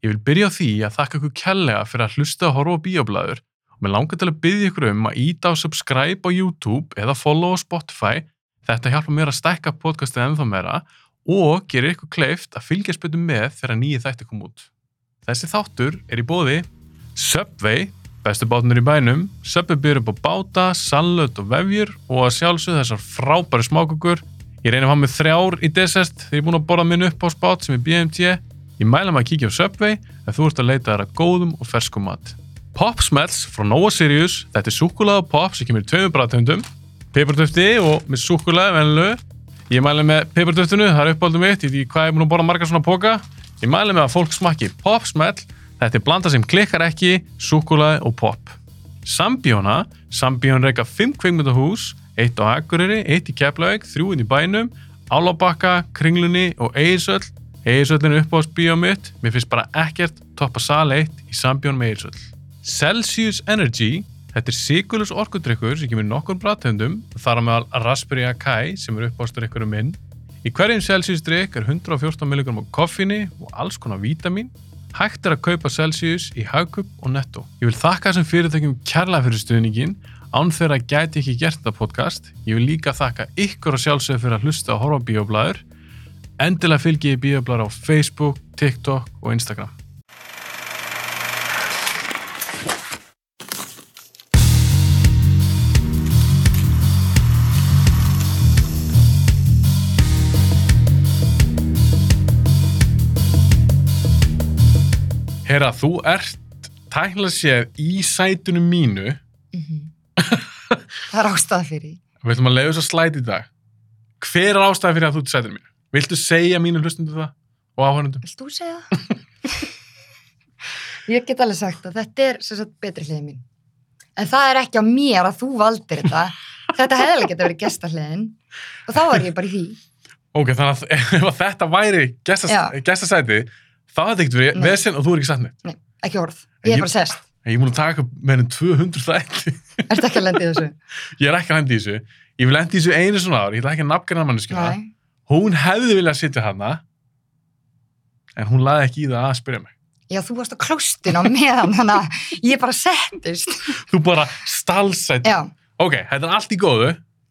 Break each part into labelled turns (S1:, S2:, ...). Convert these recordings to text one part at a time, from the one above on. S1: Ég vil byrja á því að þakka ykkur kærlega fyrir að hlusta að horfa á bíoblæður og mér langar til að byrja ykkur um að íta á subscribe á YouTube eða follow á Spotify. Þetta hjálpa mér að stækka podcastið ennþá meira og gerir ykkur kleift að fylgjast betur með þegar nýju þætti kom út. Þessi þáttur er í bóði Subway, bestu bátnur í bænum, Subway byrjur upp á báta, salöt og vefjur og að sjálfsögðu þessar frábæri smákukur. Ég reynir að hafa með þrjár í desert þegar ég er búin að borða minn upp á spát sem er BMT. Ég mæla maður að kíkja á Subway ef þú ert að leita þær að góðum og ferskum mat. Pop Smells frá Nova Sirius, þetta er súkkulaði og pop sem kemur í tveimur bræðtöndum, pipartöfti og með súkkulaði venlu. Ég mæla með pipartöftinu, það er uppáldum mitt, ég veit ekki hvað ég er búin að borða margar svona póka. Ég mæla með að fólk smakki Pop Smell, þetta er blanda sem klikkar ekki, súkkulaði og pop. Sambjóna, Sambjón reyka 5 kveikmyndahús, eitt á Akureyri, eitt í Keflavík, þrjúinn í bænum, Álabakka, Kringlunni og Eirsöll. Eirsöllin er uppáðsbíó mitt, mér finnst bara ekkert toppa sal 1 í Sambjón með Eirsöll. Celsius Energy, þetta er sigurljus orkudrykkur sem kemur í nokkur bræðtöndum, þar á meðal Raspberry Akai sem er uppáðsdrykkurum minn. Í hverjum Celsius drykk er 114 mg koffinni og alls konar vítamin Hægt er að kaupa Celsius í Hagkup og Netto. Ég vil þakka þessum fyrirtækjum kærlega fyrir stuðningin, án þeirra gæti ekki gert þetta podcast. Ég vil líka þakka ykkur og sjálfsögur fyrir að hlusta og horfa á bíoblæður. Endilega fylgi ég bíoblæður á Facebook, TikTok og Instagram. Hera, þú ert tæknilega séð í sætunum mínu.
S2: Mhm. Það er ástæða fyrir. því.
S1: Við ætlum að leiða þess að slæti í dag. Hver er ástæðan fyrir að þú ert í sætunum mínu? Viltu segja mínum hlustundum það og áhörnundum?
S2: Vilt þú segja það? ég get alveg sagt að þetta er sem sagt betri hliðin mín. En það er ekki á mér að þú valdir þetta. Þetta hefði alveg geta verið gestahliðin og þá var ég bara í því.
S1: Ok, þannig að ef að þetta væri gestas,
S2: Já.
S1: gestasæti, þá hefði ekkert verið
S2: Nei.
S1: vesinn og þú er ekki satt með.
S2: Ekki orð. Ég
S1: Ég-
S2: er bara sest.
S1: Ég er múin að taka upp meira en 200 þætti.
S2: Ertu ekki að lenda í þessu?
S1: Ég er ekki að hendi í þessu. Ég vil hendi í þessu einu svona ár. Ég ætla ekki að nafngreina manneskina.
S2: Nei.
S1: Hún hefði viljað sitja hana, en hún laði ekki í það að spyrja mig.
S2: Já, þú varst á klóstinu á meðan þannig að ég bara settist.
S1: Þú bara stalsætt.
S2: Já,
S1: Ok, þetta er allt í góðu.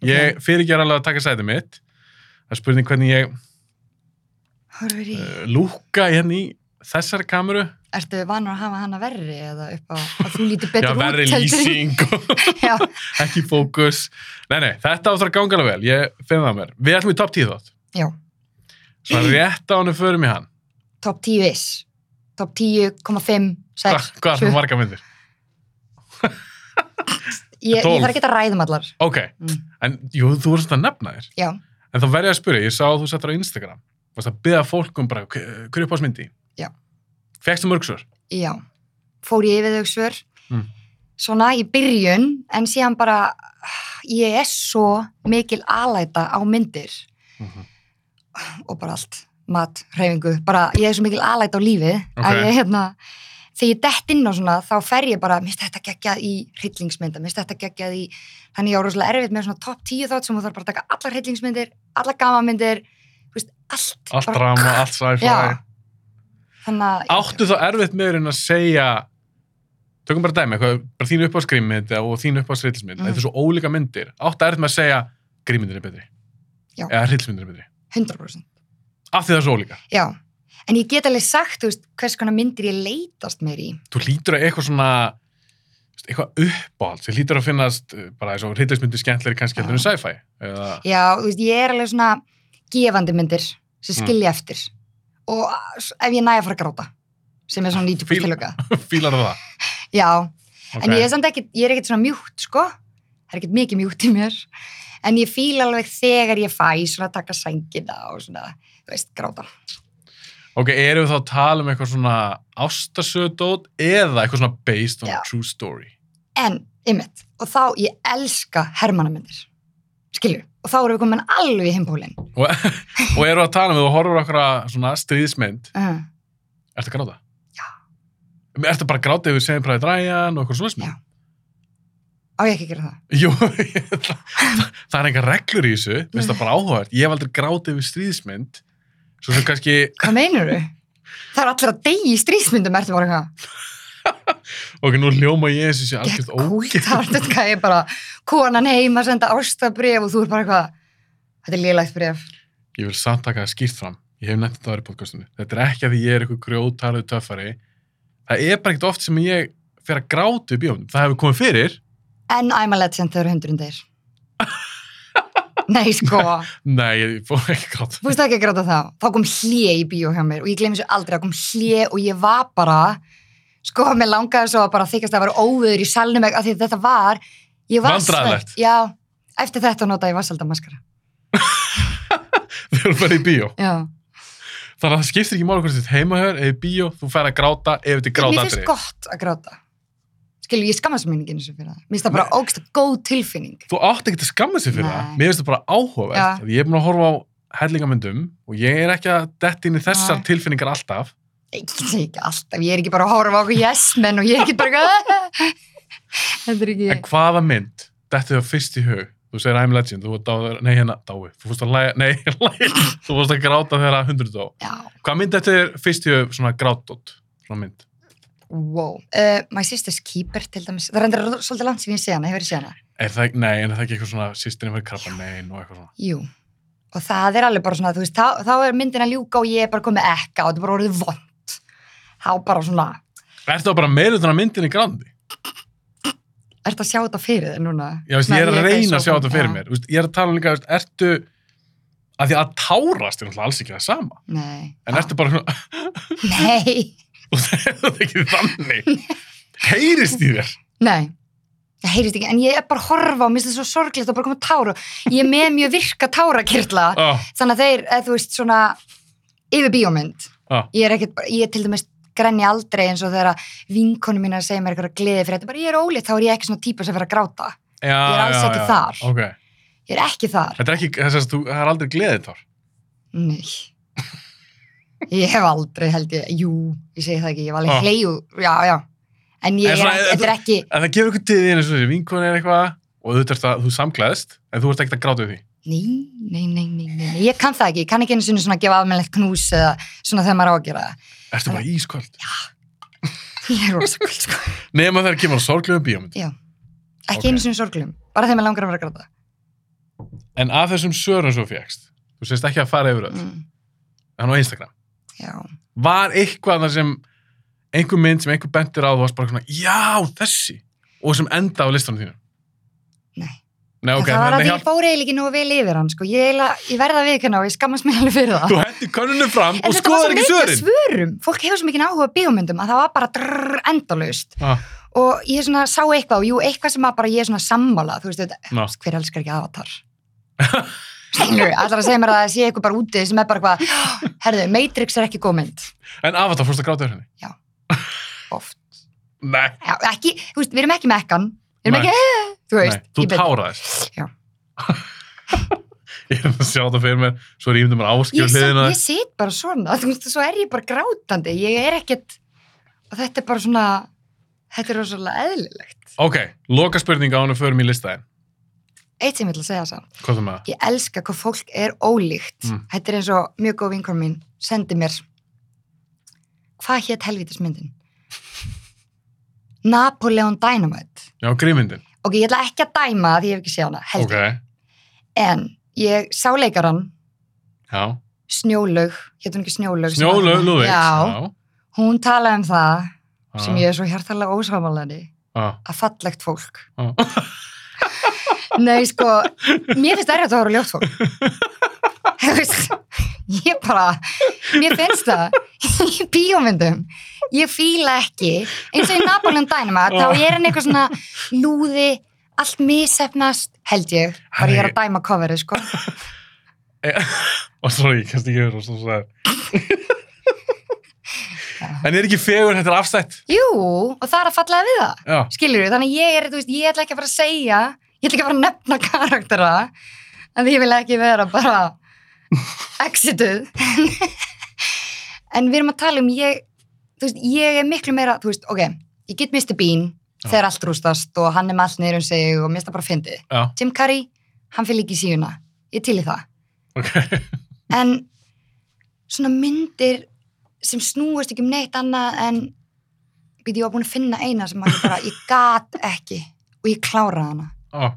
S1: Ég okay. fyrirger alveg að taka sætið mitt. Það er spurning hvernig ég
S2: horfur í.
S1: uh, lúka hérna í þessari kameru.
S2: Ertu vanur að hafa hana verri eða upp á að þú lítur
S1: Já,
S2: betur út?
S1: verri
S2: heldur en-
S1: lýsing og
S2: Já,
S1: ekki fókus. Nei, nei, þetta á það að ganga alveg vel. Ég finn það á mér. Við ætlum í topp 10 þátt.
S2: já.
S1: Svona rétt á hannu förum í hann.
S2: top 10 is top 10,5 6
S1: Hva, hvað er það marga myndir?
S2: ég, ég
S1: 12?
S2: þarf ekki að ræðum allar
S1: Ok,
S2: mm.
S1: en jú, þú voru svona að nefna þér.
S2: já,
S1: En þá verð ég að spyrja, ég sá að þú settur á Instagram. Varst að byggja fólk um bara, "Hver- hver er uppáðsmyndi?
S2: Já.
S1: Fekstu mörg svör?
S2: já fór ég yfir þau svör
S1: Mm.
S2: svona í byrjun en síðan bara ég er svo mikil alæta á myndir
S1: Mhm.
S2: og bara allt mat, hreyfingu, bara ég er svo mikil alæta á lífið að
S1: Ok.
S2: ég hérna þegar ég dett inn á svona þá fer ég bara minnst þetta geggjað í hryllingsmynda minnst þetta geggjað í, þannig ég á rosalega erfitt með svona topp 10 þátt sem þú þarf bara að taka allar hryllingsmyndir allar gamamyndir, þú veist, allt
S1: Allt
S2: bara-
S1: drama, allt sci-fi.
S2: Já. þannig að
S1: Áttu þá erfitt meður en að segja, tökum bara dæmi, eitthvað, bara þín uppáðsgrímmynd og þín uppáðsrillsmynd,
S2: Mhm.
S1: þetta er svo ólíka myndir. Áttu erfitt með að segja, grímmyndir er betri.
S2: Já.
S1: Eða rillsmyndir er betri.
S2: 100%
S1: Af því það er svo ólíka.
S2: Já, en ég get alveg sagt, þú veist, hvers konar myndir ég leitast mér í.
S1: Þú lítur að eitthvað svona, þú veist, eitthvað uppáhald, þú lítur að finnast uh, bara eins og hryllismyndir skemmtleri kannski
S2: Já.
S1: heldur en sci-fi. Eða,
S2: Já, þú veist, ég er alveg svona gefandi myndir sem
S1: Mm.
S2: skilja eftir og s- ef ég næja að fara að gráta sem er svona
S1: Fíl-
S2: 90% tilöka.
S1: fílar það?
S2: Já,
S1: Okay.
S2: en ég er samt ekkit, ég er ekkit svona mjúkt, sko. Það er ekkit mikið mjúkt í mér. En ég fíla alveg þegar ég fæ svona að taka sængina og svona, þú veist, gráta.
S1: Ok, eru við þá að tala um eitthvað svona ástasöðdót eða eitthvað svona based on
S2: Já.
S1: true story?
S2: En, ymmit, og þá ég elska hermannamyndir, skilju. Og þá erum við komin alveg í himpólinn.
S1: Og, og eru við að tala um þú horfur okkur að svona stríðismynd,
S2: Uh -huh.
S1: ertu að gráta?
S2: Já.
S1: Ertu bara að gráta yfir segjum præði dræjan og eitthvað svona
S2: Já.
S1: smynd?
S2: Á ég ekki að gera það?
S1: Jú, ég- það, það er engar reglur í þessu, minnst það bara áhugavert. Ég hef aldrei grátið yfir stríðismynd, svo sem kannski
S2: Hvað meinur þú? það er allir að degi í stríðsmyndum ertu bara eitthvað
S1: Ok, nú hljóma ég þessu sé
S2: Gekk
S1: algjörð
S2: kúlt,
S1: ógeð.
S2: það var þetta er bara konan heim að senda ástabref og þú er bara eitthvað, þetta er lélægt bref.
S1: Ég vil samt taka það skýrt fram. Ég hef nefnt þetta aðra í podcastinu. Þetta er ekki að því ég er eitthvað grjótarðu töffari. Það er bara ekkert oft sem ég fer að gráta í bíómyndum. Það hefur komið fyrir.
S2: En I'm a legend þau eru hundurinn þeir. Nei, sko,
S1: Nei, ég fór ekki að gráta.
S2: þú veist ekki að gráta þá. Þá kom hlje í bíó hjá mér og ég gleymi þessu aldrei, það kom hlje og ég var bara, sko, mér langaði svo að bara þykast að vera óvöður í salnum ekki, af því að þetta var, ég var
S1: Vandræðalegt.
S2: svelt. Já, eftir þetta nota ég vassaldamaskara.
S1: Þau eru bara í bíó.
S2: Já.
S1: Þannig að það skiptir ekki máli hvort þetta heimahör eða í bíó. Þú fer að gráta ef þetta er
S2: Mér
S1: gráta
S2: finnst gott að gráta. Skilu, ég skammast mér ekki eins og fyrir það. Mér finnst það bara ógst góð tilfinning.
S1: Þú átt ekki að skamma sig fyrir
S2: Nei.
S1: það. Mér finnst það bara
S2: Já.
S1: áhugavert. Ég er búin að horfa á hellingamyndum og ég er ekki að detti inn í þessar
S2: Nei.
S1: tilfinningar alltaf.
S2: Ég segi ekki alltaf, ég er ekki bara að horfa á okkur yes menn og ég er ekki "Ah, bara eitthvað Þetta er
S1: En
S2: ekki
S1: hvaða mynd dætti þau fyrst í hug? Þú segir I'm Legend, þú dáður, nei hérna, dái, þú fórst að læja, nei, læja, þú fórst að gráta þegar að hundru dó.
S2: Já,
S1: Hvað mynd dætti þau fyrst í hug svona grátótt, svona mynd?
S2: wow uh, My Sister's Keeper til dæmis Það rendur svolítið langt sem ég sé hana, hefur ég sé hana
S1: Er það, ekki- nei, en er það ekki eitthvað svona sýstinni fyrir krabba, nein og eitthvað svona.
S2: Jú, og það er alveg bara svona, þú veist þá, þá er myndin að ljúka og ég er bara komið ekka og þetta er bara orðið vond Þá bara svona,
S1: Er það bara meira þannig að myndinni grándi?
S2: ertu að sjá þetta fyrir þig núna?
S1: Já, veist,
S2: Svona,
S1: ég er að
S2: eitthvað í
S1: reyna að sjá
S2: sófanum,
S1: þetta fyrir
S2: já.
S1: mér. Veist, ég er að tala um líka, veist, ertu, að því að tárast er náttúrulega alls ekki það sama.
S2: Nei,
S1: En ertu bara svona,
S2: Nei,
S1: þú segir það ekki þannig. Heyrist í þér.
S2: nei Það heyrist ekki, en ég er bara að horfa og minnst það svo sorglegt og bara komið tára Ég er með mjög virka tárakirla
S1: Oh,
S2: þannig að þeir, eða þú veist, svona yfir bíómynd
S1: Já.
S2: ég er ekkert, bara- ég til dæmis grenni aldrei eins og þegar vinkonu mín að segja mér eitthvað gleði fyrir þetta, bara ég er ólétt, þá er ég ekki svona típa sem fyrir að gráta,
S1: já,
S2: Ég er alls
S1: já,
S2: ekki
S1: já.
S2: þar.
S1: Ókei.
S2: ég er ekki þar
S1: Þetta er ekki, þess að þú, það er aldrei gleðið þar.
S2: nei ég hef aldrei held ég, jú ég segi það ekki, ég var alveg
S1: Já.
S2: hleyju já, já, en ég
S1: Ah. En
S2: er,
S1: svona, eh,
S2: ekki- þetta er ekki
S1: En það gefur ykkur til þín eins og þessi vinkon er eitthvað og þú, ert að, þú samglaðist, en þú ert ekkert að gráta yfir því.
S2: Nei, nei, nei, nei, nei, nei, ég kann það ekki, ég kann ekki einu sinni svona gefa afmennilegt knús eða svona þegar maður á að gera það.
S1: Ertu bara ísköld?
S2: Ég er rosa kvöld, sko.
S1: Nefn að það er kemur á sorglegum bíómynd.
S2: Ekki
S1: Ok.
S2: einu sinni sorglum, bara þegar maður langar að vera að gráta.
S1: En af þessum sörum svo fegst, þú sést ekki að fara yfir öll,
S2: Mm,
S1: hann á Instagram.
S2: já.
S1: Var eitthvað þar sem einhver mynd sem einhver bendir á þú varst bara svona, já, þessi, og sem enda á listanum þínu?
S2: Nei.
S1: Nei, ok,
S2: það var að
S1: þannig
S2: því
S1: hjálp.
S2: ég fór eiginlega ekki nú vel yfir hann, sko. Ég, eila, ég verða að viðkynna og ég skammast mér alveg fyrir það.
S1: Þú hendir könnunum fram
S2: En
S1: Sko, og
S2: þetta var
S1: skoðar
S2: svo
S1: ekki
S2: mikið af
S1: sörin.
S2: svörum. Fólk hefur svo mikið áhuga á bíómyndum að það var bara drrrr endalaust.
S1: Ah,
S2: Og ég svona sá eitthvað og jú, eitthvað sem að bara ég er svona sammála, þú veist, þetta,
S1: ná.
S2: hver elskar ekki avatar? Skilur, allar að segja mér að það sé eitthvað bara úti sem er bara eitthvað, herðu, Matrix er ekki góð mynd,
S1: En af þetta fórst að gráta yfir henni?
S2: oft.
S1: Nei,
S2: Já, ekki, þú veist, við erum ekki mekkan, við erum
S1: Nei.
S2: ekki, "Eh," þú
S1: nei,
S2: veist,
S1: þú
S2: ég veit-
S1: táraðist.
S2: Já.
S1: ég er að sjá þetta fyrir mér, svo er ég um að
S2: ég,
S1: áskjöf
S2: sit,
S1: hliðina.
S2: ég sit bara svona þú veist, svo er ég bara grátandi ég er ekkert og þetta er bara svona þetta er rosalega eðlilegt
S1: Ok, loka spurning á hann og förum í listaðin.
S2: eitt sem ég vil að segja það
S1: Hvað það með það?
S2: ég elska hvað fólk er ólíkt
S1: Mm.
S2: þetta er eins og mjög góð vinkar mín sendi mér hvað hétt helvítismyndin Napoleon Dynamite
S1: Já, grímyndin.
S2: ok, ég ætla ekki að dæma það því ég hef ekki séð hana
S1: Ok,
S2: heldur, en ég sá leikaran
S1: já.
S2: Snjólaug, hétt hún ekki Snjólaug sem var-
S1: Snjólaug Lúðvík.
S2: já, hún talaði um það sem ég er svo hjartalega ósámalandi
S1: Já,
S2: að fallegt fólk
S1: já.
S2: Nei, sko, mér finnst erfitt að horfa á ljótt fólk Þú veist, Ég bara mér finnst það í bíómyndum ég fíla ekki eins og í Napoleon Dynamite þá er hann eitthvað svona lúði allt missefnast, held ég bara ég er að dæma coverið, sko
S1: Og svo ég kannski ekki verið og svo svo En er ekki fegur, þetta er afsætt.
S2: Jú, og það er að falla við það
S1: Já,
S2: skilur við, þannig að ég er, þú veist, ég ætla ekki að fara að segja, ég ætla ekki að fara að nefna karaktera, en því ég vil ekki vera bara exituð en við erum að tala um ég, þú veist, ég er miklu meira, þú veist, ok ég get Mr. Bean
S1: Já.
S2: þegar allt rústast og hann er með allt niður um sig og mér finnst það bara fyndið.
S1: já,
S2: Tim Curry, hann fyrir líki síðuna, ég til í það
S1: ok.
S2: en svona myndir sem snúist ekki um neitt annað en býti ég var búin að finna eina sem að ég bara, ég gat ekki og ég kláraði hana
S1: Ó,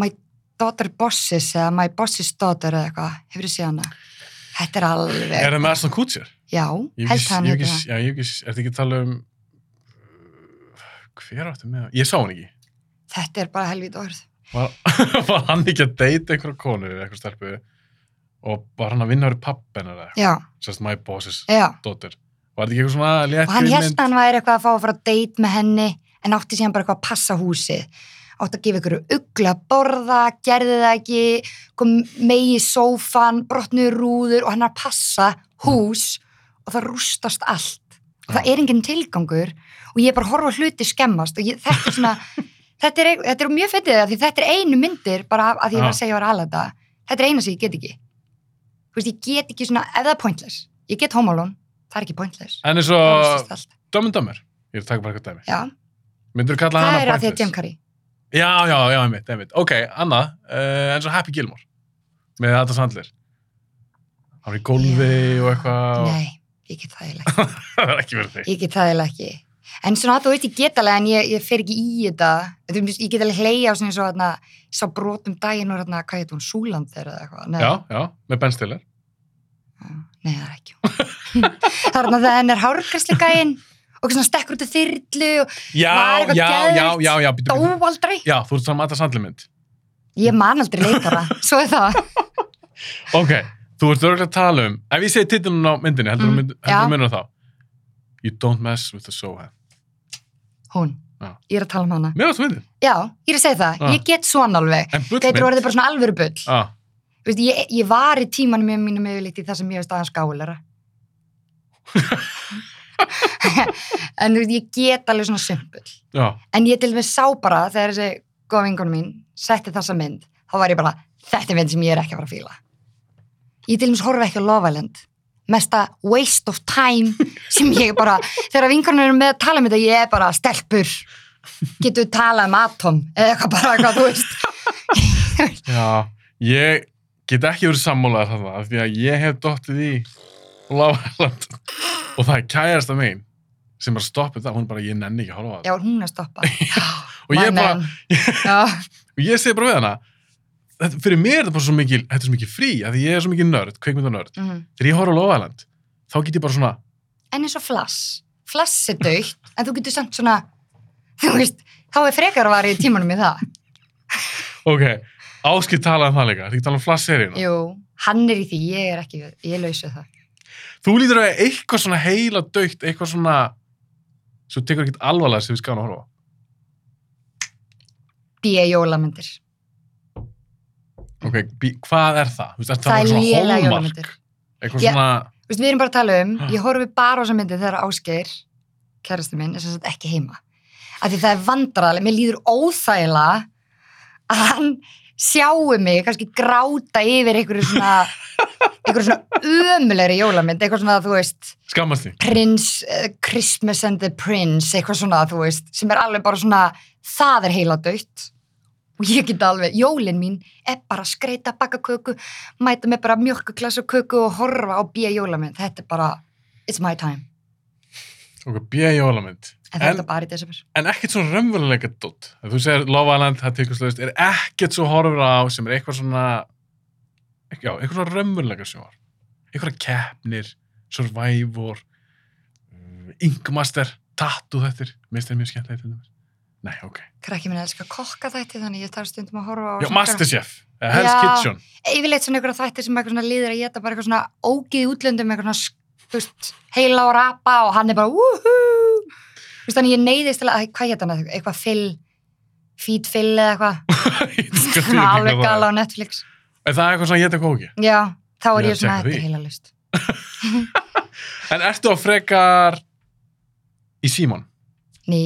S2: My Daughter Bosses eða My Bosses Daughter eða eitthvað, hefur þið séð hana? Þetta er alveg,
S1: er það með Aslan Kutcher?
S2: já,
S1: Ég hef
S2: held
S1: ekki-
S2: það hann
S1: ég hef
S2: heitir
S1: ekki-
S2: það.
S1: Já, ég hef ekki, er þetta ekki að tala um uh, hver áttu með það? Ég sá hann ekki
S2: Þetta er bara helvít orð.
S1: var, var hann ekki að deyta einhverja konu eða eitthvað stelpu og var hann að vinna verið pappin eða eitthvað,
S2: Já,
S1: sérst my bosses
S2: já.
S1: daughter, var þetta ekki eitthvað svona létt
S2: Og hann held að hann væri eitthvað að fá að fara að date með henni en átti síðan bara eitthvað að passa húsið. Átti að gefa ykkur ugla að borða, gerði það ekki, kom megi í sófan, brotnuði rúður og hann er að passa hús og það rústast allt. Og það
S1: Já.
S2: er enginn tilgangur og ég er bara að horfa á hluti skemmast og ég, þetta er svona, þetta er, þetta er mjög fetið það því þetta er einu myndir bara af- af því ég var að
S1: Já.
S2: segja að ég var alveg þetta. Þetta er eina sem ég get ekki. Þú veist, ég get ekki svona, ef það er pointless, ég get homálón, það er ekki pointless.
S1: en eins
S2: Það rústast
S1: og
S2: allt.
S1: dömum dömur ég er að taka bara eitthvað dæmi,
S2: Já,
S1: myndur þú kalla
S2: það
S1: hann
S2: er að
S1: að
S2: því að Jim Carrey.
S1: já, já, já, einmitt, einmitt ok, annað, uh, eins og Happy Gilmore með Adam Sandler hann er í gólfi
S2: Já.
S1: og eitthvað og-
S2: Nei, ég get það eiginlega ekki.
S1: það er ekki verið þig
S2: Ég get það eiginlega ekki. En svona þú veist, ég get alveg, en ég, ég fer ekki í þetta. Þú veist, ég get alveg hleyja á svona eins og þarna, sá brotum daginn og þarna, hvað heit hún, Súlandir eða eitthvað. Nei,
S1: já, já, með Ben Stiller
S2: nei, það er ekki. hún. það er þarna þegar henn er hárkastli gæinn og svona stekkur út af þyrlu og
S1: já,
S2: Var
S1: já,
S2: eitthvað
S1: já, já,
S2: geðveikt?
S1: já, já, bíddu,
S2: dó
S1: bíddu.
S2: aldrei.
S1: já, þú ert saman Adam Sandler mynd
S2: Ég man aldrei leikara, svo er það.
S1: Ok, þú ert örgulega að tala um Ef ég segi titlunum á myndinni, heldur þú mm,
S2: Mm,
S1: heldur
S2: já.
S1: þú munur þá You don't mess with the Sohan
S2: Hún,
S1: Já.
S2: ég er að tala um hana.
S1: Mér varst myndin,
S2: Já, ég er að segja það,
S1: Já.
S2: ég get svona alveg.
S1: en
S2: Gætur
S1: bullmynd
S2: orðið bara svona alvöru bull.
S1: ah,
S2: Þú veist, ég, ég var í tímanum með mínum yfirleitt í það sem ég veist aðeins gáðulega. en þú veist, ég get alveg svona simpul.
S1: Já,
S2: En ég til dæmis sá bara þegar þessi góða vinkonu mín setti þessa mynd, þá var ég bara, þetta er mynd sem ég er ekki að fara að fíla. Ég til dæmis horfa ekki á Love Island. Mesta waste of time sem ég bara, þegar vinkonum eru með að tala um þetta, ég er bara stelpur. Getur talað um atom eða eitthvað bara eitthvað, þú veist.
S1: já Ég get ekki verið sammálaðar þarna af Því að ég hef dottið í Lávaland Og það er kærasta megin sem bara stoppið það, hún er bara, ég nenni ekki að horfa á
S2: Já,
S1: það.
S2: hún er að stoppa. Já,
S1: Og ég
S2: my
S1: bara-
S2: man. Já.
S1: Og ég segi bara við hana, þetta, fyrir mér er þetta bara svo mikil, þetta er svo mikil frí, af því ég er svo mikil nörd, kveikmynda nörd.
S2: Mhm.
S1: Þegar ég horfa á Lávaland, þá get ég bara svona,
S2: en eins og flass flass er dögt, en þú getur samt svona þú veist, þá er frekar að vara í tímanum í það
S1: Ok, Áskip talaði um það líka, það er ekki að tala um flassseríuna.
S2: Jú, hann er í því, ég er ekki ég lausu það
S1: Þú lítur að eitthvað svona heila dögt, eitthvað svona sem þú tekur ekkert alvarlega sem við skáðum að horfa. á.
S2: B.A. jólamyndir,
S1: Ok, bí, hvað er það? Þú veist, er
S2: það
S1: það
S2: er
S1: svona
S2: lélega
S1: hólmark?
S2: jólamyndir
S1: Eitthvað
S2: Já.
S1: svona,
S2: Þú veist, við erum bara að tala um,
S1: Ha.
S2: ég horfi bara á þessa myndi þegar Ásgeir, kærastu minn er sem sagt ekki heima, af því það er vandrarlega mér líður óþægila að hann sjáu mig kannski gráta yfir einhverju svona einhverju svona ömulegri jólamynd, eitthvað svona þú veist
S1: skammast því.
S2: Prince, uh, Christmas and the Prince, eitthvað svona, þú veist, sem er alveg bara svona, það er heila dött og ég get alveg, jólin mín er bara að skreita bakaköku, mæta með bara mjölkuglasa köku og horfa á bíja jólamynd, þetta er bara, it's my time,
S1: Ok, bíja jólamynd. En,
S2: en þetta er bara í desember.
S1: en ekkert svona raunveruleika dótt. Ef Þú segir Lofaland, það tekur slöðist, er ekkert svo horfur á sem er eitthvað svona, já, eitthvað svona raunveruleika sjóar. Eitthvað keppnir, Survivor, Ingmaster, Tattoo þettir. Mér finnst þeir mjög skemmtilega til dæmis. Nei, ok.
S2: Krakki minn elskar kokka þætti, þannig ég þarf stundum að horfa á...
S1: Já,
S2: svona-
S1: Masterchef, eða Hell's
S2: Já.
S1: Kitchen.
S2: Yfirleitt svona einhverja þætti sem eitthvað svona líður að geta bara eitthvað svona ógið í útlöndum, eitthvað svona, sk- þú veist, heila og rapa og hann er bara, woohoo! Þú veist, þannig ég neyðist til að, hvað hétt hann, eitthvað fyll, feed fyll eða eitthvað,
S1: Ég skal
S2: svona
S1: fyrirgefa
S2: alveg
S1: það.
S2: gala á Netflix.
S1: En það er eitthvað svona ég tek ekki.
S2: Já, þá
S1: Ég
S2: er
S1: er að
S2: ég svona,
S1: checka
S2: þetta
S1: því.
S2: er heila lust.
S1: En ertu að frekar í símón,
S2: Ný,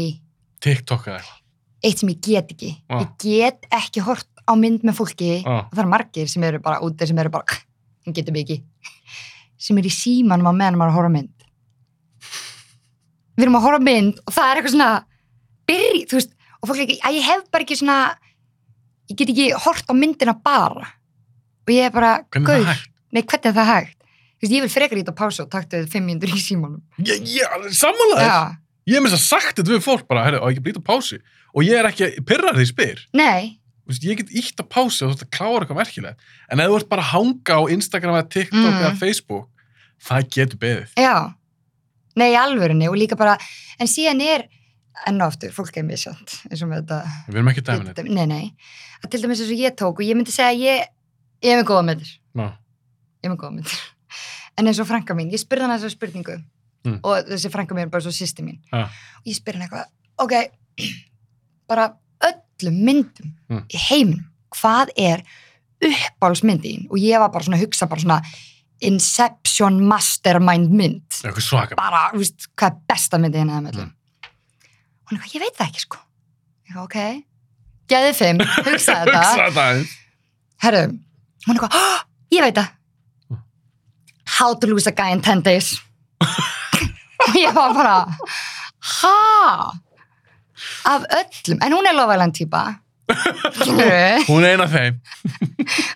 S1: TikTok eða eitthvað?
S2: eitt sem ég get ekki,
S1: Ah.
S2: ég get ekki hort á mynd með fólki,
S1: Ah.
S2: og það er margir sem eru bara úti, sem eru bara, hann getur mig ekki, sem eru í símanum á meðan maður er að horfa á mynd. Við erum að horfa á mynd og það er eitthvað svona, byrj, þú veist, og fólk er ekki, að ég hef bara ekki svona, ég get ekki hort á myndina bara. Og ég er bara,
S1: Hvernig er það hægt?
S2: nei, hvernig er það hægt? Þú Þú veist, ég vil frekar ít á pásu og takta við fimm mínútur í símanum.
S1: Ég, ég, sammálaður.
S2: Já,
S1: Ég hef mér þess að sagt þetta við fólk bara, herru, á ég ekki blít á pási. Og ég er ekki að pyrra því spyr.
S2: nei,
S1: Þú Veist, ég get ítt á pási og þú ert að klára eitthvað merkilegt. En ef þú ert bara að hanga á Instagram eða TikTok
S2: Mm. Eh,
S1: eða Facebook, það getur beðið.
S2: já. Nei, í alvörunni og líka bara, en síðan er, enn og aftur, fólk er misjönd, eins og með þetta.
S1: Við erum ekki dæmin þetta.
S2: Til- Nei, nei. Að til dæmis eins og ég tók og ég myndi segja að ég, ég er með góða myndir.
S1: Ná,
S2: Ég er með góða myndir. En eins og franka mín, ég spurði hana þessar spurningu
S1: Mm.
S2: og þessi franka mín er bara svo sýsti mín.
S1: Ja.
S2: Og ég spurði hana eitthvað, ok, bara öllum myndum
S1: Mm.
S2: í heiminum, hvað er uppáhalsmyndin? Og ég var bara svona að hugsa bara svona Inception Mastermind mynd
S1: eitthvað svaka.
S2: bara, þú veist, hvað er besta myndið hérna með
S1: Mm.
S2: öllum. Hún er eitthvað, ég veit það ekki, sko. Ég eitthvað, ok, geðið fimm, hugsa þetta.
S1: Hugsa þetta aðeins.
S2: Herru, hún er eitthvað, "Hó, ég veit það.
S1: Mm.
S2: How to lose a guy in 10 days. Og ég var bara, ha? Af öllum, en hún er lofaðlan típa. Skilurðu?
S1: Hún er ein af þeim.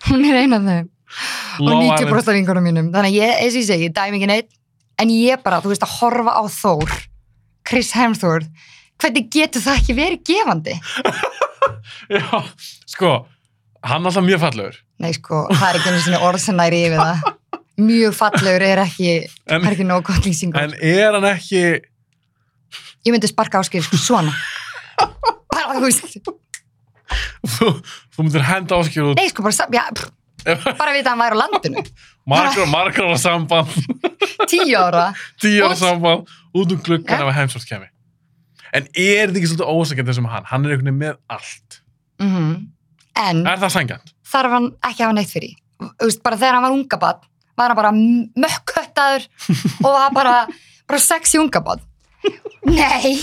S2: hún er ein af þeim. Og
S1: Love
S2: 90
S1: Island.
S2: brosta vingunum mínum. Þannig að ég, eins og ég segi, ég dæmi ekki neitt. En ég bara, þú veist, að horfa á Þór, Chris Hemsworth, hvernig getur það ekki verið gefandi?
S1: Já, sko, hann er alltaf mjög fallegur.
S2: Nei, sko, það er ekki einu sinni orð sem næri yfir það. Mjög fallegur er ekki,
S1: En,
S2: það er ekki nóg gott lýsingur.
S1: en er hann ekki...
S2: Ég myndi sparka áskil svona. Bara, þú veist,
S1: Þú, þú myndir henda áskil út
S2: nei, sko, bara, sa- já, pff, bara vita að hann væri á landinu.
S1: margra, margra ára samband,
S2: Tíu ára.
S1: tíu ára
S2: Út.
S1: samband, út um gluggan
S2: Ja.
S1: ef að heimsvort kemi. En er þetta ekki svolítið ósækjandi sem hann? Hann er einhvern veginn með allt.
S2: Mm En
S1: Er það sækjandi?
S2: þarf hann ekki að hafa neitt fyrir. Þú veist, bara þegar hann var ungabann, var hann bara mökkköttaður og var bara, bara sexy ungabann. Nei!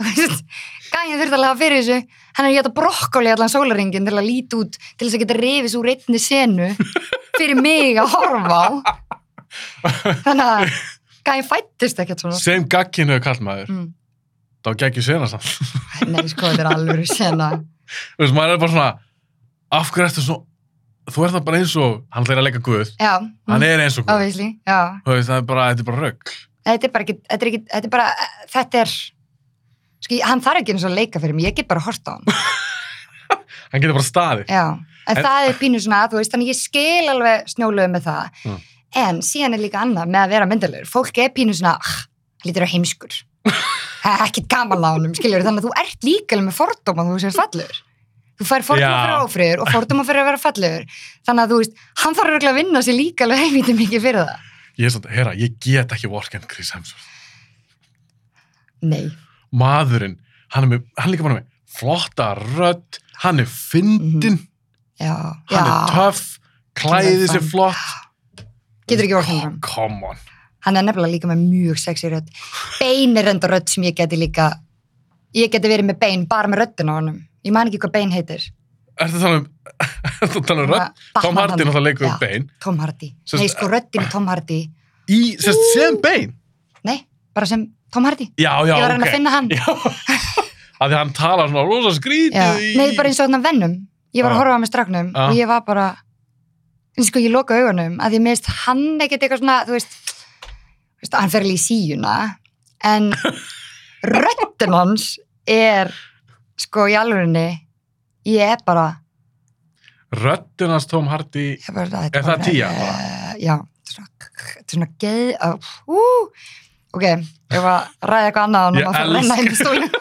S2: Þú veist, Gæin þurfti alveg að hafa fyrir þessu. Hann er geta brokkoli allan sólaringin til að líti út, til þess að geta rifis úr einni senu fyrir mig að horfa á. Þannig að Gæin fættist ekkert svona.
S1: Sem gagginu er kallmaður.
S2: Mm.
S1: Þá geggjur sena samt.
S2: Nei, sko, þetta er alveg sena.
S1: Þú veist, maður er bara svona, af hverju ertu svona... Þú ert það bara eins og... Hann ætlar að leika guð.
S2: Já,
S1: Hann er eins og guð.
S2: obviously, já.
S1: Þú veist, það er bara, þetta er bara rögg.
S2: þetta er bara ekki, þetta er ekki, þetta er bara, þetta er, sko, hann þarf ekki eins og að leika fyrir mig, ég get bara að horta á hann,
S1: Hann getur bara staðið.
S2: já, en,
S1: En-
S2: það er pínu svona, þú veist, þannig ég skil alveg snjólögu með það,
S1: Mm.
S2: en síðan er líka annað með að vera myndalegur, fólk er pínu svona, ah, hann lítur á heimskur, það er ekkit gaman á honum, skiljur, þannig að þú ert líka alveg með fordóma þú sér fallegur. Þú fær fordóma
S1: Já.
S2: fyrir áfriður og fordóma fyrir að vera fallegur. Þannig að þú veist, hann þarf örugglega að vinna sér líka alveg heimítið mikið fyrir það.
S1: Ég er svona, herra, ég get ekki vorkend Chris Hemsworth.
S2: Nei.
S1: maðurinn, hann er, með, hann er líka bara með flotta rödd, hann er fyndin,
S2: Já.
S1: hann
S2: Mhm. já.
S1: er töff, klæðið sér
S2: Hann er
S1: flott.
S2: Getur ekki um vorkennt honum.
S1: Come on.
S2: hann er nefnilega líka með mjög sexy rödd bein er enda rödd sem ég geti líka ég geti verið með bein bara með röddin á honum ég man ekki hvað bein heitir
S1: Ertu að tala um, ertu að tala um rödd?
S2: Batman
S1: Tom Hardy
S2: hann.
S1: náttúrulega leikur um
S2: Já,
S1: bein.
S2: Tom Hardy,
S1: Sem-
S2: nei sko röddin í Tom Hardy
S1: Í, sérst, sem bein?
S2: nei, bara sem Tom Hardy
S1: Já, já,
S2: ég var að reyna
S1: ok.
S2: að finna hann
S1: Já, að því hann talar svona rosa
S2: Já.
S1: skrítið í...
S2: nei, bara eins og þannig vennum ég var
S1: Ah.
S2: að horfa á með straknum
S1: Ah.
S2: og ég var bara eins og ég loka augunum að ég meðist hann ekkert eitthvað svona þú veist, þú veist hann fer alveg í síuna en röddin hans er sko í alvörinni ég er bara
S1: Röddin hans Tom Hardy,
S2: ég bara,
S1: Er það tía bara?
S2: Uh, já, þetta er svona- þetta er svona geð uh, ú, ok, ég var að ræða eitthvað annað og
S1: Ég
S2: núna það renna
S1: elska-
S2: inn í stólinn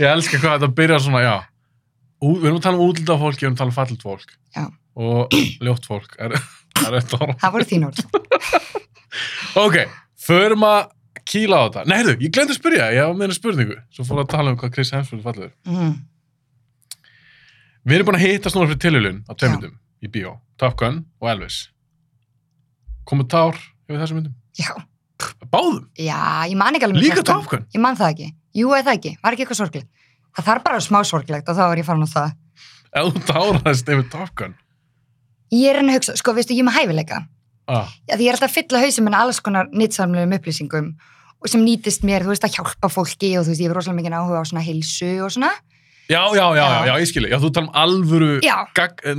S1: ég elska hvað þetta byrjar svona, já. Ú, við erum að tala um útlitað fólk, við erum að tala um fallit fólk.
S2: Já.
S1: Og ljótt fólk, er, er þetta orð.
S2: það voru þín orð
S1: Ok, förum að kýla á þetta. Nei, heyrðu, ég glemdi að spyrja, ég hafa með henni spurningu. Svo fór að tala um hvað Chris Hemsworth fallur.
S2: mm,
S1: Við erum búin að hitta snúra fyrir tilhjulun á
S2: Já.
S1: tveimundum í bíó. Top Gun og Elvis. Komu tár yfir þessum myndum?
S2: já,
S1: Báðum,
S2: já, ég man ekki alveg
S1: líka
S2: þetta.
S1: Top Gun.
S2: ég man það ekki, jú eða það ekki, var ekki eitthvað sorglegt það þarf bara smá sorglegt og þá er ég farin á það
S1: Ef þú táraðist yfir Top Gun.
S2: ég er enn að hugsa, sko veistu, ég er með hæfileika
S1: Ah,
S2: Já, því ég er alltaf að fylla hausum en alls konar nýtsamlegum upplýsingum og sem nýtist mér, þú veist, að hjálpa fólki og þú veist, ég er rosalega mikið áhuga á svona heilsu og svona
S1: já, já, já, já,
S2: Já.
S1: já, ég skilji. Já, þú tala um alvöru
S2: já,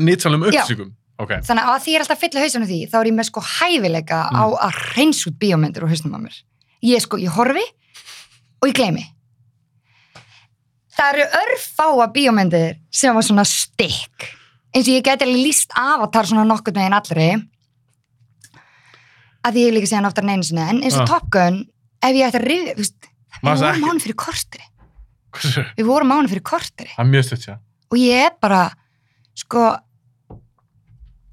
S1: nýtsalum upplýsingum. ok,
S2: þannig að af því ég er alltaf fyll að hausinu því þá er ég með sko hæfileika á
S1: Mm.
S2: að reyns út bíómyndir og hausnum að mér ég sko, ég horfi og ég gleymi það eru örfáa bíómyndir sem var svona stikk eins og ég geti alveg líst avatar svona nokkurn veginn allri að því ég hef líka séðan oftar en einu sinni en eins og
S1: Ah.
S2: Top Gun, ef ég ætti að rifja þú veist,
S1: Manstu
S2: við vorum
S1: ekki?
S2: mánu fyrir kortri
S1: hversu,
S2: við vorum mánu fyrir kortri
S1: það er mjög stutt, já.
S2: og ég er bara sko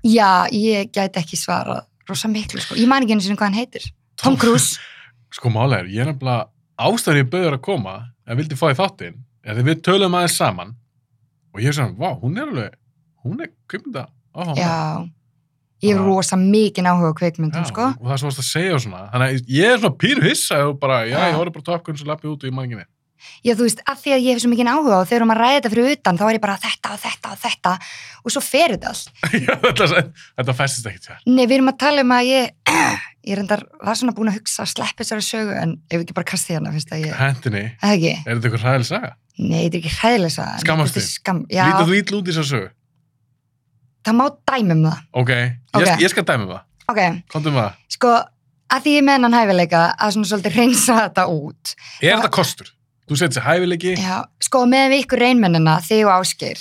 S2: já, ég gæti ekki svarað rosa miklu sko, ég man ekki einu sinni hvað hann heitir Tom Cruise,
S1: Sko málega er, ég er nefnilega ástæðan ég bauður að koma en vildi fá í þáttinn, er þegar við töluðum aðeins saman og ég er svona, vá, hún er alveg, hún er kvikmynda áhuga.
S2: já ég er
S1: Ah.
S2: rosa mikinn áhuga á kveikmyndum sko
S1: og það sem varst að segja og svona, þannig að ég er svona pínu hissa og bara, já,
S2: Já.
S1: ég horfði bara topkun sem lappi út og ég man ekki neitt.
S2: já, þú veist, af því að ég hef svo mikinn áhuga og þegar maður ræði þetta fyrir utan, þá er ég bara þetta og þetta og þetta og svo fer þetta allt
S1: Já, þetta, þetta festist ekkert sér.
S2: nei, við erum að tala um að ég ég reyndar, var svona búin að hugsa að sleppa þessari sögu en ef ekki bara kasti hérna, finnst að ég
S1: Hendinni,
S2: eða ekki,
S1: er þetta eitthvað hræðileg saga?
S2: nei, þetta er ekki hræðilega saga, en
S1: Skammast
S2: þetta er
S1: þín?
S2: skam, já,
S1: Lítið þú ítl út í þessu sögu?
S2: það má dæmi um það
S1: Ok, ég,
S2: Ok.
S1: ég skal dæmi um það.
S2: ok,
S1: Komdu með það.
S2: sko, að því ég með hennan hæfileika að svona svolítið reynsa þetta út
S1: Er þetta kostur? Þú segir þessi hæfileiki,
S2: já, sko, meðan við ykkur reynmennina þig og Áskir,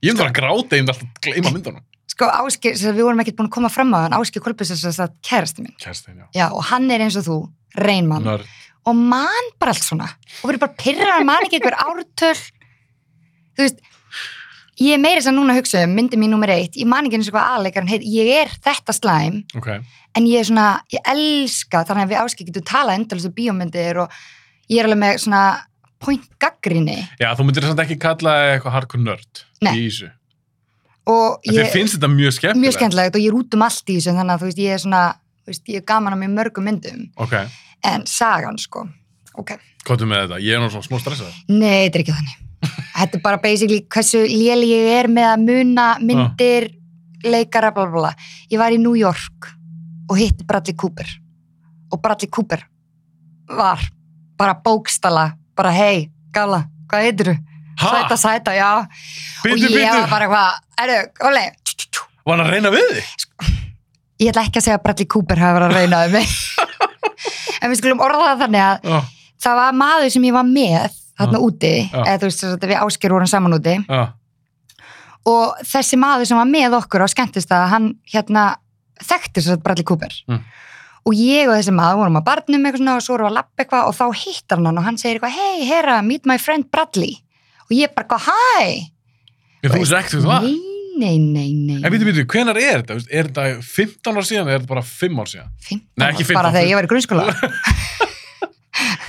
S1: ég myndi bara að gráta, ég myndi alltaf gleyma myndunum.
S2: sko, Áskir sem við vorum ekkert búin að koma fram á hann, Áskir Kolbis er þess að kærasti minn,
S1: Kerstin, já.
S2: já, og hann er eins og þú reynmann,
S1: Nörd.
S2: og mann bara allt svona og verður bara pyrrar, mann ekki einhver ártöl þú veist ég er meira þess að núna að hugsa um myndi mín nummer eitt, ég man ekki eins og hvað aðleikarinn heit ég er þetta slæm,
S1: Ok.
S2: en ég er svona, ég elska þannig að við áskil getum talað endalist um bíómyndir og ég er alveg með svona point gaggrinni
S1: Já, þú myndir samt ekki kalla það eitthvað hardcore nerd
S2: Nei.
S1: í þessu.
S2: og
S1: Ég... Þið
S2: ég
S1: finnst þetta mjög skemmtilegt.
S2: mjög skemmtilegt og ég er út um allt í þessu þannig að þú veist, ég er svona, þú veist, ég er gaman á mjög mörgum myndum,
S1: Ok,
S2: en sagan sko, ok,
S1: komdu með þetta. Ég er nú svona smó stressaður.
S2: nei, þetta er ekki þannig þetta er bara basically hversu léli ég er með að muna
S1: Ah.
S2: myndir leikara, bla bla bla ég var í New York og hitti Bradley Cooper og Bradley Cooper var bara bókstala, bara hei, gala hvað heitir þú?
S1: Ha?
S2: Sæta, sæta, já
S1: Bítu,
S2: og ég
S1: bítu.
S2: var bara hvað, erðu, óli tjú, tjú, tjú.
S1: Var hann að reyna við þig?
S2: ég ætla ekki að segja að Bradley Cooper hafa verið að reyna um mig en við skulum orða það þannig að
S1: Já,
S2: það var maður sem ég var með þarna
S1: Já.
S2: úti,
S1: Já.
S2: eða þú veist þess að við ásker vorum saman úti
S1: já.
S2: og þessi maður sem var með okkur á skemmtist að hann hérna þekkti þess að Bradley Cooper
S1: Mm.
S2: og ég og þessi maður vorum að barnum eitthvað svona og svo vorum við að lappa eitthvað og þá hittar hann hann og hann segir eitthvað, hei, herra, meet my friend Bradley og ég bara, hvað, hæ
S1: Ég, þú veist ekki þú það.
S2: nei, nei, nei, nei
S1: En bítu, bítu, hvenar er þetta? Þú veist, Er þetta 15 ár síðan eða er þetta bara 5 ár síðan?
S2: 15,
S1: Nei, ekki 15.
S2: bara þegar ég var í grunnskóla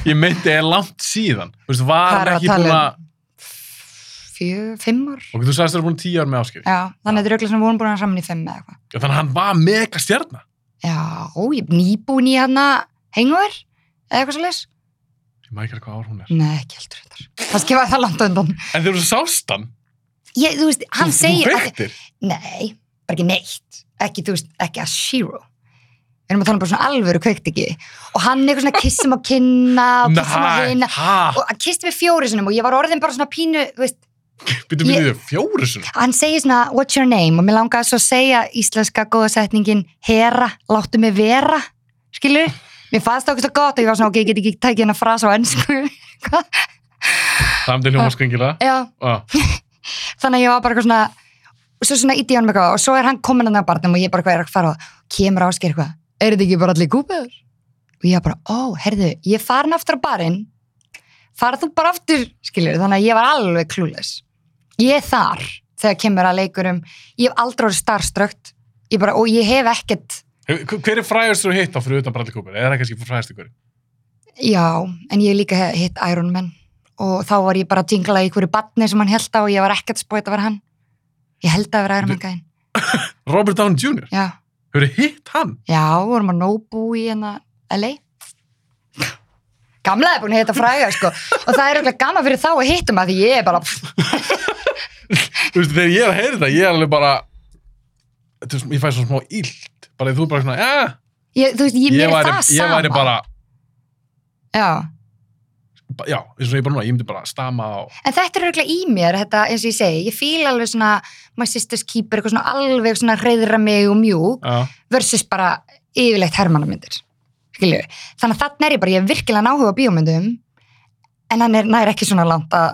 S1: Ég meinti er langt síðan. Þú veist, var
S2: Hvað
S1: hann
S2: er að
S1: ekki
S2: tala
S1: búin
S2: um?
S1: að...
S2: fjö, fimm ár
S1: Ok, þú sagðist þér búin 10 ár með áskif.
S2: Já, þannig að þetta er auðvitað sem við vorum búin að vera saman í fimm eða eitthvað.
S1: Þannig að hann var mega stjarnar.
S2: Já, ó, ég er nýbúin í hérna hengur eða eitthvað svo leis.
S1: Ég maður ekki alveg hvað ár hún er.
S2: Nei, ekki heldur þetta. Kannski var það langt á undan.
S1: En þegar þú sást hann,
S2: Ég, þú veist, hann
S1: þú-
S2: segir...
S1: þú
S2: að-
S1: veiktir.
S2: Nei, bara ekki neitt. Ekki, þú veist, ekki að zero. Við erum að tala um bara svona alvöru kveikt ekki. Og hann eitthvað svona kissum á kynna og kissum á
S1: Nei,
S2: hinna.
S1: hæ?
S2: Og hann kisti mig fjóri sinum og ég var orðin bara svona pínu, þú veist,
S1: Bítu, bítu, fjóru sinum.
S2: hann segir svona, what's your name? Og mér langaði svo að segja íslenska góða setningin, hera, láttu mig vera, skilur? Mér fannst það okkur svo gott og ég var svona, ok, ég get ekki tækið hennar frasa á ennsku.
S1: Það er til hljómaskringilega.
S2: Já,
S1: Ah.
S2: þannig að ég var bara eitthvað svona, og svo svona ítti ég honum eitthvað og svo er hann komin að það barnum og ég bara hvað er að fara á það. Kemur ásker eitthvað, er þetta ekki bara allir kúpaður? Og ég var bara, ó, herðu, ég er farin aftur á barinn, farað þú bara aftur, skilur? Þannig að ég var alveg klúles. Ég er þar þegar kemur að leikurum, ég hef aldrei orðið starströkt, ég bara, og ég hef ekkert,
S1: Hef- Hver er frægast þú hitt á fyrir utan Bradley Cooper? Eða er það kannski frægast ykkur?
S2: Já, en ég hef líka he- hitt Iron Man og þá var ég bara að jingla í hverju batni sem hann held á og ég var ekkert spóið að vera hann. Ég held að vera Iron Man gæðin.
S1: Robert Downey Jr.
S2: Já,
S1: Hefur þið hitt hann?
S2: já, vorum að Nobu í hérna LA. Gamla er búin að hitta fræga, sko. Og það er auðvitað gaman fyrir þá að hitta maður því ég er bara, pff,
S1: Þú veist, þegar ég er að heyra þetta, ég er alveg bara... Þú veist, ég fæ svo smá illt. Bara þú er bara svona, ja,
S2: ég, þú veist, ég,
S1: ég
S2: mér er
S1: væri,
S2: það sama.
S1: ég væri bara...
S2: Já,
S1: ba- já, eins og ég bara núna, ég myndi bara stama á
S2: En þetta er örgulega í mér, þetta, eins og ég segi, ég fíl alveg svona my sister's keeper, eitthvað svona alveg svona reyðra mig og mjúk
S1: já,
S2: versus bara yfirleitt hermannamyndir, skilju. Þannig að þarna er ég bara, ég er virkilega náhuga bíómyndum, en hann er nær ekki svona langt að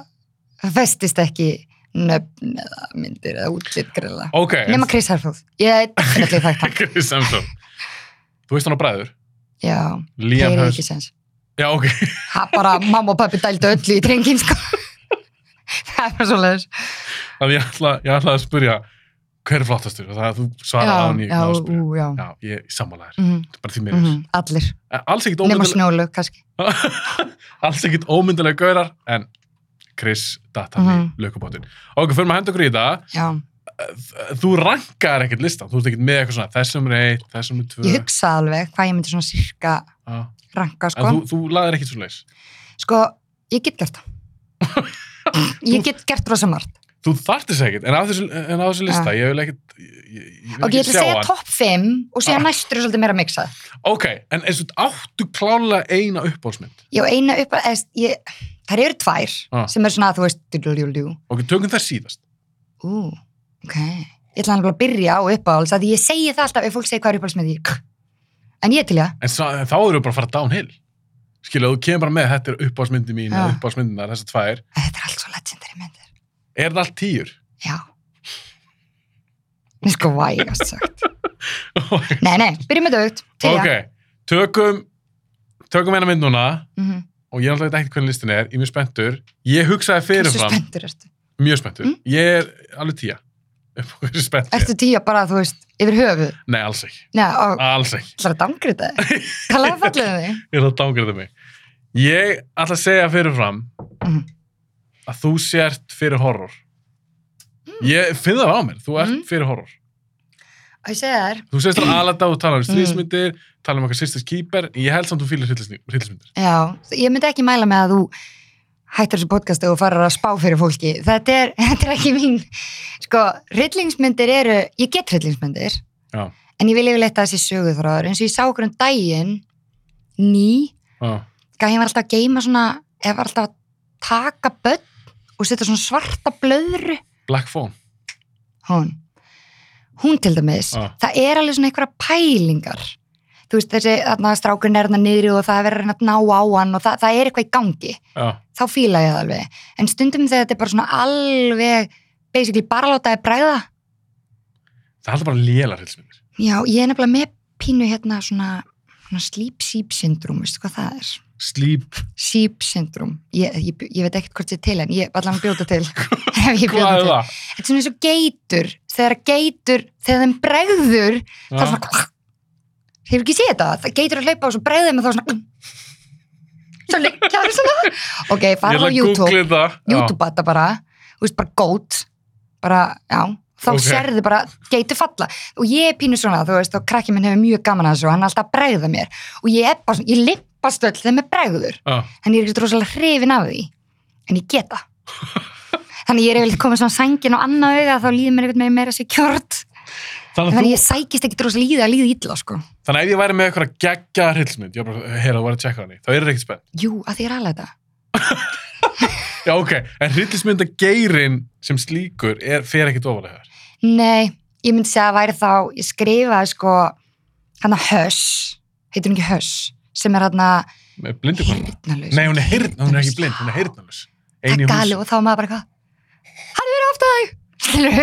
S2: það festist ekki nöfn eða myndir eða útlitt grilla.
S1: ok
S2: Nefna Chris Herfóð, ég er definitely þekkt hann.
S1: Chris Hemsworth þú veist hann á bræður
S2: Já,
S1: Liam
S2: þeir eru
S1: Hemsworth
S2: ekki sens.
S1: já, ok,
S2: Ha, bara mamma og pappi dældu öllu í drengin, sko. það er bara svo leiðis.
S1: þannig ég ætla, ég ætla að spyrja hver er flottastur, það að þú svarar á hann ég
S2: já,
S1: náði að spyrja.
S2: ú, já.
S1: já, ég sammála þér,
S2: Mhm,
S1: þetta er bara því mér
S2: mhm, Allir,
S1: er alls ekkit
S2: nema
S1: ómyndilega
S2: snjólu, kannski.
S1: alls ekkit ómyndilega gaurar en Chris datt hann
S2: Mhm.
S1: í lökubótin ok, fyrir maður hendur okkur í þetta
S2: Já,
S1: þú rankar ekkit listan, þú ert ekkit með eitthvað svona þessum er eitt, þessum er tvö
S2: ég hugsa alveg hvað ég myndi svona sirka
S1: Já.
S2: ranka,
S1: en
S2: sko.
S1: þú, þú laðir ekkit svo leis
S2: Sko, ég get gert það. ég get gert rosa margt.
S1: þú þart þess ekkit, en á þessu, en á þessu lista ég vil ekkit ég, ég, ég vil
S2: Ok, ég ætla að
S1: sjá
S2: segja
S1: hann.
S2: topp 5 og
S1: Ah.
S2: síðan næstur er svolítið meira miksað.
S1: ok, en eins og þetta áttu klálega eina uppbólsmynd
S2: Ég á eina upp að, eðst, ég, þær eru tvær
S1: Ah.
S2: sem er svona að þú veist, dulululjú.
S1: ok, tökum það síðast
S2: Ú, ok. Ég ætla hann að byrja á uppáhalds að ég segi það alltaf ef fólk segir hvað er uppáhalds með því. kk. En ég er til ég.
S1: en sa- en þá erum við bara að fara downhill skilja, þú kemur bara með þetta er uppbólsmyndi mín
S2: Já.
S1: ja. uppbólsmyndinar, þessar tvær
S2: Þetta er allt svo legendary myndir.
S1: er það allt tíur?
S2: Já. Mér sko vægast sagt. Nei, nei, byrjum með dögt. Til ég.
S1: ok, tökum tökum eina mynd núna
S2: Mm
S1: og ég náttúrulega veit ekki hvernig listin er, ég er mjög spenntur ég hugsaði
S2: Hversu
S1: fyrirfram,
S2: spenntur ertu?
S1: mjög spenntur
S2: Mm.
S1: ég er alveg tíja Hversu spennt ég er?
S2: Ertu tíja bara, þú veist, yfir höfuð?
S1: Nei, alls ekki,
S2: Nei, og
S1: alls ekki
S2: ætlar að dangrita þig? Kallaði fallegið um þig?
S1: Ég er að dángriða mig. Ég ætla að segja fyrirfram
S2: Mhm.
S1: að þú sért fyrir horror.
S2: Mm.
S1: Ég finn það á mér, þú ert
S2: Mhm.
S1: fyrir horror.
S2: Og ég segi þér,
S1: Þú segist þér alveg að þú tala um
S2: Mm.
S1: stríðsmyndir, tala um okkar sýstis kýper, ég held samt að þú fýlir hryllismyndir.
S2: já, ég myndi ekki mæla með að þú hættir þessu podcastu og farir að spá fyrir fólki. Þetta er, þetta er ekki mín, sko, rillingsmyndir eru, ég get rillingsmyndir,
S1: Já.
S2: en ég vil yfirleitt að þessi söguþráður, eins og ég sá okkur um daginn, ný,
S1: Ah.
S2: gæði var alltaf að geima svona, eða var alltaf að taka börn og setja svona svarta blöðru,
S1: Black Phone.
S2: hún, hún til dæmis,
S1: Ah.
S2: það er alveg svona einhverja pælingar þú veist þessi, þarna strákurinn er þarna niðri og það er verið að reyna að ná á hann og það, það er eitthvað í gangi,
S1: Já,
S2: þá fíla ég það alveg en stundum þegar þetta er bara svona alveg basically bara látaði bræða
S1: það er alltaf bara léla hryllismyndir.
S2: já, ég er nefnilega með pínu hérna svona, svona sleep sheep syndrome, veistu hvað það er
S1: Sleep,
S2: sheep syndrome, ég, ég, bjó- ég veit ekkert hvort þetta er til en ég allan bjóta til ef ég bjó
S1: hvað
S2: það
S1: er
S2: til,
S1: það?
S2: þetta er svona eins og geitur þegar geitur, þegar þeim bregður það er svona hefur ekki séð þetta, það geitur að hlaupa og svo bregðið með þá svona svo liggja það svona ok,
S1: Ég
S2: fara
S1: ætla
S2: á
S1: að
S2: YouTube,
S1: googla það. Já.
S2: YouTube þetta bara þú veist bara gót bara, já, þá
S1: Ok.
S2: sérðu bara geitur falla og ég er pínu svona, þú veist og krakki minn hefur mjög gaman að þessu og hann er alltaf að bregða mér og ég er bara svona, ég lippast öll þegar mér bregður,
S1: Já.
S2: en ég er ekki rosalega hrifin af því, en ég geta þannig ég er yfirleitt komið svona sængin og annað auga þá líður mér eitthvað meira sekjort
S1: Þannig að
S2: þannig
S1: þú,
S2: ég sækist ekki rosalega í það að líða illa sko.
S1: þannig að ef ég væri með eitthvað geggja hryllismynd, ég bara, heyra, þú væri að checka hann í, þá er það ekki spennt.
S2: Jú, að því er alveg þetta.
S1: Já, ok, en hryllismynda sem slíkur er, fer ekkit ofalega þér.
S2: Nei, ég myndi segja að væri þá, ég skrifaði sko, hann að Höss, heitir hún ekki Höss, sem er hann að
S1: Með blindu konu.
S2: hirtnalaus.
S1: Nei, hún er hirtn, hún er ekki blind, hún er hirtnalus.
S2: Það
S1: Einu í
S2: er gali
S1: hús.
S2: og þá er maður bara hvað, hann er verið aftur þau, skilur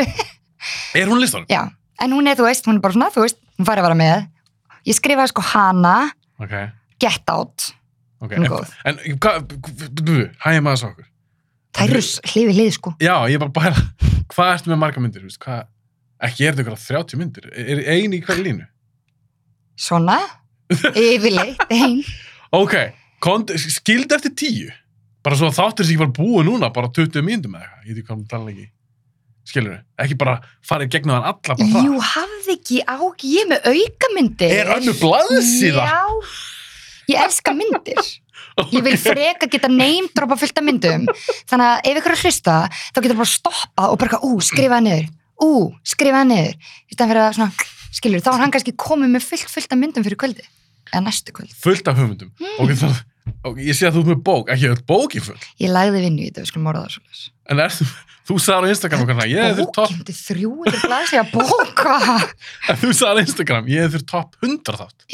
S1: Er hún listanum?
S2: Já, en hún er, þú veist, hún er bara svona, þú veist, hún farið að vera með. Ég skrifaði sko hana,
S1: Ok,
S2: Get Out,
S1: ok.
S2: hún er
S1: En,
S2: góð.
S1: en hvað, hægir maður svo okkur?
S2: Það eru hlifi hlið sko.
S1: Já, ég bara bara, hvað ertu með marga myndir, þú veist, hvað, ekki er þetta ykkur 30 myndir, er einu í hverju línu?
S2: Svona, yfirleitt, einn.
S1: Ok, kont, skildi eftir 10, bara svo að þáttir sér ekki bara búið núna, bara 20 myndum eða eitthvað, ég veit ekki hvað hún tala ekki, skilur ekki bara farið gegnum hann alla bara
S2: Jú, hafði ekki á, ég er með aukamyndir.
S1: Er önnu blaðsíða?
S2: Já, ég elska myndir.
S1: það.
S2: Ég vil freka geta name dropa fullt af myndum Þannig að ef ykkur er að hlusta þá getur bara að stoppa og bara eitthvað, ú, skrifa það niður Ú, skrifa það niður Í stæðan fyrir að svona, skilur, þá er hann kannski komið með fullt, fullt af myndum fyrir kvöldi Eða næstu kvöld Hmm.
S1: fullt af hugmyndum mm. og, Og ég sé að þú ert með bók, ekki öll bóki full.
S2: Ég lagði vinnu í þetta, við skulum orða það svolítið.
S1: En er, þú sagði á Instagram okkar, ég hefði þurft
S2: Bók, ég
S1: topp,
S2: myndi þrjú, þetta blæs ég að bóka.
S1: en þú sagði á Instagram, ég hefði þurft topp 100 þátt.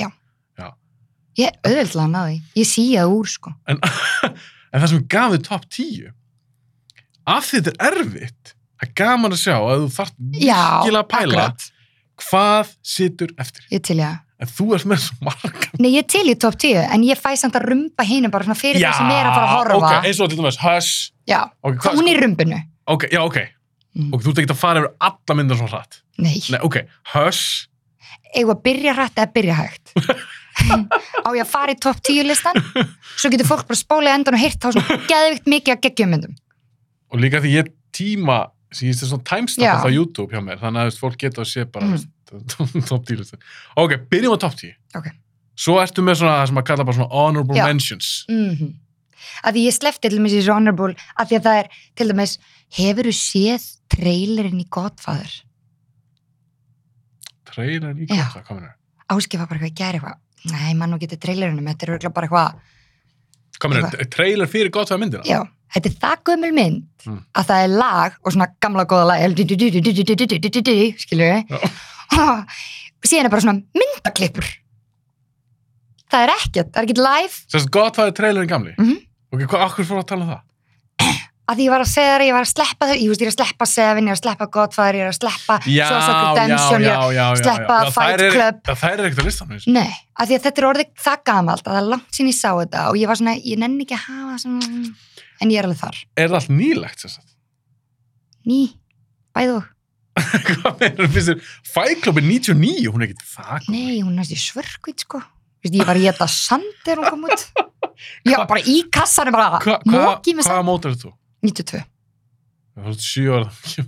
S2: Ég auðvöldlega náði, ég síjaði úr sko.
S1: En, en það sem gaf þið topp 10, af því þetta er erfitt, það er gaman að sjá að þú þarft
S2: Já,
S1: virkilega að pæla
S2: akkurat.
S1: hvað situr eftir.
S2: Ég til ég að.
S1: En þú ert með svo marga.
S2: Nei, ég er til í top 10, en ég fæ samt að rumba hínum bara svona fyrir það sem ég er að fara að horfa.
S1: ok, eins og til dæmis, hush.
S2: Já,
S1: Ok,
S2: þá
S1: hvað,
S2: hún í rumbinu.
S1: ok, já, ok.
S2: Mm.
S1: Og þú ert ekki að fara yfir alla myndar svo hratt.
S2: Nei,
S1: Nei, ok, hush.
S2: eigum að byrja hrætt eða byrja hægt. Á ég að fara í top 10 listan, svo getur fólk bara spólið endan og hýrt þá svona geðvikt mikið að geggjum myndum.
S1: og líka því ég tíma sem ég sé svona timestamp
S2: Já.
S1: á YouTube hjá mér þannig að þú veist, fólk geta að sé bara
S2: Mm.
S1: mm. top 10 listu. ok, byrjum á top 10
S2: Ok.
S1: svo ertu með svona það sem að kalla bara svona honorable
S2: Já.
S1: mentions
S2: Mm Að því ég slefti til dæmis í þessu honorable, að því að það er til dæmis, hefur þú séð trailerinn í Godfather?
S1: trailer í
S2: Já.
S1: kvarta, hvað minna
S2: Áskif var bara eitthvað að gera eitthvað. Nei, mann og getur trailerinnum, þetta er örgulega bara eitthvað
S1: hvað minna, trailer fyrir gott það myndina
S2: Já, þetta er það gömul mynd
S1: Mm.
S2: að það er lag og svona gamla góða lag skilur við
S1: Já.
S2: síðan er bara svona myndaklippur það er ekkert, það er ekkert live
S1: sem sagt gott það er trailerin gamli
S2: Mhm.
S1: ok, hvað, akkur fór að tala um það
S2: að því ég var að segja þér að ég var að sleppa þau ég veist, ég er að sleppa Seven, ég er að sleppa Godfather ég er að sleppa Social Redemption ég er að-
S1: já, já,
S2: sleppa
S1: já,
S2: Fight
S1: þær eru-
S2: Club.
S1: já, þær eru ekkert á listanum eins og-
S2: Nei, að því að þetta er orðið það gamalt að það er langt sín ég sá þetta og ég var svona, ég nenni ekki að hafa svona, en ég er alveg þar
S1: er það allt nýlegt sem sagt
S2: ný, bæðu og
S1: hvað meður, finnst þér, Fight Club er 99 hún er ekkert það gömul.
S2: Nei, hún er næst í svörkvít sko Vist, Ég var í þetta sand þegar hún kom út Ég var bara í kassanum bara
S1: Hva- hva-
S2: Mókið með sand
S1: hvaða mótar þú
S2: 92
S1: Það var sjö ára þú,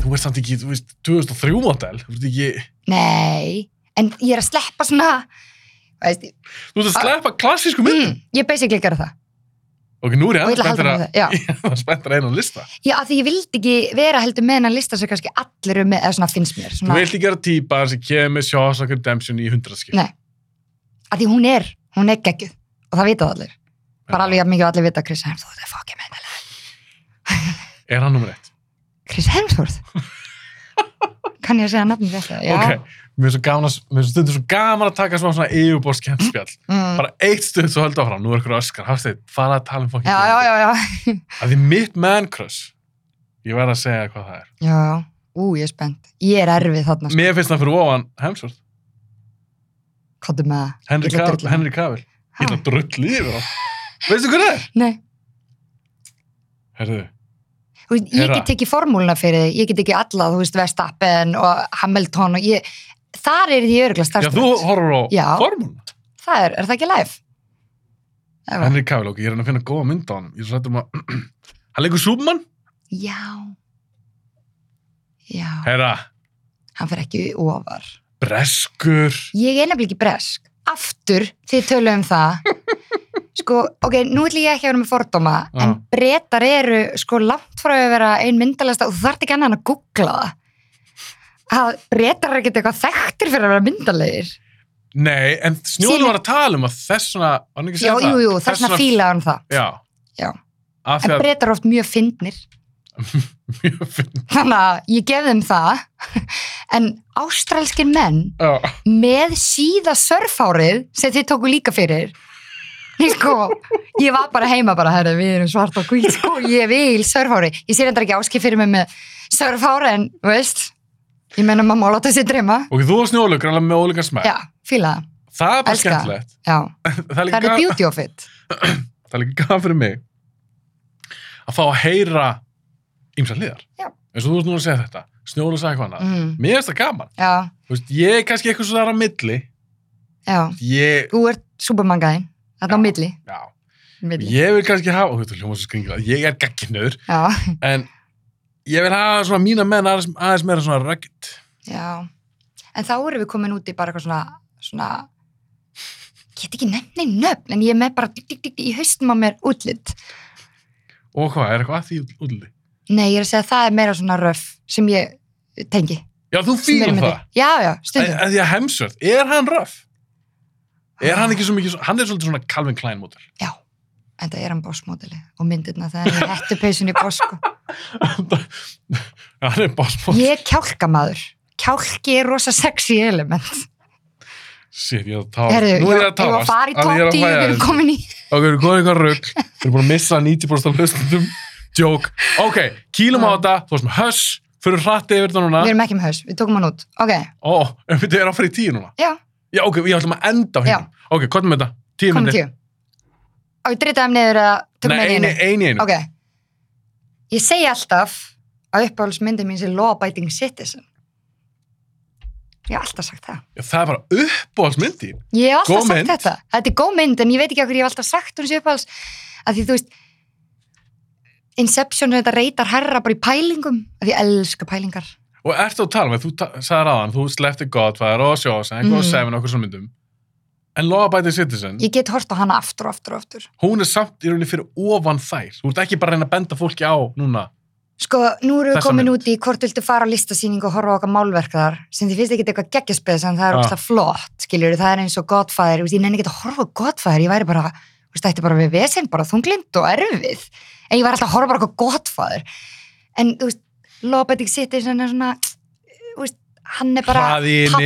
S1: þú veist samt ekki, þú veist 2003 model Þú veist ekki,
S2: Nei, en ég er að sleppa svona veist,
S1: þú veist að sleppa klassísku myndum
S2: Ah. mm, Ég basically gera það
S1: Ok, nú er
S2: Og
S1: ég
S2: ég vil halda með
S1: aðeins
S2: það Já,
S1: spenntur að einu lista
S2: Já að því ég vildi ekki vera heldur með hennar lista sem kannski allir eru með, eða svona finnst mér
S1: Þú
S2: svona,
S1: vilt ekki gera típa sem kemur með Shawshank Redemption í hundraðskip
S2: Nei. að því hún er, hún er geggjuð og það vita það allir bara alveg jafn mikið og allir vita að Chris Hemsworth er fokkið með hennar
S1: Er hann nummer eitt?
S2: Chris Hemsworth Kann ég að segja nafnum þetta? Já,
S1: Ok, mér er svo gaman að mér er svo stundum svo gaman að taka svona svona yfirborðskemspjall
S2: mm.
S1: Bara eitt stund svo höldu áfram, nú er ykkur öskar Hafsteinn, fara að tala um fokkin
S2: já, já, já, já.
S1: Af því mitt man crush Ég verð að segja hvað það er
S2: Já, ú, ég er spennt. Ég er erfið þarna, sko.
S1: Mér finnst það fyrir ofan Hemsworth
S2: Kottu með það.
S1: Henry
S2: Ég ætla að drulla.
S1: Cavill, Henry Cavill. Ég ætla
S2: Ha,
S1: að drulli yfir hann. Veistu hvað það er?
S2: Nei,
S1: Herðu,
S2: Þú veist, ég
S1: Hera.
S2: get ekki formúluna fyrir þig, ég get ekki alla, þú veist, Vestappen og Hamilton og ég, þar er því örgulega
S1: já
S2: starfstönd.
S1: þú horfur á
S2: Já.
S1: formúluna.
S2: Það er, er það ekki live? Það var-
S1: Henry Cavill, ok, ég er hann að finna góða mynd á hann. Ég er svo hættur um að, hann leikur Súbmann?
S2: Já. Já,
S1: Herra,
S2: hann fer ekki ofar.
S1: breskur.
S2: Ég er nefnilega ekki bresk. Aftur, þið töluðum það. Sko, ok, nú ætlum ég ekki að vera með fordóma,
S1: Já.
S2: en brettar eru sko langt frá að vera ein myndalasta og þú þarft ekki annað en að googla það. Að brettar er ekkert eitthvað þekktir fyrir að vera myndalegir.
S1: Nei, en
S2: Síli-
S1: snjóðum var að tala um að þess svona, var hann ekki að
S2: Já,
S1: segja það?
S2: jú, jú, þess vegna fílaði hann það.
S1: Já.
S2: Já.
S1: Af
S2: En
S1: því að,
S2: brettar eru oft mjög fyndnir,
S1: mjög finn,
S2: þannig að ég gef þeim það. En ástralskir menn
S1: já.
S2: með síða surfárið sem þið tóku líka fyrir Ég sko, ég var bara heima bara, herra, við erum svart og hvít sko, ég vil surfári, ég sé reyndar ekki áskil fyrir mig með surfári en, þú veist ég meina maður má láta sér dreyma
S1: Ok, þú og snjóðlug, grannlega með ólíkan smæk.
S2: já, fíla það,
S1: Það er bara
S2: Elska það.
S1: skemmtilegt.
S2: já,
S1: Það er
S2: það
S1: líka
S2: eru
S1: gaman-
S2: beauty of it
S1: það er líka gaf fyrir mig að fá að heyra ymsa hliðar
S2: Já.
S1: eins og þú ert núna að segja þetta, snjóla sagði eitthvað annað
S2: mm,
S1: mér finnst það gaman,
S2: já,
S1: Þú veist, ég er kannski eitthvað svo þar á milli
S2: já,
S1: ég,
S2: þú ert supermangaðin þetta á
S1: Já.
S2: milli,
S1: já,
S2: milli.
S1: ég vil kannski hafa og þetta hljóma svo skringila, ég er gagginur
S2: já,
S1: en ég vil hafa svona mína menn aðeins, aðeins meira svona rugged
S2: já en þá erum við komin út í bara eitthvað svona svona get ekki nefni nöfn, en ég er með bara dík, dík, dík, í haustum á mér útlitt
S1: og hvað, er eitthvað að því útliti
S2: Nei, ég er að segja að það er meira svona röf sem ég tengi.
S1: já, þú
S2: sem er
S1: fýlum
S2: með
S1: um það
S2: þig. Já, já,
S1: að
S2: stundum.
S1: að því að hemsvörð, er hann röf? Er hann ekki svo mikið, hann er svolítið svona Calvin Klein mótel.
S2: Já, en það er hann bossmodeli og myndirna það er hættupeysun í boss sko.
S1: hann er boss mótel.
S2: Ég er kjálkamaður. Kjálki er rosa sexy element.
S1: Shit, ég er að táa.
S2: Herðu,
S1: Nú er ég
S2: ég
S1: að
S2: ég
S1: táa.
S2: var að fara í top 10 við erum komin í.
S1: Ok, við erum komið eitthvað rugg. Við erum búin að missa 90% af hlustundum. Jók. Ok, kýlum á
S2: Já.
S1: þetta. Þú veist með höss. Fyrir hratti yfir þetta núna.
S2: Við erum ekki með haus, við tókum hann út. Ok,
S1: Ó, en við erum að fara í tíu núna.
S2: já,
S1: Já, ok, ég ætlum að enda á hérna. Ok, hvað er með þetta? Tíu
S2: komin
S1: myndir.
S2: tíu. Og ég drita þeim niður að tökum
S1: Nei,
S2: einu í
S1: einu,
S2: einu.
S1: einu, einu.
S2: Ok, ég segi alltaf að uppáhaldsmyndin mín sé law-abiding citizen. Ég hef alltaf sagt það.
S1: Já, það er bara uppbóðsmyndi.
S2: Ég hef alltaf
S1: Góð
S2: sagt
S1: mynd.
S2: þetta. Þetta er góð mynd, en ég veit ekki okkur ég hef alltaf sagt hún sé uppáhalds. Af því þú veist, Inception er þetta reytar herra bara í pælingum. Af því ég elska pælingar.
S1: Og ertu að tala með, þú ta- sagðir aðan, þú sleppti Godfather og Sjósen, mm.
S2: Mhm.
S1: og Seven og okkur svona myndum. En Law Abiding Citizen,
S2: Ég get hort á hana aftur og aftur og aftur.
S1: hún er samt í rauninni fyrir ofan þær. Þú ert ekki bara að reyna að benda fólki á núna.
S2: Sko, nú erum við
S1: Þessa
S2: komin
S1: mynd.
S2: út í hvort viltu fara á listasýningu og horfa á okkar málverk þar sem þið finnst ekki eitthvað geggjaspes en það er
S1: Ah.
S2: ógstlega flott, skiljur, það er eins og Godfather, þú veist, ég nenni ekki að horfa á Godfather ég væri bara, þú veist, það ætti bara við vesinn bara þunglind og erfið en ég væri alltaf að horfa bara á eitthvað Godfather en, þú veist, Lopetic City sem er svona, þú veist, hann er bara pabbinn og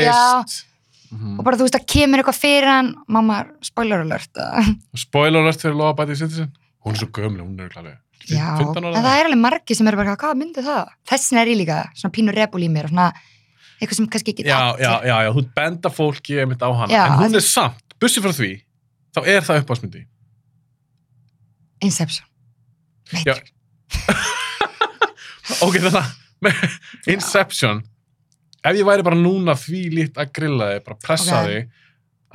S2: já
S1: twist.
S2: og
S1: Mhm.
S2: bara, þú veist, það kemur eitthvað fyrir hann mamma, spoiler alert að-
S1: Spoiler alert fyrir Law Abiding Citizen. Hún er svo gömlega, hún er klarlega.
S2: Já, en það er alveg margi sem eru bara, hvað myndi það? Þessin er ég líka, svona pínu rebul í mér og svona, eitthvað sem kannski ekki
S1: Já, já, já, já, þú benda fólki einmitt á hana.
S2: Já,
S1: en hún
S2: að-
S1: er samt, bussi frá því, þá er það uppbásmyndi.
S2: Inception.
S1: Já.
S2: Matrix.
S1: Ok, þannig að Inception Ef ég væri bara núna því lít að grilla þig bara pressa
S2: Ok.
S1: þig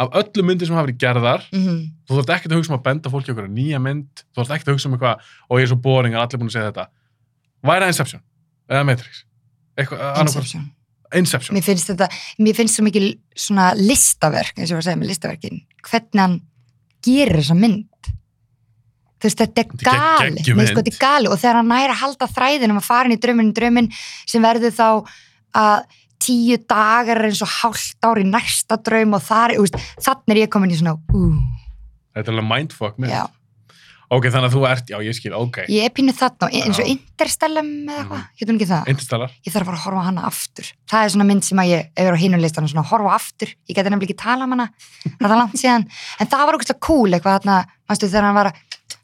S1: af öllum myndir sem hafa verið gerðar
S2: Mhm.
S1: þú þarft ekkert að hugsa um að benda fólki okkur nýja mynd þú þarft ekkert að hugsa um eitthvað og ég er svo boring að allir búin að segja þetta Væri það Inception? Eða Matrix? Eitthvað, annarkvort-
S2: Inception.
S1: Inception
S2: Mér finnst þetta, mér finnst svo mikið svona listaverk, eins og ég var að segja með listaverkin, hvernig hann gerir þessa mynd. Þú veist,
S1: Þetta
S2: þetta er
S1: er gegg-
S2: gali.
S1: geggjum
S2: Nei, sko,
S1: mynd.
S2: þetta er gali og þegar hann næri að halda þræðinum að fara inn í drauminn, drauminn sem verður þá að tíu dagar er eins og hálft ár í næsta draum og þar, þú veist, þannig er ég komin í svona, úúú.
S1: Þetta er alveg mindfuck mynd
S2: Já.
S1: Ok, þannig að þú ert, já ég skil, ok
S2: Ég er pínu þarna, og eins og
S1: Já. Mhm.
S2: Interstellum eða eitthvað, hétt hún ekki það?
S1: Interstellar
S2: Ég þarf að fara að horfa á hana aftur. Það er svona mynd sem að ég, ef ég er á hinu listanum, svona horfa á aftur. Ég geti nefnilega ekki tala um hana, það er langt síðan. En það var ógustlega cool eitthvað þarna, mannstu þegar hann var að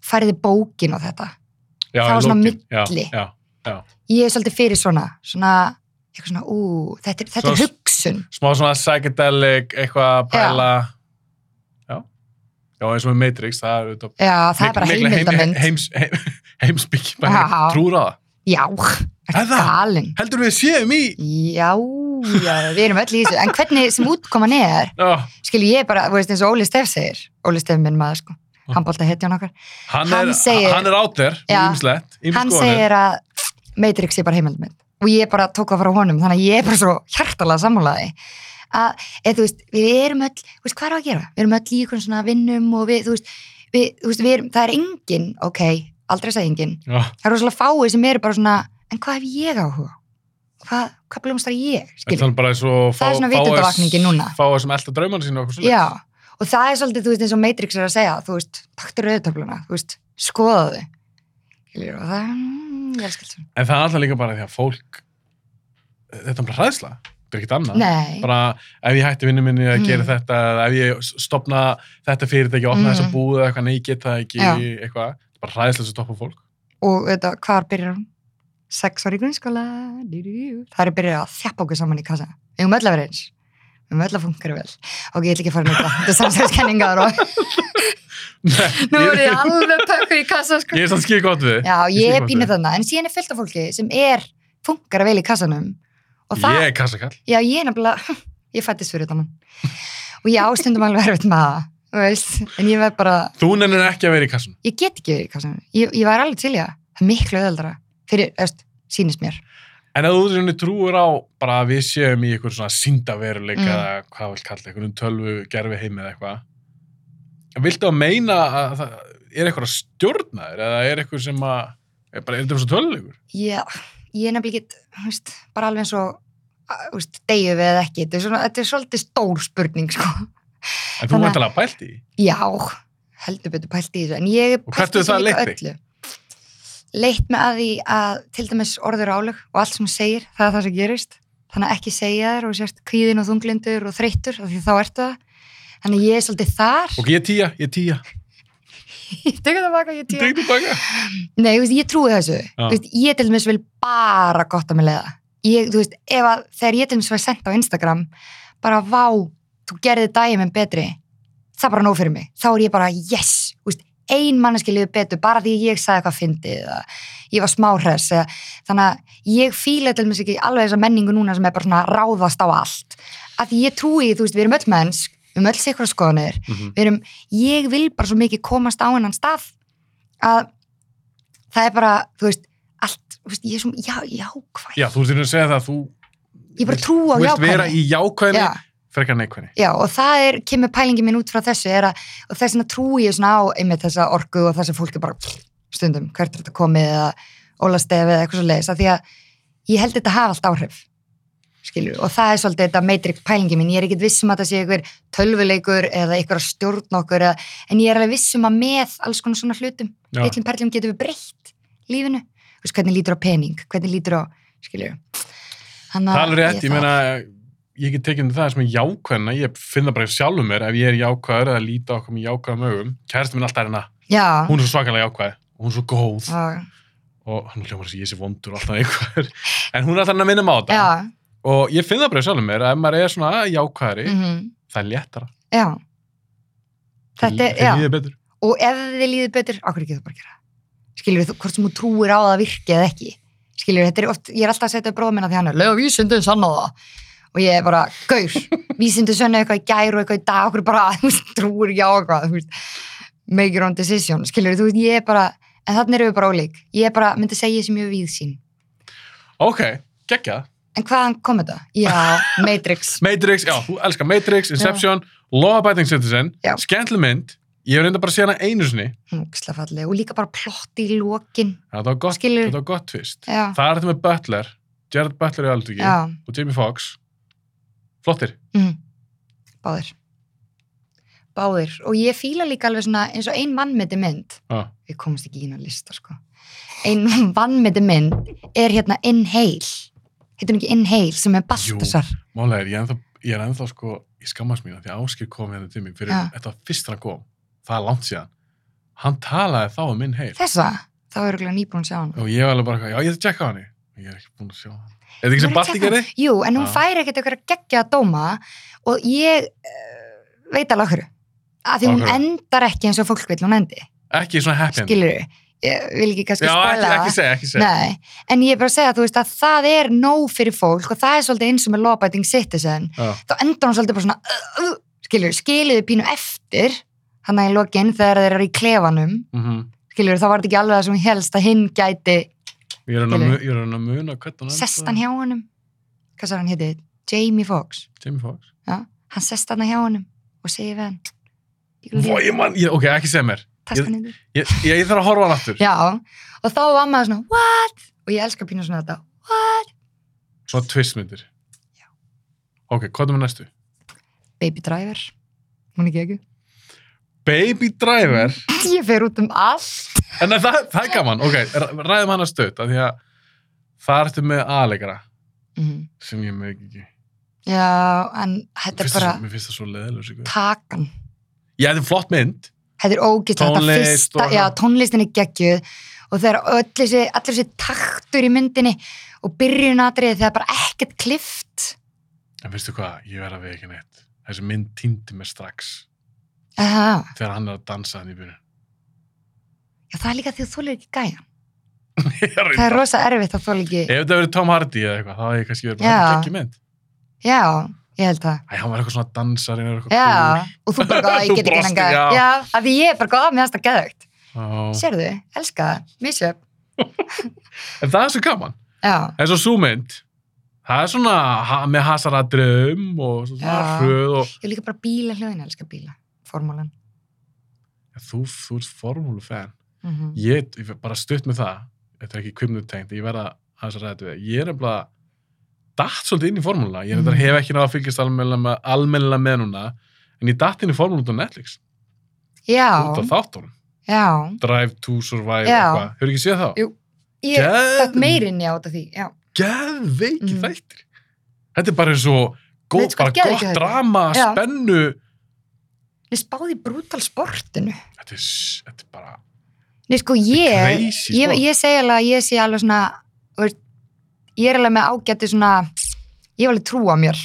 S2: færiði bókin og þetta.
S1: já,
S2: Það var
S1: í
S2: svona
S1: lokin.
S2: milli.
S1: já, já.
S2: Ég er svolítið fyrir svona, svona, eitthvað svona, ú, þetta er, þetta
S1: Svona-
S2: er hugsun.
S1: Smá svona psychedelic, eitthvað að pæla Já Já, eins og með Matrix, það er auðvitað
S2: Já, það er bara
S1: Mikla
S2: heimildamönd.
S1: heim, heim, heim, heimsbyggi bara
S2: Já.
S1: trúra það
S2: Já,
S1: Er
S2: ertu
S1: það?
S2: galinn.
S1: heldur við séum í
S2: Já, já, við erum öll í þessu. En hvernig sem útkoman er,
S1: oh,
S2: skil ég bara, þú veist eins og Óli Steff segir Óli Steff minn maður sko, hann bólta hetjan okkar
S1: hann,
S2: Hann
S1: er,
S2: segir-
S1: hann er out there
S2: Já.
S1: ímslegt,
S2: hann
S1: ímskoðanir
S2: segir að Matrix er bara heimildmynd og ég bara tók það frá honum þannig að ég er bara svo hjartalega sammálaði að eð, þú veist, við erum öll þú veist, hvað er að gera? Við erum öll í einhvern svona vinnum og við, þú veist, við, þú veist við erum, það er engin, ok, aldrei segja engin
S1: Já,
S2: það er rosalega fáið sem eru bara svona en hvað hef ég áhuga? á? Hvað, hvað blómstar ég?
S1: en
S2: Skilur?
S1: þannig bara svo fá,
S2: Það er svona vitundarvakningin núna.
S1: fá þessum elda draumana sína og okkur svoleiðis.
S2: Já, og það er svolítið, þú veist, eins og Matrix er að segja, þú veist, taktu rauðtöfluna, þú veist, skoða þau. Skilur, og það, mm, ég elskar þetta.
S1: en það er alltaf líka bara því að fólk þetta er bara hræðsla, þetta er ekkert annað
S2: Nei,
S1: bara ef ég hætti vinnu minni að
S2: Mm.
S1: gera þetta eða ef ég s- stopna þetta fyrirtæki opna
S2: Mm.
S1: þessa búð eða eitthvað, nei, ég get það ekki
S2: Já.
S1: eitthvað, þetta er bara hræðsla sem stoppa fólk
S2: og þetta, hvar byrjar hún? Sex ári í grunnskóla, dí, dí, dí. það er byrjað að þjappa okkur saman í kassa. Við höfum öll að vera eins, við höfum öll að funkar vel. Ok, ég ætla ekki að fara nýtt það, þetta er samsæðiskenningar og nú
S1: Ég-
S2: er ég alveg pökkur í kassa, sko.
S1: ég er sann skil gott við
S2: Já,
S1: Ég skil
S2: ég
S1: hvað
S2: er pínu
S1: þú-
S2: þarna, en síðan er fullt af fólki sem er, funkar vel í kassanum. Og það
S1: ég er kassakall
S2: Já, ég er nefnilega, ég fættist fyrir þannig. Og ég ástundum alveg erfitt með það, þú veist, en ég verð bara,
S1: Þú nennir ekki að vera í kassun.
S2: ég get ekki verið í kassanum. Ég, ég var alveg til í það, það er miklu öðaldra, fyrir, öst, sýnist mér.
S1: En ef þú svona trúir á bara að við séum í einhver svona síndaveruleika
S2: Mm.
S1: eða hvað vil kalla, einhvern tölvu gerfi heim eða eitthvað. Viltu að meina að það er eitthvað að stjórna þér eða er eitthvað sem að er bara, er þetta eins og töluleikur?
S2: Ég, ég er nefnilega ekki, þú veist, bara alveg eins og, að, þú veist, deyju við eða ekki, þetta er, svona, þetta er svolítið stór spurning, sko.
S1: En þú
S2: Þannig að-
S1: væntanlega pælt í? því?
S2: Já, heldur betur pælt í þessu, en ég
S1: Og hvert
S2: pælt í
S1: hefur
S2: þessu
S1: það
S2: líka
S1: leitt
S2: öllu. Leitt með að því að til dæmis orður álög og allt sem þú segir, það er það sem gerist. Þannig að ekki segja þér og sért kvíðin og þunglindur og þreyttur, af því þá ertu það. Þannig að ég er svolítið þar,
S1: Ok, ég er tíja, ég er tíja.
S2: ég tekur það baka, ég tíu.
S1: Tegðu baka.
S2: Nei, þú veist, ég trúi þessu. Þú veist, ég til dæmis vil bara gott að mig leiða. Ég, þú veist, ef að, þegar ég til dæmis var sendt á Instagram, bara vá, þú gerði daginn minn betri, það er bara nóg fyrir mig. Þá er ég bara, yes, þú veist, ein manneski liður betur, bara því ég sagði eitthvað fyndið, eða ég var smáhress, eða, þannig að ég fíla til dæmis ekki alveg þessa menningu núna sem er bara svona að ráðast á allt. Af því ég trúi, þú veist, við erum öll mennsk, við erum öll sikra skoðanir,
S1: Mhm.
S2: við erum, ég vil bara svo mikið komast á hennan stað að það er bara, þú veist, allt, þú veist, ég er svo, já, jákvæð
S1: Já, þú sér að segja það að þú
S2: ég bara
S1: vilt-
S2: trú á
S1: þú vilt vera
S2: jákvæðni
S1: í jákvæðinni
S2: já,
S1: frekar neikvæðinni.
S2: já, og það er, kemur pælingi minn út frá þessu er að, og þess vegna trú ég svona á einmitt þessa orku og þess að fólk er bara stundum, hvert er þetta komið eða ólastefið eða eitthvað svo leiðis, af því að ég held þetta hafa allt áhrif skilur, og það er svolítið þetta matrix pælingi mín, ég er ekkit viss um að það sé einhver tölvuleikur eða einhver að stjórn okkur eða, en ég er alveg viss um að með alls konar svona hlutum
S1: Já.
S2: litlum perlum getum við breytt lífinu Þú veist, hvernig lítur á pening, hvernig lítur á skilju
S1: Það er alveg rétt, ég meina, ég get tekið um það sem er jákvæðina, ég finn það bara sjálfum mér ef ég er jákvæður eða líta okkur með jákvæðum augum. Kæristin minn er alltaf er hérna,
S2: já,
S1: hún er svo svakalega jákvæð, hún er svo góð
S2: og,
S1: og hann hljómar þess að ég sé vondur og alltaf einhver, en hún er alltaf að minna á þetta.
S2: já,
S1: Og ég finn það bara sjálfum mér að ef maður er svona jákvæðari,
S2: mm
S1: það er léttara.
S2: já þetta er, já,
S1: Líðið betur.
S2: og ef þið líður betur okkur ekki það bara að gera skilur þú, hvort sem þú trúir á það virki eða ekki skilur þetta er oft, ég er alltaf að setja upp bróðum minna því hann er, lega vísindin sanna það og ég er bara, gaur, vísindin sanna eitthvað í gær og eitthvað í dag, okkur bara þú veist, trúir ekki á eitthvað, þú veist make your own decision, skilur þú veist, ég er bara en þannig erum við bara ólík, ég er bara myndi segja ég sem mjög víðsýn,
S1: Ok, geggjað.
S2: en hvaðan kom þetta? Já, Matrix
S1: Matrix, já, þú elskar Matrix, Inception, Law Abiding Citizen,
S2: Já.
S1: skemmtileg mynd, ég hef reynda bara að sé hana einu sinni,
S2: Ógeðslega falleg. og líka bara plott í lókin
S1: þetta var gott,
S2: Skilur.
S1: þetta var gott tvist.
S2: já,
S1: Það er þetta með Butler, Gerard Butler í Aldvíki
S2: já,
S1: og Jamie Foxx, flottir.
S2: mm. báðir báðir, og ég fíla líka alveg svona eins og ein mannmeti mynd
S1: Já.
S2: við komumst ekki inn á lista sko ein mannmeti mynd er hérna Inhale heitur hún ekki Inhale sem er Baltasar
S1: Málega er, ég er ennþá, ég er ennþá sko, ég skammast mín að því að Áskir kom hérna til mig fyrir,
S2: Já.
S1: þetta var fyrst þegar hann kom, það er langt síðan. Hann talaði þá um minn heil
S2: þessa, þá er örugglega nýbúin að sjá hann
S1: og ég var alveg bara, eitthvað, já, ég ætla að tjekka á henni. Ég er ekki búin að sjá hann. Er þetta ekki sem
S2: Voru
S1: Balti
S2: tjekka-
S1: gerði? Ah.
S2: Jú, en hún
S1: Já.
S2: fær ekkert eitthvað geggja að dóma og ég uh, veit alveg okkur að því hún
S1: Af hverju?
S2: endar ekki eins og fólk vil hún endi
S1: Ekki svona happy ending.
S2: skilur ég vil ekki
S1: Já,
S2: kannski
S1: ekki,
S2: spæla
S1: ekki segja, ekki segja.
S2: Nei, en ég er bara að segja þú veist að það er nóg fyrir fólk og það er svolítið eins og með lawbiting citizen
S1: Já.
S2: þá endar hún svolítið bara svona uh, uh, skilur, skilur pínu eftir hann að í lokin þegar þeir eru í klefanum
S1: Mhm.
S2: skilur, þá var þetta ekki alveg það sem hún helst að hinn gæti
S1: Ég er að
S2: Skilurðu?
S1: mu- ég er að muna sko. hvernig hann
S2: sest hann hjá honum hvað svo hann heiti, Jamie Foxx
S1: Jamie Foxx.
S2: hann sest hann hjá honum og segir við hann "Ég vil
S1: Vó, ég man, ég, ok, ekki segja mér.
S2: taska niður
S1: Ég, ég, ég þarf að horfa hann aftur.
S2: já, og þá var maður svona what, og ég elska pínu svona þetta
S1: Svona tvistmyndir. Ok, hvað er með næstu?
S2: Baby Driver, hún er ekki ekki
S1: Baby Driver.
S2: ég fer út um allt
S1: En það, það er gaman, ok, r- ræðum hann að stöðt, af því að það ertu með aðleikara
S2: Mhm.
S1: sem ég með ekki.
S2: Já, en
S1: Mér
S2: þetta er
S1: finnst það
S2: bara
S1: svo- Mér finnst það svo leðilegur.
S2: takan.
S1: Ég hefði flott mynd.
S2: Þetta er ógislega þetta
S1: Tónlist
S2: fyrsta,
S1: og-
S2: já, tónlistin er geggjuð og þegar öll þessi, allir þessi taktur í myndinni og byrjunatriði þegar bara ekkert klift
S1: En veistu hvað, ég verð að við ekki neitt. Þessi mynd týndi mér strax
S2: Já,
S1: þegar hann er að dansa hann í byrjun.
S2: já, það er líka því að þú er ekki gæja.
S1: Ég er að-
S2: Það er rosa erfitt að þú ekki,
S1: Ef þetta verið Tom Hardy eða eitthvað, þá hefði ég kannski verið bara
S2: Já.
S1: ekki mynd.
S2: já, ég held það.
S1: Æ, hann var eitthvað svona dansarinn eða eitthvað
S2: Já, og þú bara góða, ég
S1: Þú
S2: get ekki
S1: brostir,
S2: hennan gæja.
S1: já.
S2: Já, af því ég er bara góða með það geðvögt.
S1: cool. Já.
S2: Sérðu, elska það, misjöp.
S1: En það er svo gaman.
S2: Já,
S1: En svo súmynd, það er svona ha með hasaradröum og svona
S2: Já.
S1: hröð og
S2: ég er líka bara bíla hljóðin, elska bíla, formúlan.
S1: ja, þú, þú ert formúlufan.
S2: Mm
S1: Ég, ég fer bara stutt með það, þetta er ekki kvimnutengt, ég verða aðeins að ræða við það. Ég er nefnilega datt svolítið inn í formúluna. Ég mm.
S2: Mhm.
S1: hef ekki náða að fylgjast almennilega með, almennilega með núna, en ég datt inn í formúlu út á Netflix út á
S2: já,
S1: þáttunum,
S2: já.
S1: Drive to Survive
S2: Já.
S1: eitthvað, hefur ekki séð þá?
S2: Jú, Ég
S1: Geð-
S2: dætt meirinn já út af því, já.
S1: geðveiki
S2: Mm.
S1: þættir þetta er bara eins og góð,
S2: Nei, sko,
S1: bara
S2: geðveiki
S1: gott
S2: þættir.
S1: drama,
S2: Já.
S1: spennu
S2: Ég spáði brútal sportinu.
S1: þetta er, s- þetta er bara
S2: Nei, sko, ég,
S1: Crazy,
S2: ég,
S1: sko.
S2: ég segi alveg að ég sé alveg svona, þú veist, ég er alveg með ágæti svona, ég var alveg trú á mér.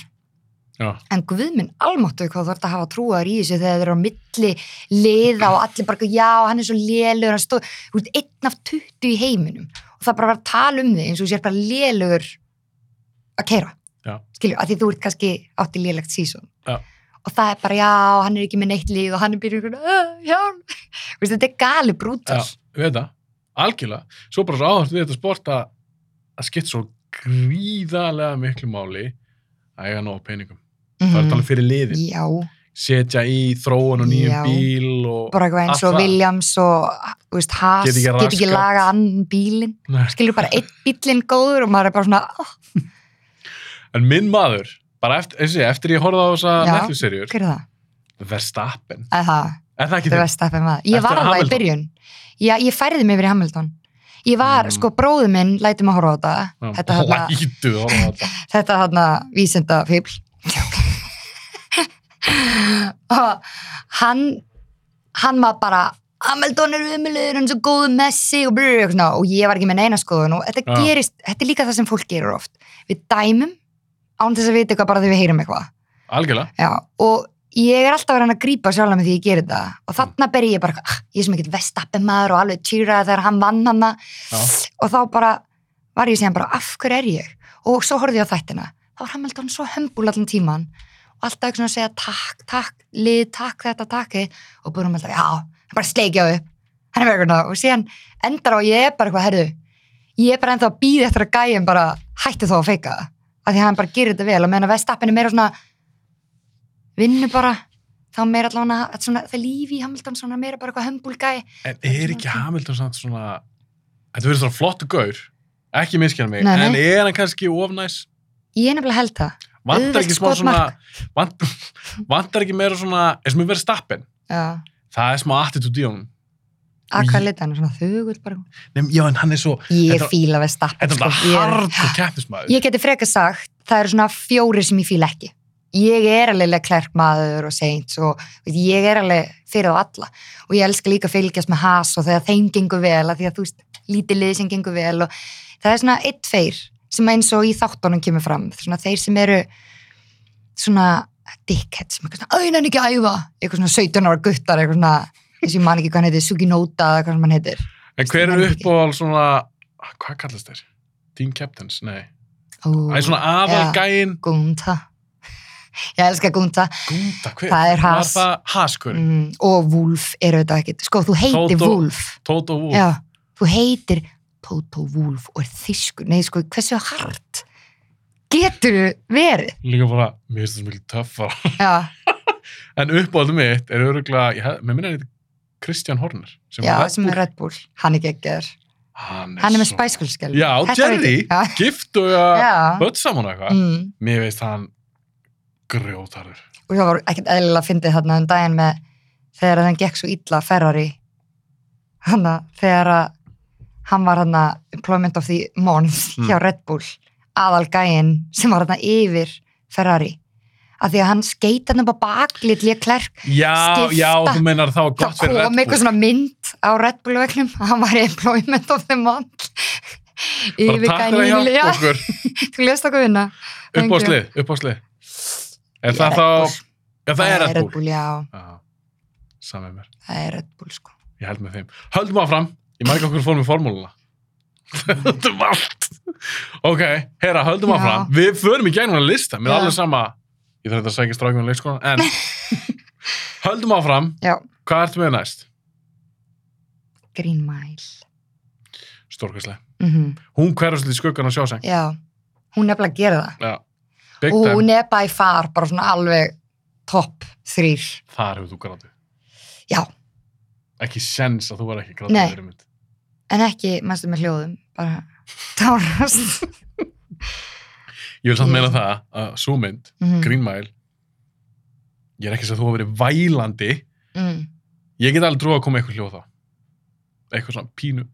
S1: já,
S2: En guð minn almáttu hvað þú ert að hafa trúar í þessu þegar þeir eru á milli liða og allir bara, já, hann er svo lélugur, hann stóð, þú veist, einn af 20 í heiminum og það er bara var að tala um þig eins og þú sér bara lélugur að keira.
S1: Já.
S2: Skilju, að því þú ert kannski átti lélegt sísón.
S1: Já.
S2: Og það er bara, já, hann er ekki með neitt lið og hann er byrjuð einhvern veginn, hjálp. Þú veist, þetta er gali brútal.
S1: já, við þetta algjörlega, svo bara svo áherslu við þetta sport að, að skipt svo gríðarlega miklu máli að eiga nóg af peningum,
S2: Mhm.
S1: það er talað um fyrir liðin
S2: Já,
S1: setja í þróun og nýjum
S2: Já.
S1: bíl og
S2: bara eitthvað eins
S1: Allt
S2: og
S1: það.
S2: Williams og, þú veist, Haas,
S1: Get ekki
S2: get ekki,
S1: raskat.
S2: laga annan bílinn.
S1: Nei.
S2: skilur bara einn bílinn góður og maður er bara svona oh,
S1: en minn maður, bara eftir, þessi, eftir ég horfði á þessa
S2: Já.
S1: Netflix-serjur
S2: hver er það?
S1: Verstappen,
S2: Eða það,
S1: er það ekki
S2: þú
S1: þig?
S2: veist það fyrir maður um ég
S1: Ertu
S2: var alveg í
S1: Hamilton?
S2: byrjun já, ég færði mig yfir í Hamilton ég var,
S1: Mm.
S2: sko, bróðu minn læti mig að horfa á þetta þetta þarna,
S1: Lætu, horfði á þetta
S2: þetta þarna vísinda fíbl og hann hann var bara Hamilton er umiliður, hann er svo góðu messi og, brr, og, svona, og ég var ekki með neina skoðun og þetta
S1: Já.
S2: gerist, þetta er líka það sem fólk gerir oft við dæmum án þess að vita eitthvað bara þegar við heyrum eitthvað
S1: algjörlega
S2: Já, og ég er alltaf að reyna að grípa sjálf með því ég gerir þetta og þarna ber ég bara, "Ah, ég er sem ekkert vestappi maður og alveg týra þegar hann vann hana
S1: Já.
S2: og þá bara var ég síðan bara, af hverju er ég? Og svo horfði ég á þættina, þá var Hamilton svo hömbul allan tíman og alltaf ekki svona að segja takk, takk, lið, takk þetta, takk hitt og búinum alltaf, já, hann bara sleikja upp hann er bara eitthvað og síðan endar á, ég er bara eitthvað, herðu ég er bara ennþá að býða eftir að gæja bara hætti þá að feika það, af því að hann bara gerir þetta vel og meðan að vestappin er meira svona vinnu bara þá meira allavega þetta svona, það lífi í Hamilton svona meira bara eitthvað hömbulgæ
S1: En er
S2: er svona
S1: ekki
S2: fínt.
S1: Hamilton samt svona Þetta verður svona flottu gaur ekki miskjana mig,
S2: Nei, nei.
S1: en er hann kannski ofnæs?
S2: ég er nefnilega held það
S1: Vantar
S2: Auðvelt
S1: ekki smá svona
S2: skotmark.
S1: vant, Vantar ekki meira svona eins og mér verið stappin,
S2: já,
S1: það er smá attitude í honum
S2: að
S1: Ég-
S2: hvað leta hann er svona þögull bara
S1: Nefn, Já, en hann er svo,
S2: ég
S1: Þetta-
S2: fíla við stappin
S1: þetta er
S2: Sko, ég,
S1: svona
S2: er-
S1: hard og keppnismæður
S2: ég geti freka sagt, það eru svona fjóri sem ég fíla ekki ég er alveg klærkmaður og seint og veit, ég er alveg fyrir á alla og ég elska líka að fylgjast með has og þegar þeim gengur vel, að því að þú veist lítið liði sem gengur vel og það er svona eitt feir sem eins og í þáttunum kemur fram, svona þeir sem eru svona dickhead sem eitthvað svona, auðvitað ekki að æfa eitthvað svona 17 ára guttar, eitthvað svona eins og ég man ekki hvað hann heitir, Suginota eða hvað sem hann heitir
S1: En hver
S2: Ég
S1: er
S2: man ekki.
S1: uppáhald svona Ah, Hvað kallast þeir? Team Captains? Nei
S2: Ó,
S1: Það er svona aðalgæin
S2: Gunta ég elska Gunta
S1: Gúnda, hver?
S2: Það er
S1: Var
S2: Haas.
S1: það Haas, hver?
S2: mm, og Wolf er auðvitað ekkert sko, þú heitir
S1: Toto
S2: Wolf
S1: Toto Wolf
S2: Já, þú heitir Toto Wolf og er þýskur nei sko, hversu hart getur verið
S1: Líka bara, mér finnst það sem mikil töffar
S2: já,
S1: En uppáhaldum mitt er öruglega, ég hef, mér minna þetta Kristján Horner, sem
S2: já,
S1: er Red
S2: sem
S1: Bull.
S2: er Red Bull hann er geggjaður,
S1: Hann er,
S2: hann er með
S1: svo-
S2: spæskulskjál
S1: Já, Jerry,
S2: já,
S1: gift og að
S2: já.
S1: börn saman og eitthvað.
S2: Mm.
S1: Mér veist hann grjótarur.
S2: og það var ekkert eðlilega að fyndið þarna um daginn með þegar hann gekk svo illa Ferrari hann að þegar að hann var hann að employment of the month
S1: Mm.
S2: hjá Red Bull aðal gæinn sem var hann að yfir Ferrari af því að hann skeit hann upp á baklit líka klærk
S1: Já,
S2: Skipta.
S1: já, þú meinar það var
S2: þá
S1: gott
S2: kom
S1: fyrir Red
S2: eitthvað
S1: Bull.
S2: svona mynd á Red Bull vegnum hann var í employment of the month
S1: sko. Bara
S2: yfir
S1: takk fyrir að
S2: gæinn
S1: hjálpa
S2: já,
S1: okkur.
S2: þú lest okkur vinna Thank you.
S1: Uppáhaldslið, uppáhaldslið. Er
S2: Ég
S1: það
S2: Red
S1: þá,
S2: Bull.
S1: já það er Red Bull.
S2: já,
S1: Já, Samið mér,
S2: það er Red Bull sko
S1: ég held með þeim. Höldum áfram, ég mæk okkur fórum í formúluna. Höldum allt. Ok, herra, höldum
S2: Já.
S1: áfram. Við förum í gegnum að lista, mér
S2: Já.
S1: er alveg sama. Ég þarf þetta að sækja strákjum í leikskólan, en höldum áfram.
S2: já,
S1: Hvað ertu með næst?
S2: Green Mile
S1: Stórkvæslega.
S2: mm
S1: Hún hverfst í skuggan á sjáseng.
S2: Já, hún er bara að gera það.
S1: Já. Big
S2: Og
S1: time.
S2: hún er bara í far, bara svona alveg topp þrýr.
S1: Þar hefur þú grátið.
S2: Já,
S1: Ekki sens að þú var ekki grátið
S2: Nei.
S1: fyrir mynd.
S2: en ekki mæstu með hljóðum, bara tárast.
S1: Ég vil samt
S2: Ég-
S1: meina það að sú mynd,
S2: Mhm.
S1: Green Mile, Ég er ekki að segja að þú hafa verið vælandi.
S2: mm.
S1: Ég get alveg trúið að koma eitthvað hljóð þá. Eitthvað svona pínu.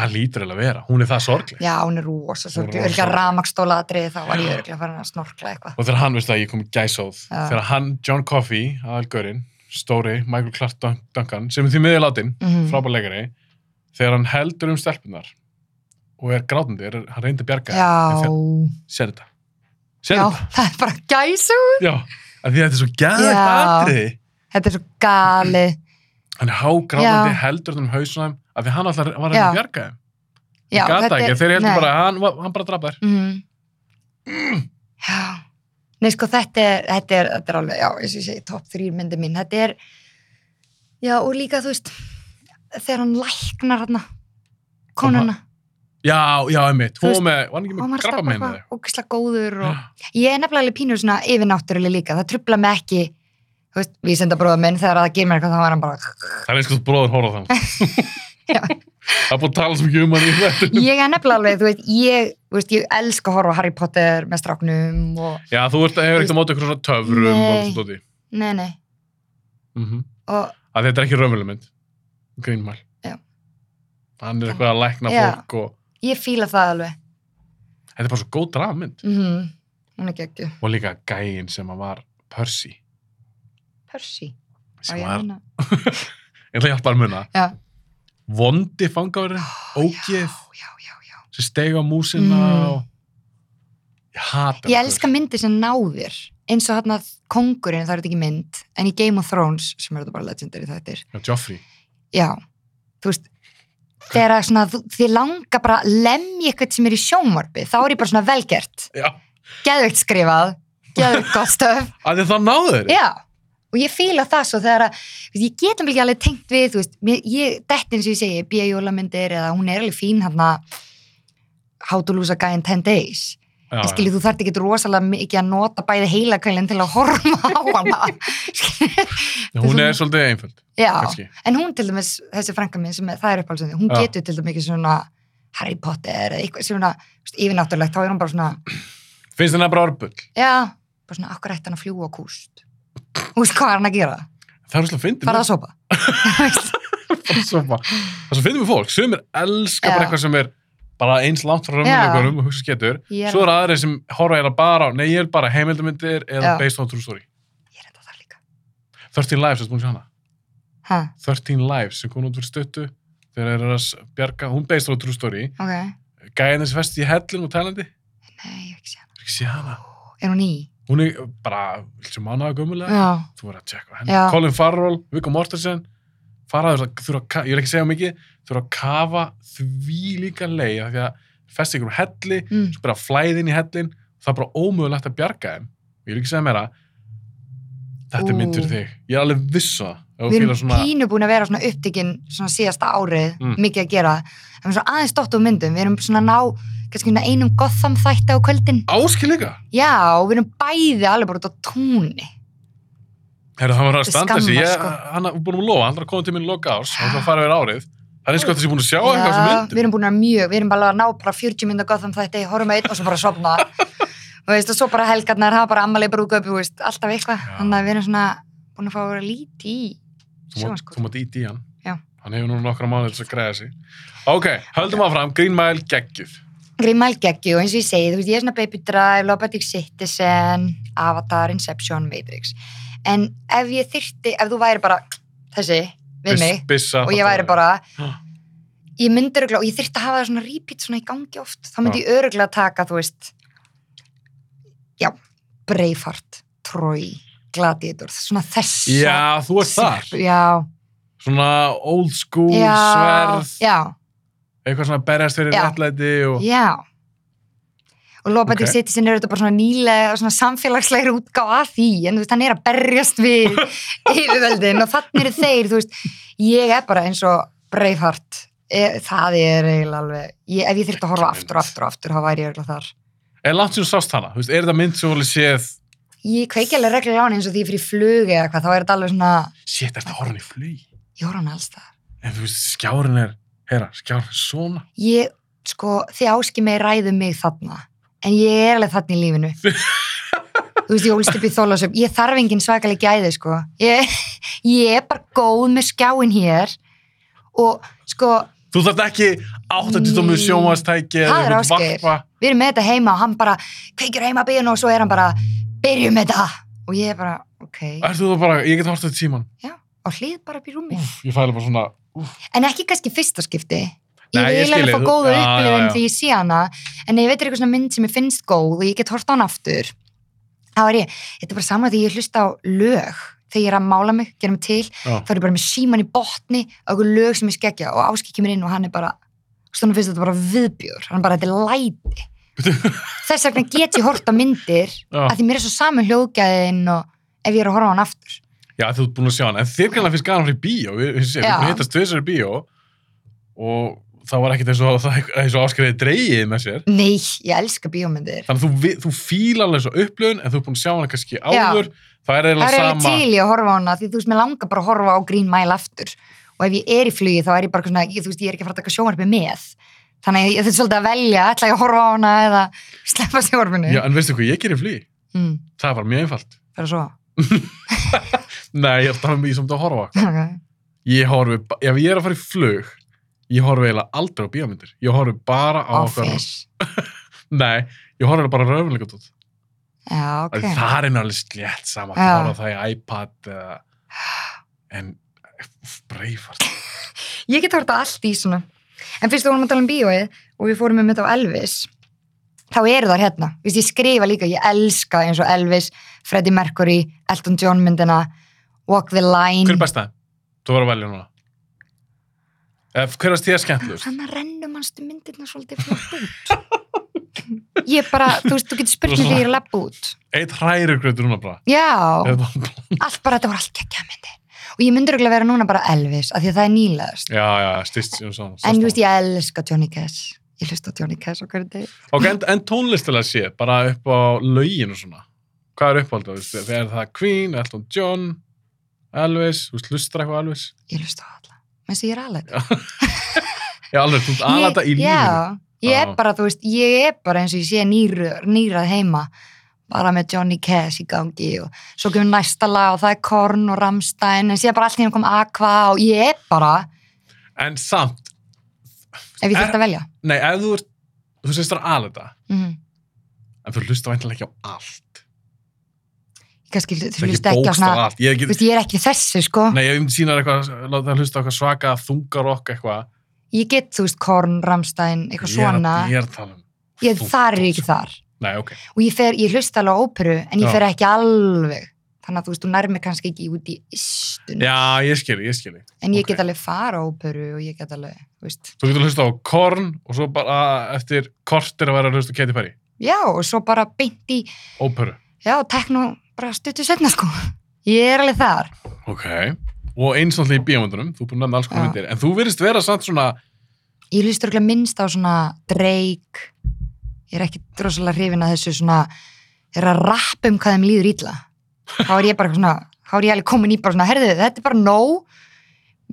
S1: Það lítur eiginlega að vera. Hún er það sorgleg.
S2: já, hún er rosa sorgli,
S1: Rosa.
S2: örgla ramakstóla aðrið þá var ég
S1: Já.
S2: örgla farin að snorkla eitthvað
S1: Og þegar hann veist að ég kom í gæsóð,
S2: Já.
S1: þegar hann, John Coffey, aðalgörinn, stóri, Michael Clark Dun- Duncan, sem er því miður látin,
S2: mm.
S1: frábæleikari, þegar hann heldur um stelpunar og er grátandi, er, hann reyndi að bjarga
S2: já,
S1: þeim, en þegar- Sér þetta. Sér
S2: já,
S1: þetta.
S2: það er bara gæsu
S1: Já. Af því að þetta er svo gæðvægt
S2: Já.
S1: atriði.
S2: þetta er svo gali
S1: Hann er hágrátandi,
S2: Já.
S1: heldur þetta um hausunum, af því hann alltaf var að reyna
S2: Já.
S1: að bjarga þeim.
S2: já,
S1: Hann gata ekki, þeir heldur bara, að hann, var- hann bara draf þær.
S2: mm. Mm-hmm. já nei, sko, þetta er, þetta er, þetta er alveg já, eins og ég segi, topp þrýr myndi mín þetta er, já, og líka þú veist, þegar hann læknar hann, konuna
S1: Já, já, einmitt,
S2: Þú
S1: hún
S2: veist,
S1: var með, var hann ekki
S2: og
S1: með
S2: hann var alltaf
S1: krabba með
S2: bara ógislega góður og
S1: þau?
S2: Ég er nefnilega alveg pínur svona yfirnáttúrulega líka, það trubla mig ekki, þú veist, vísendabróða minn þegar það gerir mér eitthvað, þá er hann bara,
S1: Það er eins og þú bróður hóra þannig.
S2: Já.
S1: Það er búin að tala svo mikið um hann í þetta.
S2: ég er nefnilega alveg, þú veist, ég, þú veist, ég elska að horfa á Harry Potter með stráknum og,
S1: Já, þú ert, hefur ekkert á móti eitthvað svona töfrum
S2: Nei.
S1: og svona því.
S2: nei, nei,
S1: Mhm.
S2: og,
S1: Að þetta er ekki raunveruleg mynd. Grínmæl.
S2: Já.
S1: Hann er eitthvað að lækna
S2: Já.
S1: fólk og
S2: ég fíla það alveg,
S1: þetta er bara svo góð drafmynd.
S2: mhm, hún er geggju,
S1: Og líka gæin sem að var Percy,
S2: Percy, á
S1: sem
S2: ég
S1: var,
S2: hérna,
S1: ég ætla að hjálpa að muna,
S2: Já.
S1: vondi fangavörinn, ógeð,
S2: já, já, já,
S1: sem stegu á músina
S2: Mm.
S1: og ég hata
S2: ég
S1: þetta.
S2: elska myndi sem náðir, eins og hann að kongurinn, það er þetta ekki mynd, en í Game of Thrones, sem er þetta bara legendary þættir,
S1: Já, Joffrey
S2: já, þú veist þegar að svona, þú- þið langa bara að lemja eitthvað sem er í sjónvarpi þá er ég bara svona velgert,
S1: Já,
S2: geðveikt skrifað geðveikt gott stöf
S1: að það náðu þeir
S2: já, og ég fíla það svo þegar að, þú veist, ég getum ekki alveg tengt við þú veist, mér, ég, þetta eins og ég segi bíajólamyndir eða hún er alveg fín hann að How to lose a guy in 10 days
S1: já,
S2: en skilji þú þarft ekki rosalega mikið að nota bæði heilakvælinn til að horfa á hana
S1: já. Hún er svolítið einföld
S2: já,
S1: kannski.
S2: en hún til dæmis, þessi frænka minn sem er, það er uppálsöndi, hún
S1: Já.
S2: getur til dæmis ekki svona Harry Potter eða eitthvað svona þú veist, yfirnáttúrulegt, þá er hún bara svona
S1: Finnst hennar bara orðbull
S2: já, bara svona, akkur ætti hann að fljúa á kúst þú veist hvað er hann að gera
S1: Það er svolítið að fyndi
S2: fara að sopa
S1: sofa Það er svo fyndi með fólk Sumir elska bara
S2: Já.
S1: eitthvað sem er bara eins langt frá raunveruleikunum og hugsa skettur
S2: ég er
S1: Svo eru aðrir sem horfa hérna bara á Nei, ég vil bara heimildamindir eða
S2: Já.
S1: based on true story
S2: ég er enda þar líka
S1: 13 Lives, þetta búin að sjá hana
S2: ha,
S1: 13 Lives sem kom út fyrir stuttu þegar er að s- bjarga, hún based on true story
S2: ok,
S1: Gæðin þessi festi í hellin og talandi
S2: nei, ég hef ekki sé hana
S1: Ég sé hana
S2: er hún í?
S1: Hún er bara, sem mánaða gömulega
S2: já,
S1: þú verður að tjekka á henni.
S2: Já.
S1: Colin Farrell, Viggo Mortensen faraður það, þurfa að, ka- ég vil ekki segja mikið þurfa að kafa því líka leið af því að festi ykkur um helli
S2: mm.
S1: bara flæðin í hellin það er bara ómögulegt að bjarga þeim ég vil ekki segja meira þetta
S2: Ú.
S1: er mynd fyrir þig, ég er alveg viss á það ef þú
S2: við erum
S1: fílar svona,
S2: pínu búin að vera svona upptikinn svona síðasta árið,
S1: Mm.
S2: mikið að gera en við erum svona aðeins dott úr myndum, við erum svona að ná kannski svona einum Gotham þætti á kvöldin
S1: áskil líka
S2: já, og við erum bæði alveg bara út á túnni
S1: Heru, hann var að
S2: Þetta
S1: standa
S2: skammar,
S1: þessi, ég,
S2: sko.
S1: hann er búin að lofa hann er að koma til minn loka árs, hann er
S2: Já.
S1: að fara yfir árið það er eins og þessi búin að sjá eitthvað sem
S2: Já, við
S1: myndum
S2: erum búin að vera mjög, við erum bara að ná bara 40 mynda Gotham þætti, horfum að einn og svo bara að sofna og veist, og svo bara helgarnar hafa bara ammali brúka upp, þú veist, alltaf eitthvað
S1: Já.
S2: þannig að við erum svona búin að fá að vera líti í
S1: Þú mátt-
S2: sjónvarskot.
S1: þú mátt íti í hann.
S2: Já.
S1: Hann hefur núna nokkra mánuðið til að greiða sig. Ok, höldum áfram, Green Mile geggjuð.
S2: Grimmal geggju og eins og ég segi, þú veist, ég er svona Baby Drive, Lopatic Citizen Avatar, Inception, Matrix en ef ég þyrti, ef þú væri bara þessi, við mig
S1: Bissa,
S2: og ég væri bara
S1: Ha.
S2: ég myndi öruglega, og ég þyrfti að hafa það svona repeat svona í gangi oft, þá myndi ég öruglega taka þú veist já, Braveheart Troy, Gladiator, svona þessa
S1: Já, þú ert þar.
S2: sirpu, já,
S1: Svona old school,
S2: já,
S1: sverð,
S2: já,
S1: eitthvað svona berjast fyrir
S2: Já.
S1: réttlæti og...
S2: já og
S1: Sko. Ok.
S2: Lopatic okay. Citizen eru þetta bara svona nýlega svona samfélagslegri útgáfa af því en þú veist, hann er að berjast við yfirveldin og þannig eru þeir þú veist, ég er bara eins og Braveheart e, það er eiginlega alveg, ég, ef ég þyrfti að horfa
S1: Ekki
S2: aftur og
S1: mynd.
S2: aftur og aftur, þá væri ég eiginlega þar
S1: Er langt sem þú sást hana? Þú veist, er þetta mynd sem þú alveg séð,
S2: Ég kveiki alveg reglulega á hann eins og því ég fyrir flug eða eitthvað, þá er þetta alveg svona,
S1: shit, er þetta horfinn í flug?
S2: ég horf hann alls það.
S1: En þú veist, skjárin er, herra, skjárin er svona.
S2: Ég, sko, þið áski mig ræðu mig þarna, en ég er alveg þarna í lífinu. þú veist, ég ólst upp í þólasöf, ég þarf engin svakalega gæði, sko. Ég, ég er bara góð með skjáin hér og, sko,
S1: Þú þarft ekki 80 tómið
S2: Ný.
S1: sjónvastæki
S2: Það er Ásgeir. við erum með þetta heima og hann bara kveikir heima bíðun og svo er hann bara, byrjum með þetta. Og ég er bara, ok,
S1: Ertu þú bara, ég get hort þetta síman
S2: og hlið bara upp í rúmi.
S1: Úf, ég fæla bara svona
S2: En ekki kannski fyrsta skipti. Ég
S1: Nei, ég
S2: vil
S1: skil
S2: alveg
S1: þig,
S2: fá
S1: þú- já,
S2: góða
S1: já,
S2: upplifun
S1: já.
S2: því ég sé hana, en ef ég veit er eitthvað svona mynd sem ég finnst góð og ég get hort á hann aftur, þá er ég, þetta er bara sama því ég hlusta á lög þegar ég er að mála mig, gera mig til,
S1: Já.
S2: þá er ég bara með síman í botni og eitthvað lög sem ég skeggja og Áski kemur inn og hann er bara, svona finnst þetta bara viðbjör, hann bara, þetta er læti. Þess vegna get ég hort á myndir,
S1: Já,
S2: að því mér er svo saman hljóðgæðin og ef ég er að horfa á hann aftur.
S1: já þú ert búin að sjá hann En þér kannan finnst gaman fyrir bíó Við, við, séum,
S2: Já.
S1: við hittast tvisar í bíó Og það var ekkit eins og, það- eins og áskriðið dreigið með sér
S2: Nei, ég elska bíómyndir.
S1: Þannig að þú, vi- þú fílar alveg svo upplöfun En þú ert búin að sjá hann kannski áður Það er
S2: Það er
S1: eiginlega
S2: eiginlega
S1: sama
S2: til í að horfa á hana því þú veist, mér langar bara að horfa á Green Mile aftur og ef ég er í flugi þá er ég bara eitthvað svona, ég, þú veist, ég er ekki að fara að taka sjónvarpi með þannig að ég þetta er svolítið að velja, ætla ég að horfa á hana eða sleppa sjónvarpinu
S1: Já, en veistu hvað ég gerir í flý?
S2: mm,
S1: Það var mjög einfalt
S2: fyrir svo
S1: Nei, ég er alltaf mjög samt að horfa á eitthvað.
S2: okay.
S1: Ég horfi, ba- ef ég er að fara í flug Ég horfi eiginlega aldrei á bíómyndir Ég horfi bara á okkar
S2: Office
S1: Nei, ég horfi bara raunleika tótt
S2: Já, ok
S1: okay. Það er náttúrulega slétt sama
S2: Já.
S1: Það var það í iPad eða... En Breifart
S2: Ég get horta allt í svona En fyrst þú vorum að tala um bíóið og við fórum um þetta á Elvis þá eru þar hérna, Vist, ég skrifa líka ég elska eins og Elvis, Freddie Mercury Elton John myndina Walk the Line
S1: Hver er besta? Þú verður að velja núna Ef, Hver varst þér skemmtlust?
S2: Þannig að rennum mannstu myndirna svolítið flott út. Ég bara, þú veist, þú getur spurt mér þegar ég er að labba út.
S1: Eitt hræru gröður núna bara
S2: Já,
S1: Eða bara-
S2: allt bara, þetta voru allt geggja myndi. Og ég myndur ekki að vera núna bara Elvis, af því að það er nýlaðast.
S1: Já, já, stýst sem svona sást
S2: En
S1: á.
S2: þú veist, ég elska Johnny Cash. Ég hlusta á Johnny Cash okkur í dag.
S1: Ok, en, en tónlistilega sé Bara upp á lögin og svona Hvað er uppáhaldið? þú veist? Er það Queen, Elton John Elvis, þú veist, hlustar eitthvað á Elvis
S2: Ég hlusta á alla. Menns ég er alveg.
S1: Já, alveg, þú ert aðlata í lífinu
S2: Já, ég er
S1: Já.
S2: bara, þú veist, ég er bara eins og ég sé nýr, nýrað heima bara með Johnny Cash í gangi og svo kemur næsta lag og það er Korn og Rammstein en síðan bara allt hérna kom Aqua og ég er bara,
S1: En samt,
S2: ef ég
S1: Er-
S2: þurft að velja
S1: nei, ef þú ert Þú sést það aðlata
S2: Mhm.
S1: en þú hlustar væntanlega ekki á allt
S2: Ég kannski þú
S1: það er
S2: hlust
S1: ekki
S2: ekki á
S1: bókstaf
S2: svona
S1: allt ég,
S2: þú
S1: get,
S2: veist, ég er ekki í þessu sko
S1: nei, ég myndi sína eitthvað, láta það hlusta á eitthvað svaka þungarokk eitthvað
S2: ég get þú veist Korn, Rammstein, eitthvað
S1: Ég er að-
S2: svona
S1: ég er að tala um
S2: ég,
S1: þungt,
S2: þar er ég ekki
S1: sko.
S2: þar
S1: nei, ok,
S2: og ég, fer, ég hlust alveg á óperu en ég
S1: Já.
S2: fer ekki alveg þannig að þú veist, þú nærmi kannski ekki út í istun
S1: já, ég skilji, ég skilji
S2: en ég
S1: ok.
S2: get alveg fara á óperu og ég get alveg, þú veist
S1: þú getur hlusta á Korn og svo bara eftir kortir að vera að hlusta á Katy Perry
S2: já, og svo bara beint í,
S1: óperu,
S2: já, tekno bara stuttu setna sko ég er alveg þar
S1: ok og eins og allir í bíamundunum, þú er búin að nefna alls konar
S2: Já.
S1: myndir en þú virðist vera samt svona
S2: ég hlust örgulega minnst á svona Drake ég er ekki drosalega hrifin að þessu svona þeir eru að rappa um hvað þeim líður ítla þá er ég bara eitthvað svona þá er ég alveg komin í bara svona, herðu, þetta er bara nóg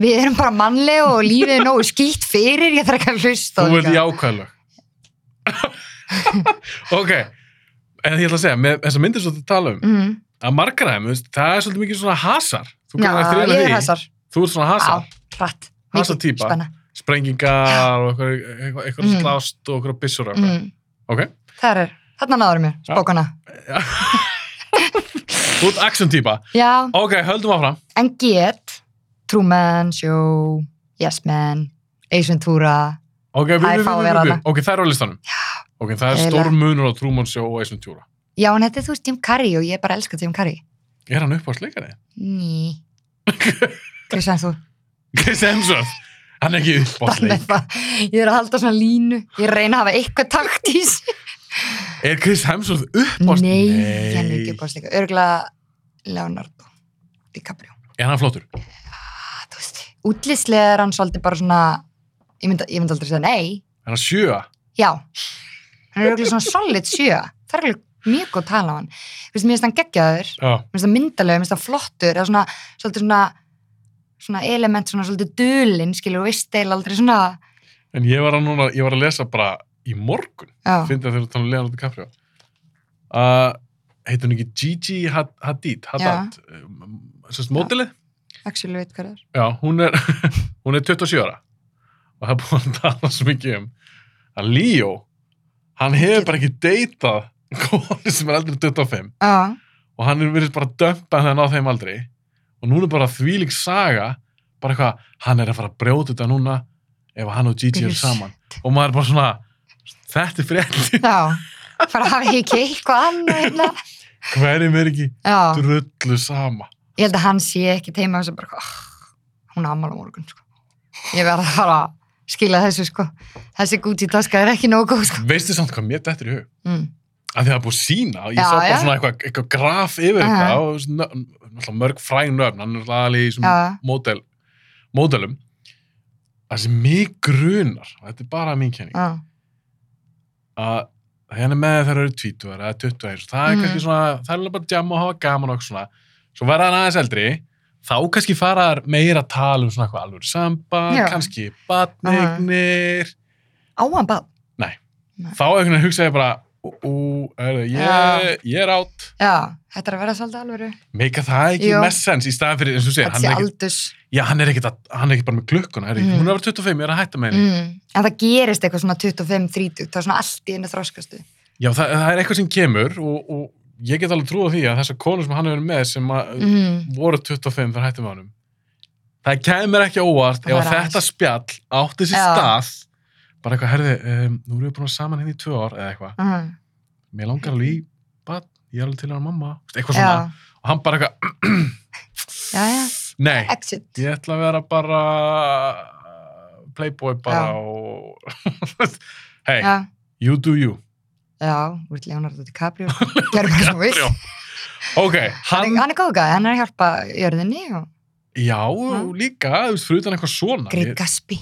S2: við erum bara mannleg og lífið er nógu skýtt fyrir, ég þarf ekki að hlusta á
S1: þú ert
S2: þetta.
S1: jákvæðlög ok en ég ætla að segja, með þessar myndir svo þetta tala um
S2: Mhm.
S1: að margra þeim, þú veist, það er svolítið mikið svona hasar þú
S2: Já,
S1: kannar að þrýna
S2: ég er
S1: því
S2: þessar
S1: þú ert svona
S2: á,
S1: hasar,
S2: hratt,
S1: Hasa
S2: mikið
S1: týpa.
S2: spenna
S1: sprengingar og eitthvað, eitthvað, eitthvað
S2: Mm.
S1: slást og eitthvað byssur og eitthvað
S2: mm.
S1: ok,
S2: þar er, þarna náður mér,
S1: Já.
S2: spókana
S1: þú ert action típa
S2: já,
S1: ok, höldum áfram,
S2: en get Truman Show, Yes Man Ace Ventura
S1: ok, við,
S2: Það er
S1: við, við,
S2: fáið
S1: við,
S2: þarna.
S1: við. ok, það er á listanum ok, það er
S2: Eiginlega.
S1: stór munur á Truman Show og Ace Ventura
S2: Já, en þetta er þú veist Jim Carrey og ég bara elska Jim Carrey.
S1: er hann upp á slikari?
S2: Ný. Kristján, þú
S1: Chris Hemsworth, hann er ekki upp á
S2: bara með
S1: slik
S2: það. Ég er að halda svona línu. Ég reyna að hafa eitthvað taktís.
S1: er Chris Hemsworth upp á slik?
S2: Nei, hann er ekki upp á slíka. Örgulega Leonardo DiCaprio.
S1: er hann flottur?
S2: Ah, þú veist, útlýslega er hann svolítið bara svona, ég myndi, ég myndi aldrei segja nei.
S1: er hann sjö?
S2: Já. Hann er örgulega svona solid sjö. Það er örgulega mjög góð tala á hann. Þú veist, mér finnst hann geggjaður.
S1: já,
S2: mér finnst það myndalegu, mér finnst það flottur eða svona, svolítið svona svona element, svona svolítið dulinn skilur og veist eil aldrei svona
S1: en ég var að, núna, ég var að lesa bara í morgun
S2: já,
S1: fyndi að þeir eru að tala um Leonardo DiCaprio uh, heitir hún ekki Gigi Had- Hadid, Haddad, Eh, sérst mótilið?
S2: Axel veit hvað það er.
S1: Já, hún er, hún er 27 ára og það er búin að tala svo mikið um að Leo, hann hefur bara ekki deytað konu sem er aldrei 25
S2: Já,
S1: og hann er verið bara að dömpa þennan á þeim aldrei og núna er bara þvílík saga bara eitthvað, hann er að fara að brjóta þetta núna ef hann og Gigi eru
S2: Yes.
S1: saman og maður er bara svona, þetta er frétti
S2: já. Fara að hafa ekki eitthvað annað. hérna.
S1: hverjum er ekki
S2: Já,
S1: drullu sama
S2: ég held að hann sé ekki teima þess að bara, oh, hún ammala morgun, sko. Ég verð að fara að skila þessu, sko. Þessi Gucci taska er ekki nógu, góð, sko.
S1: veistu samt hvað mér dettur í hug
S2: Mm.
S1: að því það er búið að sína og ég
S2: Já,
S1: sá bara
S2: já.
S1: svona eitthvað, eitthvað graf yfir
S2: Aha.
S1: eitthvað og svona, náttúrulega mörg fræn nöfn hann er náttúrulega alveg í
S2: Já,
S1: svona mótel, mótelum það sem mig grunar og þetta er bara mín kenning
S2: já,
S1: að hérna með þeir eru tvítuðar eða tuttuðar, það er
S2: Mhm.
S1: kannski svona það er alveg bara að djamma og hafa gaman og eitthvað svona svo verða hann aðeins eldri, þá kannski fara þær meira að tala um svona eitthvað alveg samband,
S2: Já.
S1: kannski batnignir
S2: áan bad.
S1: þá einhvern veginn hugsa ég bara ú, ú, er, ég, ég er átt
S2: Já, þetta er að vera svolítið alvöru.
S1: meika það ekki
S2: Jú.
S1: mest sens í staðan fyrir, eins og segir,
S2: Þetta
S1: hann
S2: sé
S1: er ekkit
S2: aldus.
S1: já, hann er ekkit, að, hann er ekkit bara með klukkuna mm.
S2: Mhm.
S1: hún er að vera 25, ég er að hætta með henni
S2: Mm. En það gerist eitthvað svona 25-30, það er svona allt í henni þroskastu.
S1: já, það, það er eitthvað sem kemur og, og ég get alveg trúið því að þessar konur sem hann hefur verið með sem að,
S2: Mm.
S1: voru 25 þegar hættum við honum það kemur ekki óvart
S2: Það
S1: ef
S2: var
S1: að
S2: aðeins.
S1: þetta spjall átti sér
S2: Já.
S1: stað bara eitthvað, herði, um, nú erum við búin að vera saman henni í tvö ár eða eitthvað,
S2: Mm.
S1: mér langar alveg í bad, ég er alveg til að vera mamma Veist, eitthvað svona,
S2: Já,
S1: og hann bara eitthvað
S2: já, já,
S1: nei,
S2: exit.
S1: ég ætla að vera bara uh, playboy bara
S2: Já.
S1: og hey,
S2: Já,
S1: you do you
S2: já, úr Leonardo DiCaprio. Gerðu hvað sem
S1: Já.
S2: þú vilt.
S1: ok,
S2: Hann,
S1: hann
S2: hann er góð gæði, hann er að hjálpa jörðinni og
S1: já, líka, þú veist, fyrir utan eitthvað svona
S2: Great
S1: ég,
S2: Gatsby.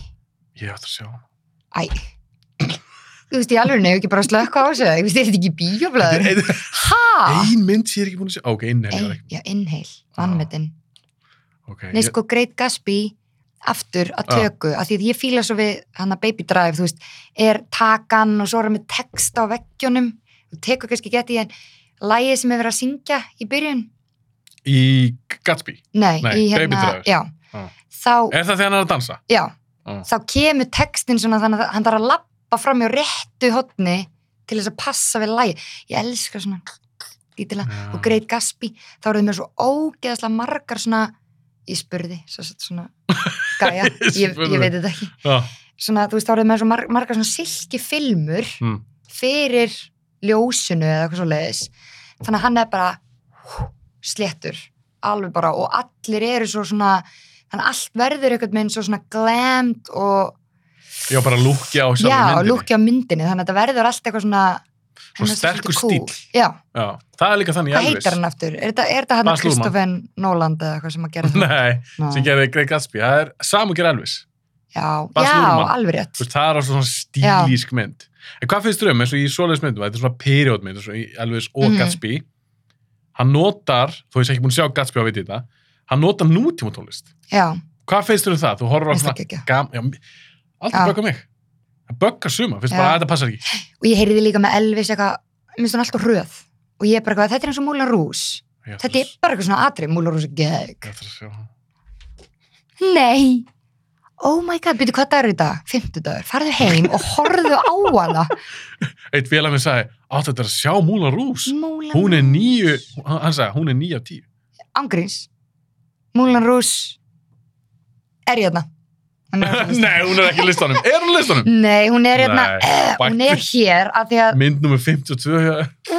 S1: ég ætla að sjá
S2: Æ. Þú veist, í alveg nefnir ekki bara að slökka á þessu. Þú veist, er þetta ekki bíoblæður?
S1: ein,
S2: Hæ?
S1: ein mynd sem ég er ekki búin að sjá ok, inn er ég ekki
S2: Já, inhale, vannmetinn.
S1: ok,
S2: Nei,
S1: ég- Ah.
S2: sko, Great Gatsby aftur að tökku, af því að ég fíla svo við hann að Baby Drive, þú veist, er takan og svo er hann með text á veggjónum þú tekur kannski geti en lægið sem er verið að syngja í byrjun
S1: í Gatsby
S2: nei,
S1: Nei,
S2: í
S1: Baby
S2: hérna,
S1: Drive. Ah. Eh.
S2: já
S1: Já.
S2: þá,
S1: er það þegar hann er að dansa?
S2: já,
S1: Já.
S2: þá kemur textin svona þannig að hann þarf að lappa fram hjá réttu hotni til þess að passa við lægið, ég elska svona dítila,
S1: Já.
S2: og Great Gatsby þá eru þau með svo ógeðslega margar svona, ég spurði svo, sagt svona, gæja,
S1: Ég
S2: ég,
S1: spurði.
S2: ég veit þetta ekki
S1: Já.
S2: svona, þú veist, þá eru þau með svo mar margar svona silki filmur
S1: Mm.
S2: fyrir ljósinu eða eitthvað svo leiðis þannig að hann er bara hú, sléttur, alveg bara og allir eru svo svona þannig að allt verður eitthvað með svo svona glamd og
S1: já, bara lúkja á sjálfum
S2: já,
S1: myndinni
S2: lukki á myndinni þannig að þetta verður allt eitthvað svona
S1: Svo
S2: hann er
S1: sterkur
S2: svolítið cool.
S1: stíll.
S2: já,
S1: já, það er líka þannig í
S2: hvað
S1: Elvis.
S2: heitar hann aftur? Er þetta, er þetta hann
S1: Baz Luhrmann.
S2: Kristoffer Nóland eða eitthvað sem að gera það?
S1: nei,
S2: Nei.
S1: sem gerði Greg Gatsby það er samugir Elvis
S2: Já,
S1: Baz
S2: já,
S1: Luhrmann.
S2: alveg
S1: Þú
S2: rétt
S1: veist, það er á svona stílísk mynd en hvað finnst þér um eins og í svoleiðis myndum þetta er svona periodmynd eins og í Elvis og
S2: Mhm.
S1: Gatsby hann notar þó ég sé ekki búin að sjá Gatsby á veit þetta hann notar nútíma tónlist
S2: Já,
S1: hvað finnst þér um það? þú horfur á
S2: minnst
S1: svona
S2: ekki ekki
S1: gam... já, mi-
S2: Já.
S1: aldrei böggar mig það böggar suma finnst
S2: Já.
S1: bara að þetta passar ekki
S2: og ég heyrði líka með Elvis eitthvað, minnst hún alltaf röð og ég er bara eitthvað, þetta er eins og Múlan Rús
S1: Ég ætla
S2: þetta er
S1: að-
S2: bara eitthvað svona atri, Múlan Rús er gegg
S1: ég ætla að sjá hann.
S2: nei, oh my god, byrju hvað dagur er í dag, fimmtudagur, farðu heim og horfðu á hana
S1: eitt félag minn sagði átt þetta er að sjá Múla Rús
S2: Múlan
S1: hún er nýju hann hann sagði hún er nýja tíu
S2: ángríns, Múlan Rús er ég hérna Hún er á þessum
S1: nei
S2: lista.
S1: hún er ekki í listanum er hún í listanum?
S2: nei, hún er hérna
S1: Nei,
S2: eh, hún er hér að því að,
S1: mynd nummer 52 hjá-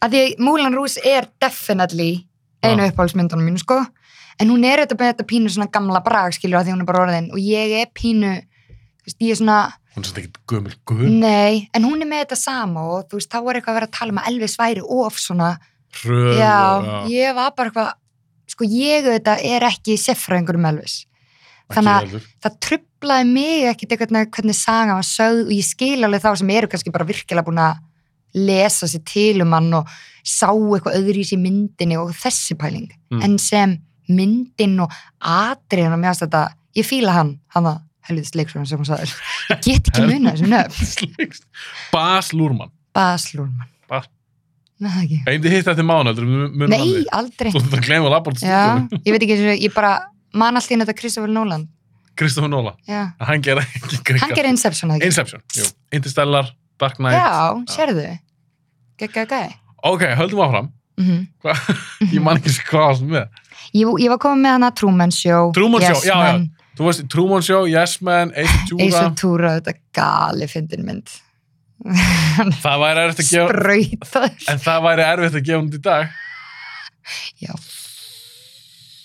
S2: að, því að Múlan Rús er definitely einu
S1: Já.
S2: uppáhaldsmyndunum mínu sko en hún er auðvitað með þetta pínu svona gamla brag skilur að því hún er bara orðin og ég er pínu þú veist, ég er svona,
S1: hún er svona ekki gömul gömul
S2: nei en hún er með þetta sama og þú veist, þá er eitthvað að vera að tala um að Elvis væri of svona
S1: hröð
S2: já, ég var bara eitthvað sko ég auðvitað er ekki seffræðingur um Elvis þannig að-
S1: að
S2: það trublaði mig ekkit eitthvað hvernig saga var sögð og ég skil alveg þá sem eru kannski bara virkilega búin að lesa sér til um hann og sá eitthvað öðru í sér myndinni og þessi pæling
S1: Mm.
S2: en sem myndin og atriðan og mér finnst þetta, ég fíla hann hann að helviðis leiksvörðan sem hún sagði ég get ekki muna þessu nöfn,
S1: Bas Lúrmann
S2: Bas Lúrmann
S1: Bas-
S2: Nei, það ekki.
S1: Einnig hitt eftir mánuður, munum
S2: Nei, aldrei.
S1: Þú þurft að gleyma labort
S2: Já,
S1: stundum.
S2: ég veit ekki eins og ég bara man alltaf inn þetta Christopher Nolan.
S1: Kristofur Nóla.
S2: Já.
S1: Hann gera ekki
S2: Hann
S1: gríka.
S2: gerir Inception, eða ekki?
S1: Inception, jú. Interstellar, Dark Knight.
S2: Já, sérðu.
S1: Ah.
S2: Gæ, gæ, gæ.
S1: Ok, höldum áfram.
S2: Mhm.
S1: Hva? Ég man ekki sem hvað sem við.
S2: Ég, ég var komin með hana Truman Show.
S1: Truman Show,
S2: yes,
S1: já, já.
S2: Man,
S1: Þú veist, Truman Show, Yes Man, Ace
S2: Ace
S1: Ventura.
S2: Ventura, þetta gali fyndin mynd.
S1: Það væri erfitt að gefa,
S2: Spröytaður.
S1: en það væri erfitt að gefa hún í dag.
S2: Já.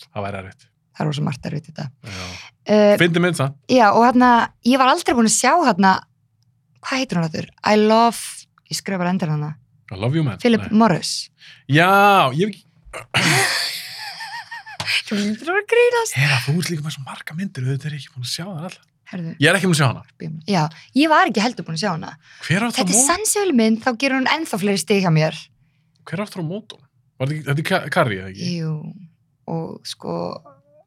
S1: Það væri erfitt.
S2: Það er rosa margt að rauta þetta.
S1: Já.
S2: Uh,
S1: Fyndi mynd það.
S2: já, og hérna, ég var aldrei búin að sjá hérna, hvað heitir hún þetta? I love, ég skrifa bara endur hana,
S1: I love you man.
S2: Philip
S1: Nei.
S2: Morris.
S1: Já, ég hef ekki.
S2: Þú lítur að grínast.
S1: Hera, þú ert líka með svo marga myndir, auðvitað er ég ekki búin að sjá það alltaf.
S2: Herðu,
S1: Ég er ekki búin að sjá hana.
S2: bíum. já, ég var ekki heldur búin að sjá hana.
S1: Hver áttur á
S2: Þetta er
S1: mótum?
S2: sannsölu mynd, þá gerur hún ennþá fleiri stig hjá mér.
S1: Hver áttur á mótum? Þetta er Ka- Carrie, eða ekki?
S2: Jú, og sko,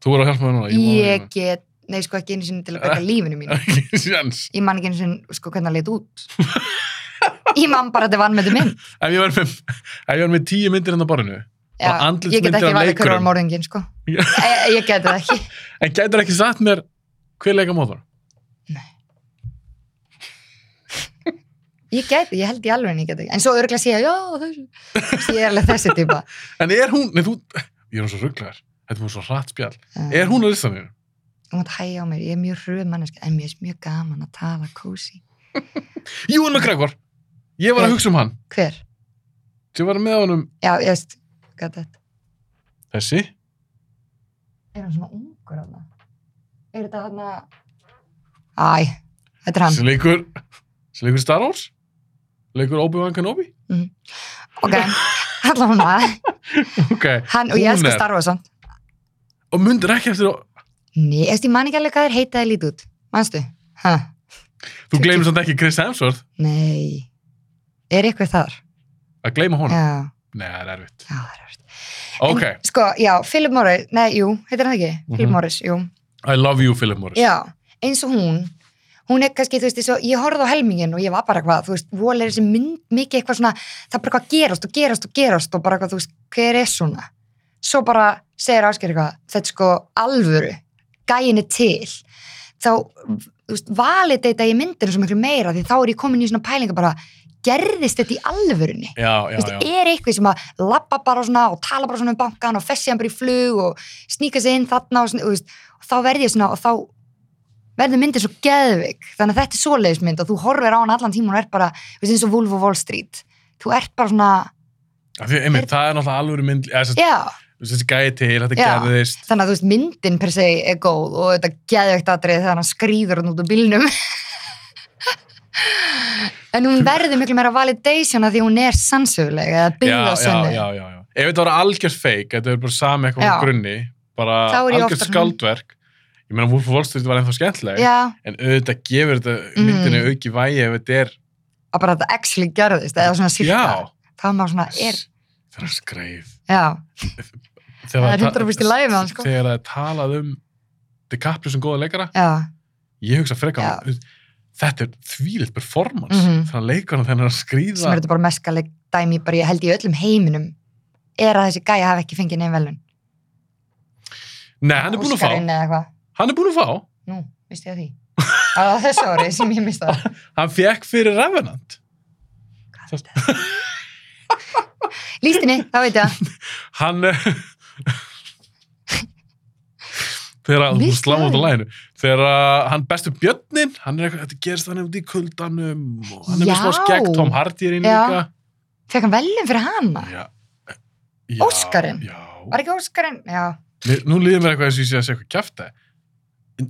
S1: Þú voru að hjálpa mér núna.
S2: ég get, nei sko ekki einu sinni til að bæta lífinu mínu.
S1: Ég... Ekki sjans.
S2: Ég man ekki einu sinni, sko, hvernig það leit út. Ég man bara að þetta vann með þetta mynd.
S1: Ef ég var með, ef ég var með tíu myndir hérna á borðinu,
S2: Já,
S1: Og andlitsmyndir
S2: ég get
S1: af
S2: ekki valið hverju
S1: leikurum.
S2: var morðingin, sko.
S1: Já.
S2: Ég, ég get það ekki.
S1: en gætur ekki sagt mér hver leika móður?
S2: Ég gæti, ég held í alveg en ég gæti ekki. En svo örgulega sé ég, já, þessu. Þessi, Ég er alveg þessi típa.
S1: En er hún, nei þú, ég er hún svo rugglegar, þetta er hún svo hratt spjall.
S2: Um,
S1: Er hún á listaninu?
S2: Hún mátt hægja á mér, ég er mjög hröð manneska, en mér er mjög gaman að tala kósi.
S1: Júan McGregor, ég var að hugsa um hann.
S2: Hver?
S1: Ég var með honum
S2: Já, ég veist, gæti þetta.
S1: þessi,
S2: Er hann svona ungur af það? Er þetta hann að... Æ, þetta er hann.
S1: sem leikur, sem leikur Star Wars, leikur Obi-Wan Kenobi.
S2: Ok, allan hún að.
S1: Ok,
S2: Hann, og ég
S1: Hún
S2: elska
S1: er-
S2: starfa svona.
S1: og myndir ekki eftir,
S2: Nei, eftir ég man ekki alveg hvað þér heitaði lítið út. Manstu? Hæ?
S1: þú gleymir samt ekki Chris Hemsworth,
S2: Nei. Er eitthvað þar?
S1: að gleyma honum.
S2: Já,
S1: Nei, það er erfitt.
S2: já, það er verið.
S1: Ok,
S2: En, sko, já, Philip Morris, nei, jú, heitir hann ekki? Philip
S1: Mhm.
S2: Morris, jú.
S1: I love you, Philip Morris.
S2: Já, eins og hún, hún er kannski, þú veist, eins og ég horfði á helmingin og ég var bara hvað, þú veist, vol er þessi mynd mikið eitthvað svona, það er bara eitthvað að gerast og gerast og gerast og bara eitthvað, þú veist, hver er svona? Svo bara segir Ásgeir eitthvað, þetta er sko alvöru, gæin er til, þá, þú veist, validata ég myndinu svo miklu meira því þá er ég komin í svona pælinga bara, gerðist þetta í alvörunni?
S1: já, já. já.
S2: Þú veist, er eitthvað sem að lappa bara svona og tala bara svona um bankan og fessi hann bara í flug og sníka sig inn þarna og, svona, þú veist, og þá verði ég svona og þá verður myndin svo geðvik þannig að þetta er svoleiðismynd og þú horfir á hann allan tíma og er bara, þú veist, eins og Wolf of Wall Street þú ert bara svona,
S1: Af Því, einmitt, það er náttúrulega alvöru mynd, eða, sem-
S2: já
S1: þessi gæði til, þetta
S2: Já.
S1: gerðist.
S2: þannig að þú veist, myndin per se er góð og þetta geðveikt atrið þegar hann skrýður hann út úr bílnum en hún verður miklu meira validation að því hún er sannsöguleg eða byggð á
S1: já, já,
S2: sönnu
S1: já, já, já. ef þetta var algjörð feik þetta er bara sami eitthvað
S2: Já.
S1: á grunni bara
S2: Þá er ég
S1: algjörð
S2: oftar svona-
S1: skaldverk ég meina Wolf of Wall Street var ennþá skemmtileg
S2: já,
S1: en auðvitað gefur þetta
S2: Mm.
S1: myndinu auki vægi ef þetta er
S2: að bara þetta actually gerðist eða svona sýrta
S1: já,
S2: þá er maður svona, er,
S1: það er skreif
S2: já,
S1: Þegar
S2: Það er
S1: ta-
S2: 100% í lagi með hann, sko.
S1: þegar það er talað um DiCaprio sem góða leikara
S2: já
S1: ég hugsa frekar um, þetta er þvílitt performance mm
S2: Mhm.
S1: -hmm. þannig að leikarna þennan að
S2: sem
S1: skrýða
S2: er þetta bara meskaleg dæmi bara ég held í öllum heiminum er að þessi gæja hafi ekki fengið neinn velun
S1: nei, hann er búin að fá
S2: eða eitthvað,
S1: hann er búin að fá
S2: nú, misti ég af því það var þessu ári sem ég mista það
S1: hann fekk fyrir Revenant
S2: lístinni, þá veit ég það
S1: hann eh, þegar að- þú
S2: Visst
S1: slá út á
S2: það.
S1: læginu þegar að hann bestu björnin hann er eitthvað, þetta gerist hann út í kuldanum og hann er með
S2: Já.
S1: smá skegg, Tom Hardy er inn
S2: Já.
S1: líka
S2: fekk hann velun fyrir hana
S1: já, já,
S2: Óskarinn?
S1: já.
S2: var ekki Óskarinn, já,
S1: Mér, nú líður mér eitthvað eins og ég sé að sé eitthvað kjafta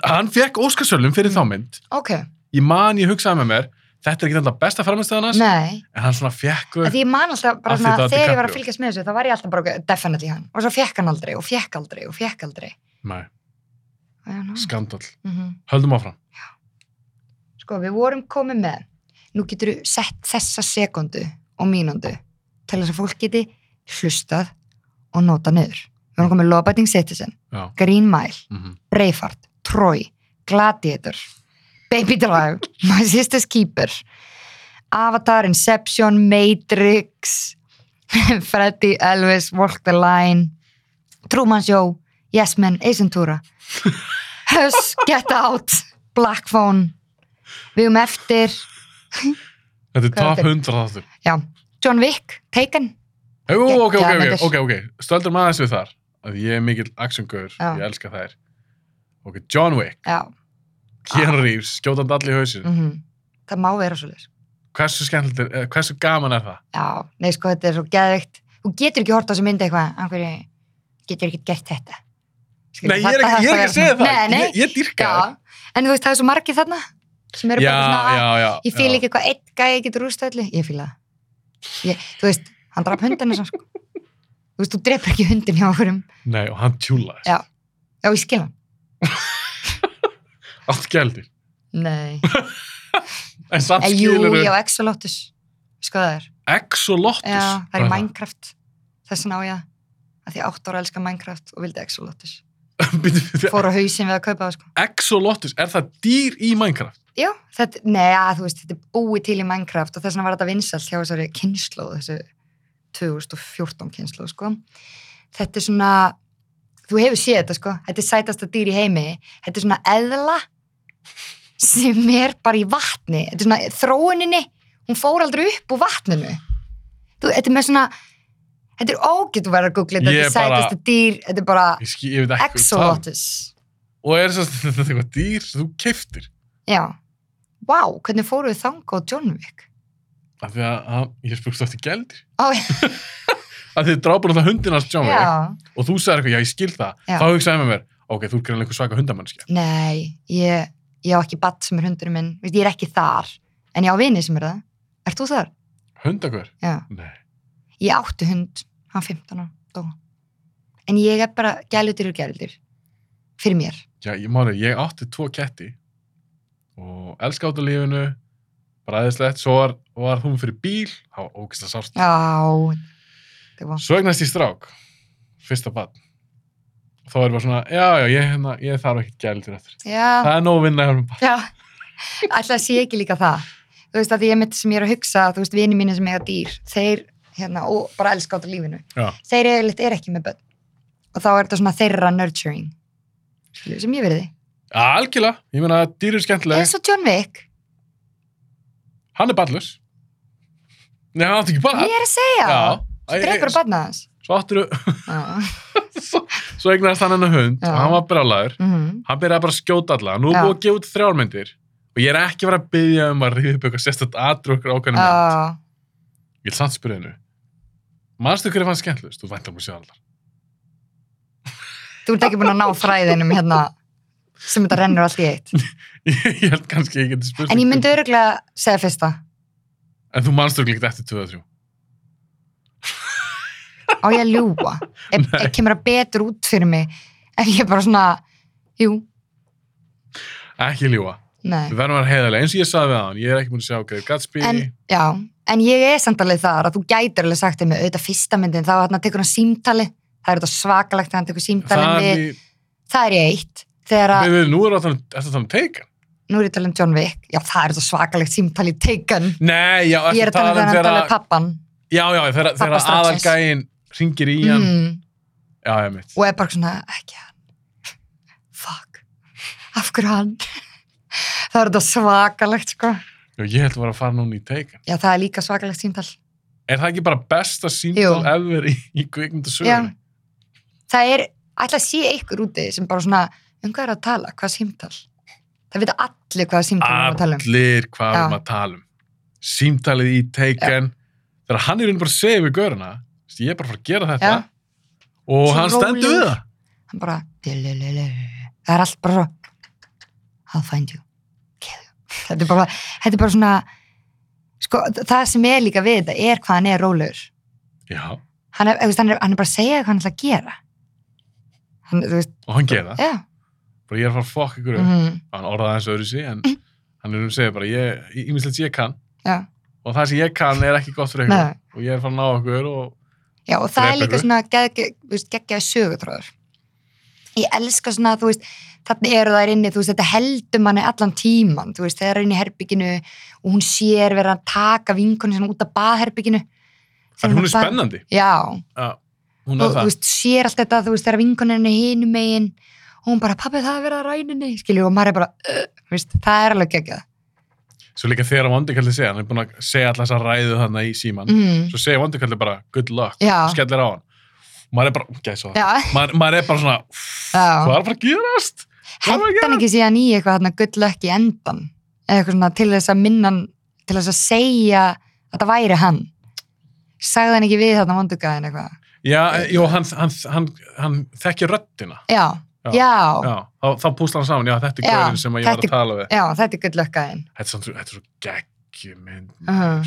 S1: hann fekk Óskarsölum fyrir þá mynd
S2: ok
S1: ég man, ég hugsaði með mér þetta er ekki alltaf besta framistæðan hans
S2: nei,
S1: en hann svona fekk
S2: að því ég man alltaf bara
S1: Af því
S2: svona,
S1: þetta var
S2: þegar ég var að
S1: DiCaprio.
S2: fylgjast með þessu þá var ég alltaf bara, ok, definitely hann og svo fekk hann aldrei og fekk aldrei og fekk aldrei
S1: Nei,
S2: I don't know.
S1: skandal,
S2: Mhm.
S1: höldum áfram
S2: Sko, við vorum komið með, nú getur þú sett þessa sekundu og mínundu til þess að fólk geti hlustað og nota niður. Við vorum komið með Lobating Citizen,
S1: já,
S2: Green Mile,
S1: mm
S2: Braveheart, Troy, Gladiator, Baby Drive, My Sister's Keeper, Avatar, Inception, Matrix, Freddy, Elvis, Walk the Line Truman Show Yes Men, Ace Ventura Huss, Get Out Black Phone Við um eftir,
S1: Þetta er
S2: Hvað er
S1: top 100 þáttur.
S2: já John Wick, Taken
S1: Jú, ok, ok,
S2: Geggjaðar
S1: ok,
S2: myndir.
S1: ok, ok. Stöldum aðeins við þar. Að ég er mikill actiongöður,
S2: Já.
S1: ég elska þær. Ok, John Wick,
S2: já, Ah.
S1: Keanu Reeves, skjótandi allir í hausin.
S2: mhm Það má vera svo leis
S1: Hversu skemmtilegt er, eh, hversu gaman er það?
S2: Já, nei sko, þetta er svo geðveikt Þú getur ekki hort á þessu myndi eitthvað Af hverju getur ekki gert þetta Skilur,
S1: Nei, ég er ekki,
S2: þetta-
S1: ég er ekki að
S2: þetta
S1: segja
S2: vera
S1: það.
S2: svona- Nei, nei,
S1: Ég, ég dyrka það.
S2: já En þú veist, það er svo margið þarna sem eru
S1: Já,
S2: bara svona að-
S1: já, já.
S2: Ég fíl
S1: já.
S2: ekki eitthvað einn gæði getur rústa öllu. Ég fíla það. Ég, þú veist, hann draf hundina svo, sko. Þú veist, þú drefur ekki hundin hjá okkurum.
S1: Nei, og hann tjúlaðist.
S2: Já. Já, ég skil hann.
S1: Allt gældir.
S2: Nei.
S1: En samt
S2: Eh, jú,
S1: skilur
S2: ég
S1: við
S2: á Exolotus. Sko það er.
S1: Exolotus.
S2: Já, það er í
S1: Hvað
S2: Minecraft. Þess vegna á ég að því átt ára elska Minecraft og vildi Exolotus.
S1: Bíddu, bíddu,
S2: Fór á hausinn við að kaupa það, sko.
S1: Exolotus, er það dýr í Minecraft?
S2: Já, þetta, neða, þú veist, þetta er búið til í Minecraft og þess vegna var þetta vinsalt hjá þessari kynnslóð, þessu 2014 kynnslóð, sko. Þetta er svona, þú hefur séð þetta, sko, þetta er sætasta dýr í heimi, þetta er svona eðla sem er bara í vatni, þetta er svona þróuninni, hún fór aldrei upp úr vatninu. Þú, þetta er með svona, þetta er ógætt að vera að googla þetta,
S1: Ég
S2: þetta er
S1: bara-
S2: sætasta dýr, þetta er bara
S1: Ég, skil, ég veit ekki hvað það er.
S2: exolotus.
S1: Og er þess að þetta eitthvað dýr sem þú keiftir?
S2: Já, vá, hvernig fóruð við þanga á John Wick?
S1: Af því að, að ég spurgst eftir gældir.
S2: Ó,
S1: Af því þið drápur hann það hundinast sjá mig
S2: já,
S1: og þú sagði eitthvað, já ég skil það.
S2: Já.
S1: Þá hugsaði ég með mér, ok, þú er greinlega einhver svaka hundamannskja.
S2: nei, ég, ég á ekki batt sem er hundurinn minn, Vist, ég er ekki þar, en ég á vini sem er það. Ert þú þar?
S1: Hundakver?
S2: Já.
S1: Nei.
S2: Ég átti hund, hann 15 ára, dó. En ég er bara gælutir og gælutir, fyrir mér.
S1: Já, ég máli, ég átti tvo ketti og elska át á lífinu, bræðislegt, svo var, var hún fyrir bíl, þá var ógist að sárt.
S2: Já, það var,
S1: Svo egnast ég strák, fyrsta badn. Þá er bara svona, já, já, ég, hérna, ég þarf ekkert gældir eftir.
S2: já,
S1: Það er nóg vinna hjá mér bara.
S2: já, alltaf sé ekki líka það. Þú veist að því ég mitt sem ég er að hugsa, þú veist, vini mínu sem eiga dýr, þeir, hérna, og bara elska át á lífinu.
S1: Já.
S2: Þeir er, er ekki með börn. Og þá er þetta svona þeirra nurturing, skilurðu, sem ég verði.
S1: Ja, Algjörlega, ég meina að dýr eru skemmtilega,
S2: eins og John Wick
S1: hann er ballus. Nei, hann átti ekki ball.
S2: ég er að segja
S1: Æ,
S2: það drefur að banna þess
S1: Svo áttur
S2: já,
S1: svo eignast hann hennar hund
S2: Já.
S1: og hann var brálaður.
S2: Mhm.
S1: Hann byrjaði bara að skjóta alla. Nú er
S2: Já.
S1: búið að gefa út þrjármyndir og ég er ekki verið að byggja um að ríða upp eitthvað sérstætt aðdrukkur ákveðnum. Uh.
S2: Já.
S1: Ég vil samt spyrja hennu. Manstu hverju fann skemmtlust? Þú væntar mér sér allar.
S2: þú ert ekki búin að ná fræðinum hérna sem þetta rennur allt í eitt
S1: ég held kannski að ég geti spurt.
S2: en ég
S1: þig.
S2: myndi öruglega segja fyrsta
S1: En þú manstu ekki eftir 2 og 3.
S2: á ég að ljúa ef
S1: Nei.
S2: ef kemur það betur út fyrir mig ef ég bara svona jú,
S1: Ekki ljúa.
S2: nei
S1: Við verðum að vera heiðarlega. Eins og ég sagði við hann, ég er ekki búin að sjá Greif Gatsby.
S2: en, já, en ég er samt alveg þar að þú gætir alveg sagt þeim með auðvitað fyrsta myndin þá hann tekur hann símtali það er þetta svakalegt að hann tekur símtali
S1: Það
S2: það,
S1: er í...
S2: það er ég eitt þegar að
S1: Við, við, nú er það að tala um Taken.
S2: Nú er ég að tala um John Wick. Já, það er þetta svakalegt símtal í Taken.
S1: Nei, já,
S2: Ég er að tala um þegar hann tala um pappan.
S1: Já, já, þegar þegar
S2: Pabba strax.
S1: aðalgæin ringir í hann.
S2: Mm,
S1: Já, ég mitt.
S2: og er bara svona, ekki hann. Fuck. Af hverju hann? það er þetta svakalegt, sko.
S1: Já, ég held að vera að fara núna í Taken.
S2: Já, það er líka svakalegt símtal.
S1: Er það ekki bara besta
S2: Jú.
S1: símtál ever í, í kvikmyndasögunni?
S2: Það er, ætla að sé ykkur úti sem bara svona, um hvað er að tala? Hvað símtal? Það vita allir hvað símtal er að tala um.
S1: Allir hvað við
S2: Já.
S1: erum að tala um. Símtalið í Taken. Þegar hann er einu bara að segja við göruna, veist, ég er bara að fara að gera þetta
S2: Já.
S1: og
S2: Svo
S1: hann stendur við
S2: rólegur.
S1: það.
S2: Hann bara, dilililil. það er allt bara svo, I'll find you. Kill you. Þetta er bara, þetta er bara svona, sko, það sem er líka við þetta er hvað hann er rólegur.
S1: Já,
S2: Hann er, þú veist, hann er, hann er bara að segja hvað hann ætla að gera. Hann, þú veist,
S1: og hann gera það.
S2: já.
S1: Bara ég er að fara að fokk ykkur upp.
S2: mhm,
S1: Hann orðaði hans öðru sig, en hann er um að segja bara, ég, ég, ég, ég kann.
S2: já.
S1: og það sem ég kann er ekki gott fyrir ykkur
S2: Nei.
S1: og ég er að fara að ná okkur og
S2: Já, og það er
S1: Drepa
S2: líka
S1: ykkur.
S2: svona geggja- þú veist, geggjaði sögutróður. Ég elska svona, þú veist, þannig eru þær inni, þú veist, þetta heldur manni allan tíman, þú veist, þegar er inni í herbygginu og hún sér vera að taka vinkunni sinna út af baðherbygginu,
S1: Það er hún er
S2: bara-
S1: spennandi.
S2: Já,
S1: Já, hún
S2: og
S1: er
S2: þú
S1: það.
S2: veist, sér allt þetta, þú veist, þegar vinkoninni hinum megin og hún bara, pappi, það er verið að ræninni, skilur, og maður er bara, uh, veist, það er alveg geggjað.
S1: Svo líka þegar vandikallið segja, hann er búin að segja alltaf þess að ræðu þarna í síman.
S2: Mm.
S1: Svo segja vandikallið bara, good luck,
S2: Já.
S1: skellir á hann. Maður er bara, gæði svo það.
S2: Já,
S1: Maður, maður er bara svona, "Úff,
S2: Já.
S1: hvað er að fara að gerast? Hvað er að
S2: hentan
S1: gera?
S2: ekki síðan í eitthvað þarna gullökk í endan, eða eitthvað svona til þess að minna hann, til þess að segja að það væri hann. Sagði hann ekki við þarna vondugaðin eitthvað?
S1: Já, jú, hann, hann, hann, hann þekkir röddina.
S2: Já,
S1: Já.
S2: já, já,
S1: Já, þá, þá púslar hann saman, já, þetta er
S2: Já,
S1: gaurin sem ég var
S2: þetta
S1: að tala við.
S2: þetta er gullökkaðin.
S1: Þetta er, samt svo- þetta er svo geggjumynd.
S2: Uh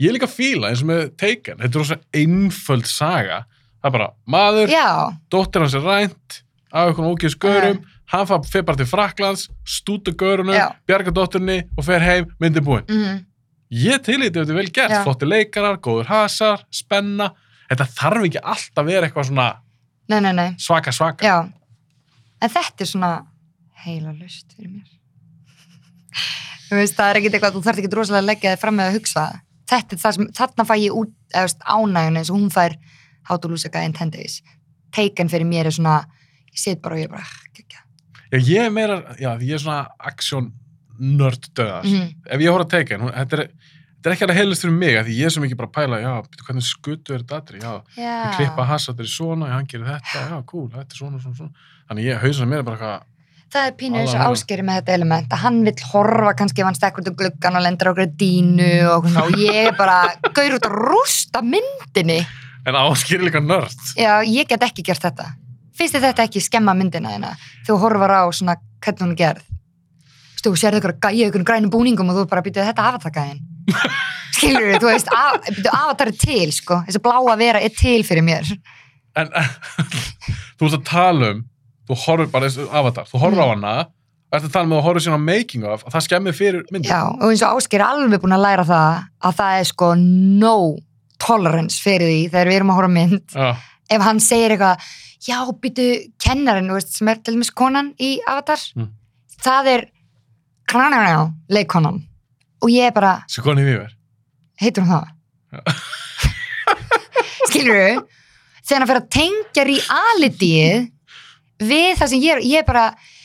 S1: Ég er líka að fíla eins og með Taken. Þetta er rosa einföld saga. Það er bara, maður,
S2: Já,
S1: dóttir hans er rænt af einhvern ógjöfs gaurum, hann fa- fer bara til Fraklands, stúta gaurunum,
S2: Já.
S1: bjarga dótturinni og fer heim, myndi búinn.
S2: mm,
S1: Ég tilíti þetta er vel gert,
S2: Já.
S1: flotti leikarar, góður hasar, spenna. Þetta þarf ekki alltaf að vera eitthvað svona
S2: nei, nei, nei,
S1: svaka svaka.
S2: já. En þetta er svona heila lust fyrir mér. Þú veist, það er ekkit eitthvað, þú þarf ekki rosalega að leggja þig fram með að hugsa. Þetta er það sem, þarna fæ ég út, eða veist, ánægjun eins og hún fær How to Lose a Guy in 10 Days. Taken fyrir mér er svona, ég set bara og ég er bara, "Ah, ekki,
S1: Já, ég er meira, já, ég er svona action nerd döðar.
S2: ekki.
S1: Ef ég horf að teka, hún, þetta, er, þetta er ekki alveg heilust fyrir mig, af því ég er svo mikið bara að pæla, já, bíddu, hvernig skutu er þetta aðri, já, ég
S2: Já.
S1: klippa hasar í svona, já, hann gerir þetta, já, cool, þetta er svona, svona, svona. Þannig ég, hausinu mér er bara eitthvað,
S2: Það er pínu eins og
S1: Alveg.
S2: áskeri með þetta element að hann vill horfa kannski ef hann stekkur út um gluggan og lendur okkur dínu og, svona, og ég er bara gaur út að rústa myndinni
S1: En Ásgeir er líka nörd.
S2: Já, ég get ekki gert þetta Finnst þið þetta ekki skemma myndina þína þú horfar á svona hvernig hún er gerð Þú veist, þú sérðu ykkur gæja ykkur grænum búningum og þú bara býtu þetta avatargæðin Skilur þú, veist, af, býtu avatar er til sko, þessi bláa vera er til fyrir mér
S1: En þú ert að tala um, þú horfir bara þessu avatar, þú horfir á hana, ert að tala um að þú horfir síðan á making of, að það skemmir fyrir myndin.
S2: Já, og eins og Ásker er alveg búin að læra það að það er sko no tolerance fyrir því þegar við erum að horfa á mynd
S1: Já.
S2: ef hann segir eitthvað, já, býtu kennarinn, þú veist, sem er til dæmis konan í Avatar,
S1: Mm.
S2: það er kranarjá, leikkonan og ég er bara,
S1: Svo konið við verð.
S2: heitur hún það? Skilur þú? Þegar hann fer að tengja realityið við það sem ég er, ég er bara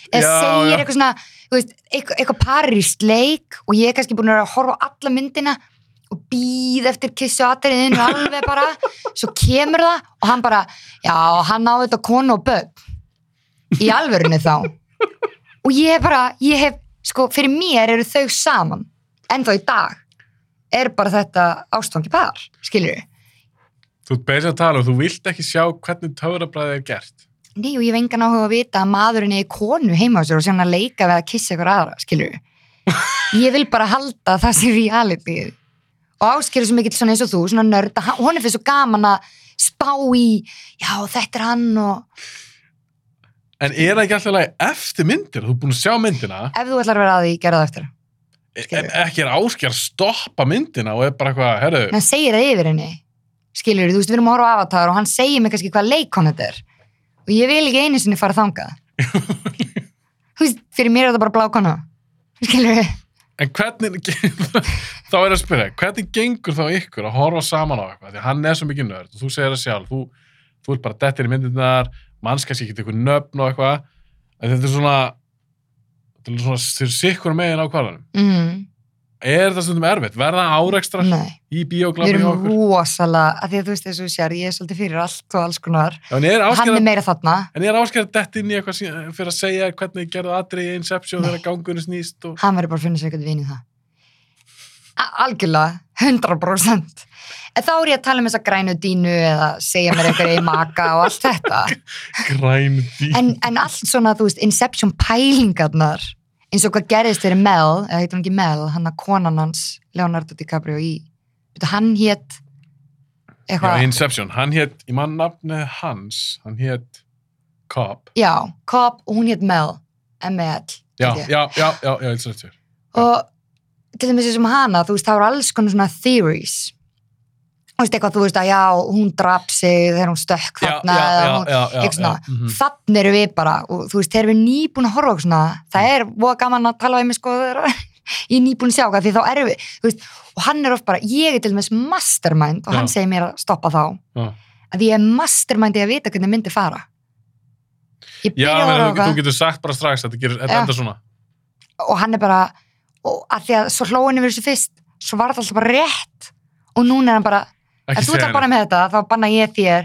S2: eða
S1: Já,
S2: segir
S1: já.
S2: eitthvað svona þú veist, eitthvað, eitthvað parist leik og ég er kannski búin að vera að horfa á alla myndina og býð eftir kissu aðriðinu alveg bara, svo kemur það og hann bara, já, hann á þetta konu og börn í alvörunni þá og ég er bara, ég hef, sko, fyrir mér eru þau saman, ennþá í dag er bara þetta ástfangi par, skilur við?
S1: Þú ert beðið að tala um, þú vilt ekki sjá hvernig töfrabræðið er gert.
S2: Nei, og ég hef engan áhuga að vita að maðurinn er konu heima á sér og sé hann að leika við að kissa ykkur aðra, skilur við? Ég vil bara halda að það sé reality og áskilur sem mikill svona eins og þú, svona nörd, að hann- honum finnst svo gaman að spá í, já, þetta er hann og
S1: En er það ekki alltaf lagi eftir myndina? Þú er búin að sjá myndina,
S2: ef þú ætlar að vera að því, gera það eftir.
S1: e-
S2: Skilur.
S1: e- ekki er Ásgeir að stoppa myndina og er bara eitthvað, herru,
S2: En hann segir það yfir henni, skilur við, þú veist, við erum að horfa á avatar og hann segir mig kannski hvað leikon þetta er og ég vil ekki einu sinni fara þangað. Þú veist, fyrir mér er þetta bara blákona, skilur við?
S1: En hvernig, þá er að spyrja, hvernig gengur þá ykkur að horfa saman á eitthvað? Því að hann er svo mikið nörd og þú segir það sjálf, þú, þú ert bara dettir í myndirnar, mannskast ekki eitthvað nöfn og eitthvað. En þetta er svona, þetta er svona, þeir eru sikkur megin á hvaðanum.
S2: Mm.
S1: Er þetta stundum erfitt? Verða árekstrar
S2: Nei,
S1: í
S2: við
S1: bíóglamu hjá
S2: erum
S1: okkur?
S2: rosalega að því að þú veist þessu sér, ég er svolítið fyrir allt og alls konar,
S1: Já, en er
S2: hann
S1: áskerð,
S2: er meira þarna
S1: en ég er áskerð að detta inn í eitthvað síðan- fyrir að segja hvernig gerðu aðri í Inception
S2: Nei.
S1: þegar gangunni snýst og...
S2: hann verður bara að finna sér eitthvað vinn í það A algjörlega, 100% en þá er ég að tala um þessa grænu dínu eða segja mér eitthvað í maka og allt þetta
S1: Græn dýr.
S2: en, en allt svona, þú veist, Inception pælingarnar eins og hvað gerðist fyrir Mel eða heitir hún ekki Mel, hann að konan hans Leonardo DiCaprio í veitu, hann hét
S1: Já,
S2: eitthvað,
S1: Inception, hann hétt, ég mann nafnið hans, hann hétt Cobb.
S2: já, Cobb og hún hét Mel M-E-L
S1: Já,
S2: held ég.
S1: já, já, já, já, ég sé þetta.
S2: og til dæmis eins og með hana, þú veist, það eru alls konar svona theories þú veist eitthvað, þú veist að já, hún draf sig þegar hún stökk þarna
S1: já,
S2: eða
S1: já,
S2: hún,
S1: já, já,
S2: eitthvað svona.
S1: já, mhm. Mm.
S2: þannig eru við bara og þú veist, þegar við erum nýbúin að horfa okkur svona, það er voða gaman að tala við mig sko þegar- ég er nýbúin að sjá hvað því þá erum við þú veist, og hann er oft bara, ég er til dæmis mastermind og hann
S1: Já.
S2: segir mér að stoppa þá
S1: Já.
S2: að ég er mastermind í að vita hvernig myndi fara ég
S1: Já,
S2: byrja að
S1: menn,
S2: horfa á
S1: þú, þú
S2: eitthvað
S1: getur sagt bara strax þetta, gerir, þetta
S2: Já.
S1: enda svona.
S2: og hann er bara, og að því að svo hlóin yfir þessu fyrst, svo var það alltaf bara rétt og núna er hann bara
S1: Ekki
S2: ef þú ert
S1: segja
S2: að banna með þetta, þá banna ég þér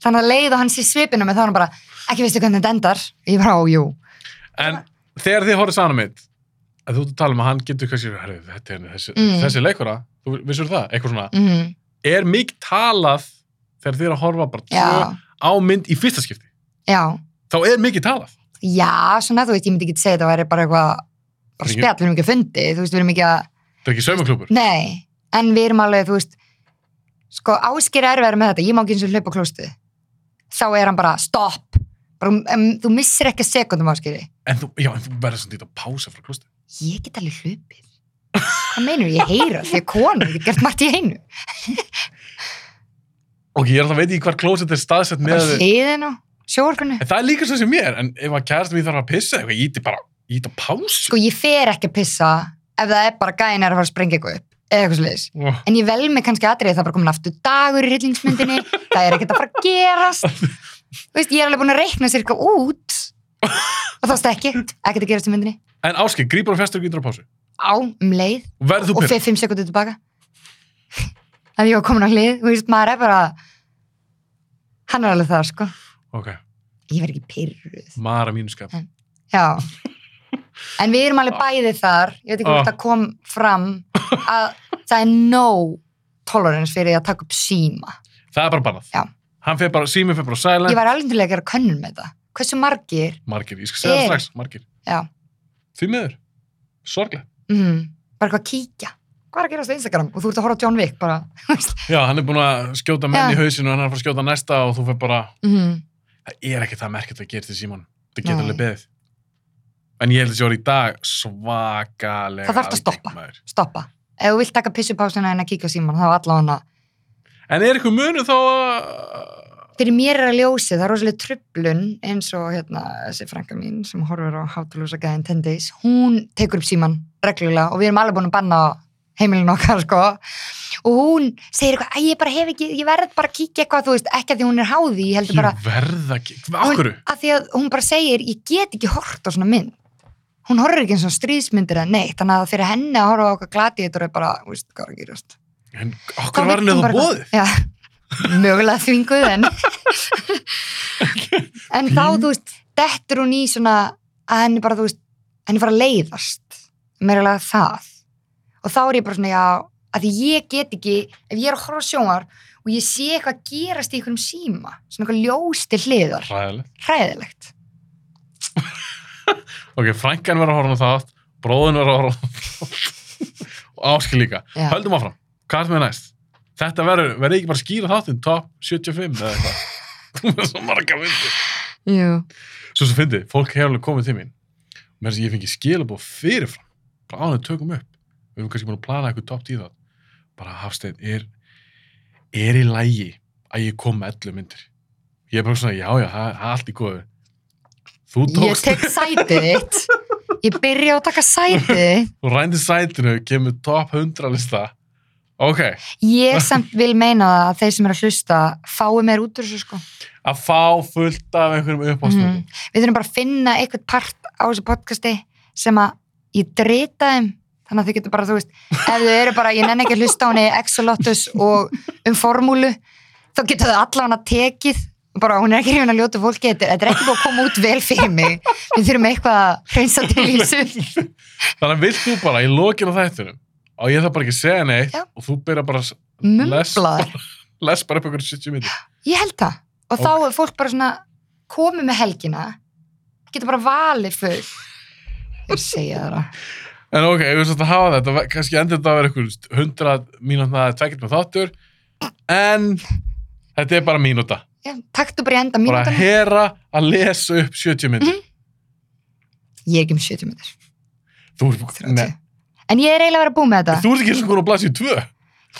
S2: þannig að leið og hann sé svipinu með þá er hann bara, ekki veistu hvernig þetta endar ég bara, á, jú,
S1: En þegar þið horfið saman mitt, að þú ert að tala um að hann getur kannski, herri, þetta er þessi,
S2: Mm.
S1: þessi leikura, þú vissur það, eitthvað svona.
S2: mhm,
S1: Er mikið talað þegar þið er að horfa bara tvö
S2: já,
S1: á mynd í fyrsta skipti?
S2: já
S1: Þá er mikið talað.
S2: já, svona, þú veist, ég myndi ekki segja þetta væri bara eitthvað, bara
S1: Ekki-
S2: spjall, við erum ekki að fundi þú veist, við erum ekki að,
S1: Það er ekki saumaklúpur.
S2: nei en við erum alveg, þú veist sko, áskir er verið með þetta, ég má ekki eins og hlaupa klóstið, þá er hann bara stopp, bara, um, þú missir ekki sekundum áskiri,
S1: En þú, já, en þú verður svona þetta pása frá klústi.
S2: ég get alveg hlaupið hvað meinur, ég heyra því að konur, ég get gert margt í einu
S1: Ok, ég er alltaf að veit í hvar klóset er staðsett
S2: bara
S1: með...
S2: hliðin á sjóvarpinu
S1: En það er líka svo sem mér, en ef að kærast mér þarf að pissa eitthvað, ég íti bara, ég íti á pásu.
S2: sko ég fer ekki að pissa ef það er bara gæin er að fara að sprengja eitthvað upp eða eitthvað sliðis.
S1: Ó,
S2: En ég vel mig kannski aðrið það er bara komin aftur dagur í rillingsmyndinni það er ekkert að fara að gerast Veist, ég er alveg búin að reikna sér eitthvað út og þá stekki ekkert að gerast í myndinni
S1: En áskil, grípar og festur og ítir á pásu.
S2: á um leið
S1: Og verður þú
S2: og
S1: pyrr?
S2: fer 5 sekundur tilbaka að ég var komin á hlið Þú veist, maður er bara hann er alveg það sko
S1: Ok,
S2: ég verð ekki pyrruð
S1: mara mínuskap.
S2: Já. En við erum alveg bæði þar, ég veit ekki
S1: Ah.
S2: hvort það kom fram, að það er no tolerance fyrir að taka upp síma.
S1: Það er bara bannað.
S2: Já.
S1: Hann fer bara, sími fer bara á
S2: Ég
S1: silent.
S2: var alveg til að gera könnun með það. Hversu margir?
S1: Margir, ég skal segja það
S2: Er-
S1: strax, margir.
S2: Já.
S1: Því miður. Sorglega.
S2: Mm, bara eitthvað að kíkja. Hvað er að gerast á Instagram? Og þú ert að horfa á John Wick bara.
S1: Já, hann er búin að skjóta menn
S2: Já.
S1: í hausinu og hann er að fara að skjóta næsta og þú fer bara,
S2: Mm,
S1: það er ekki það merkjöld að gera til símanum. Það getur
S2: Nei.
S1: alveg beðið. En ég held að þessi orði í dag svakalega
S2: Það þarf að
S1: algengt,
S2: stoppa.
S1: maður.
S2: stoppa. Ef þú vilt taka pissupásina en að kíkja á síman, þá allan að
S1: En er eitthvað munur þá að...
S2: fyrir mér er að ljósi, það er rosalega trublun eins og hérna, þessi frænka mín sem horfur á How to Lose a Guy in 10 Days hún tekur upp síman reglulega og við erum alveg búin að banna heimilin okkar sko og hún segir eitthvað, "Æ, ég bara hef ekki, ég verð bara að kíkja eitthvað, þú veist, ekki að því hún er háði ég heldur bara,
S1: Ég verð ekki... Akkur?
S2: að því að hún bara segir, ég get ekki hort á svona mynd hún horfur ekki eins og stríðsmyndir eða neitt, þannig að fyrir henni að horfa á okkar glati þetta er bara, þú veist, hvað er að gerast
S1: En
S2: Þá
S1: akkur var
S2: vill
S1: henni
S2: hún
S1: það
S2: bara
S1: bóðið?
S2: eitthvað- Já, mögulega þvinguð en en þá, þú veist, dettur hún í svona að henni bara, þú veist, henni fara að leiðast meirilega það og þá er ég bara svona, já, að því ég get ekki ef ég er að horfa á sjónar og ég sé eitthvað gerast í einhverjum síma svona eitthvað ljósti hliðar,
S1: Ræðilegt.
S2: hræðilegt
S1: Ok, frænkan verður að horfa á það, bróðin verður að horfa á það og áskil líka.
S2: já.
S1: Höldum áfram. Hvað er með næst? Þetta verður, verður ekki bara að skýra þáttinn top 75 eða eitthvað. Þú verður svo marga myndir.
S2: Jú.
S1: Svo sem fyndið, fólk hefur alveg komið til mín. Mér þess að ég fengi skilabóð fyrirfram. Bara ánægð tökum upp. Við erum kannski búin að plana eitthvað top 10 þátt. Bara Hafstein, er, er í lægi að ég kom með 11 myndir? Ég er bara svona, já, já, það það er allt í góðu. Þú
S2: ég
S1: tókst,
S2: tek sætið þitt ég byrja á að taka sætið þitt
S1: þú rændi sætinu, kemur top 100 lista. Ok,
S2: Ég samt vil meina það að þeir sem eru að hlusta fái meir út úr þessu sko.
S1: að fá fullt af einhverjum uppástöðum.
S2: Mhm. Við þurfum bara að finna eitthvað part á þessu podcasti sem að ég drita þeim þannig að þau getur bara, þú veist, ef þau eru bara, ég nenni ekki að hlusta á henni Exolotus og um formúlu, þá getur þau allan að tekið bara, hún er ekki hrifin að ljóta fólki, þetta er- þetta er ekki búið að koma út vel fyrir mig, við þurfum eitthvað að reynsa til í þessu.
S1: Þannig að vilt þú bara í lokin á þættinum og ég þarf bara ekki að segja neitt
S2: Já.
S1: og þú byrja bara að les,
S2: Mumblað.
S1: les bara upp einhverjum 70 myndir.
S2: Ég held það. Og þá er fólk bara svona komið með helgina, getur bara valið full. Ég er að segja það. það.
S1: En ok, ef við svolítið að hafa þetta, kannski endur þetta að vera einhver 100 mínútna tvekkilt með þáttur en þetta er bara mínúta.
S2: Já, Taktu bara í enda
S1: Bara að
S2: mínútan.
S1: hera að lesa upp 70 myndir.
S2: Ég er ekki um með 70 minnir.
S1: Þú ert nei,
S2: En ég er eiginlega að vera búin með þetta.
S1: þú ert ekki eins og hún á blaðsíðu 2.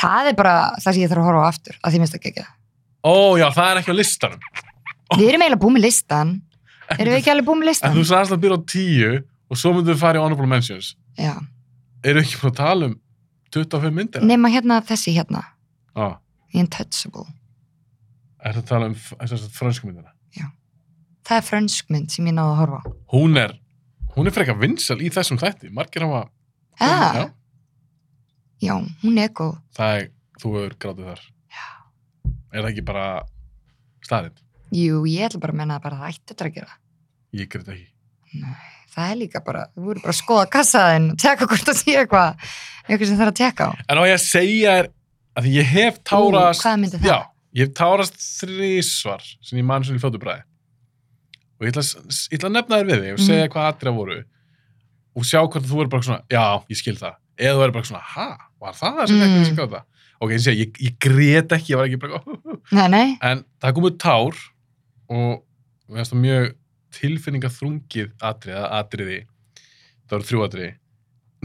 S2: Það er bara það sem ég þarf að horfa á aftur, að því minnst ekki ekki.
S1: Ó já, það er ekki á listanum.
S2: Við erum eiginlega búin með listan.
S1: Oh. En,
S2: Erum við ekki alveg búin með
S1: en
S2: listan?
S1: þú sagðist að byrja á 10 og svo myndum við fara í honorable mentions.
S2: Já.
S1: eru ekki búin að tala um 25 myndir
S2: nema hérna þessi hérna,
S1: ah,
S2: The Untouchable
S1: er það að tala um f- sem sagt, frönsku myndina
S2: það er frönsk mynd sem ég náði að horfa á
S1: hún er, hún er frekar vinsal í þessum þætti margir hafa
S2: ah,
S1: Já,
S2: já, hún er góð
S1: það er, þú hefur grátið þar
S2: Já.
S1: er það ekki bara staðinn,
S2: jú, ég ætla bara að menna að bara það ætti þetta að gera
S1: ég greit ekki
S2: Nei, það er líka bara, við vorum bara að skoða kassaðin og tjekka hvort það sé eitthvað eitthvað sem þarf að tjekka á
S1: en á ég að segja er að því ég hef tárast
S2: Ú, hvað myndi það?
S1: já, ég hef tárast þrísvar sem ég mann sem í fjóttubræði og ég ætla, að s- ég ætla að nefna þér við
S2: Mhm.
S1: þig og segja hvað atriða voru og sjá hvort þú er bara svona, já, ég skil það eða þú er bara svona, ha, var það það sem
S2: Mm.
S1: ekki sem gráta ok, ég sé, ég, ég grét ekki, ég var ekki bara
S2: Nei, nei,
S1: en það komið tár og við erum mjög tilfinningaþrungið atrið, eða atriði það eru þrjú atriði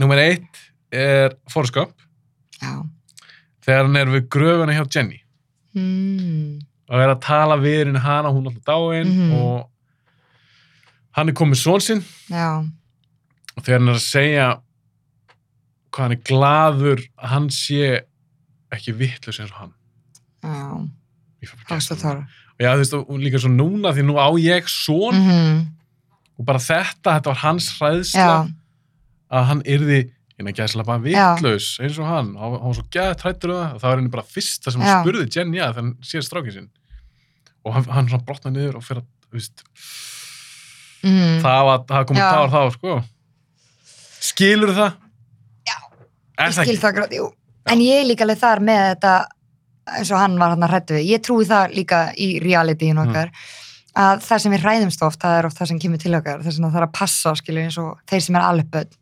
S1: nummer eitt er fórskap
S2: já
S1: þegar hann er við gröfuna hjá Jenny
S2: mm.
S1: og er að tala við henni hana, hún er alltaf dáin
S2: Mhm.
S1: og hann er komið svon sinn
S2: Já,
S1: og þegar hann er að segja hvað hann er glaður að hann sé ekki vitlaus eins og hann
S2: já,
S1: Ég fæ bara
S2: það var svo
S1: gæsahúð.
S2: þar
S1: og já, þú veist, og líka svo núna því nú á ég svon
S2: mm
S1: og bara þetta, þetta var hans hræðsla
S2: Já,
S1: að hann yrði innan gæðslega bara vitlaus eins og hann, hann var- hann var svo gæð trættur og það og það var henni bara fyrsta sem hann
S2: Já.
S1: spurði Jenny að þannig séð strákin sinn og hann, hann svona brotna niður og fyrir að, þú veist
S2: mm.
S1: það var, það komið
S2: Já.
S1: tár þá, sko skilur það? Já,
S2: ég
S1: er það
S2: skil
S1: ekki?
S2: það grátt, jú En ég er líka alveg þar með þetta eins og hann var hann að hrættu við Ég trúi það líka í
S1: Mm.
S2: realityin okkar að það sem við hræðumst oft það er oft það sem kemur til okkar þess að það er að passa, skilur eins og þeir sem er alveg börn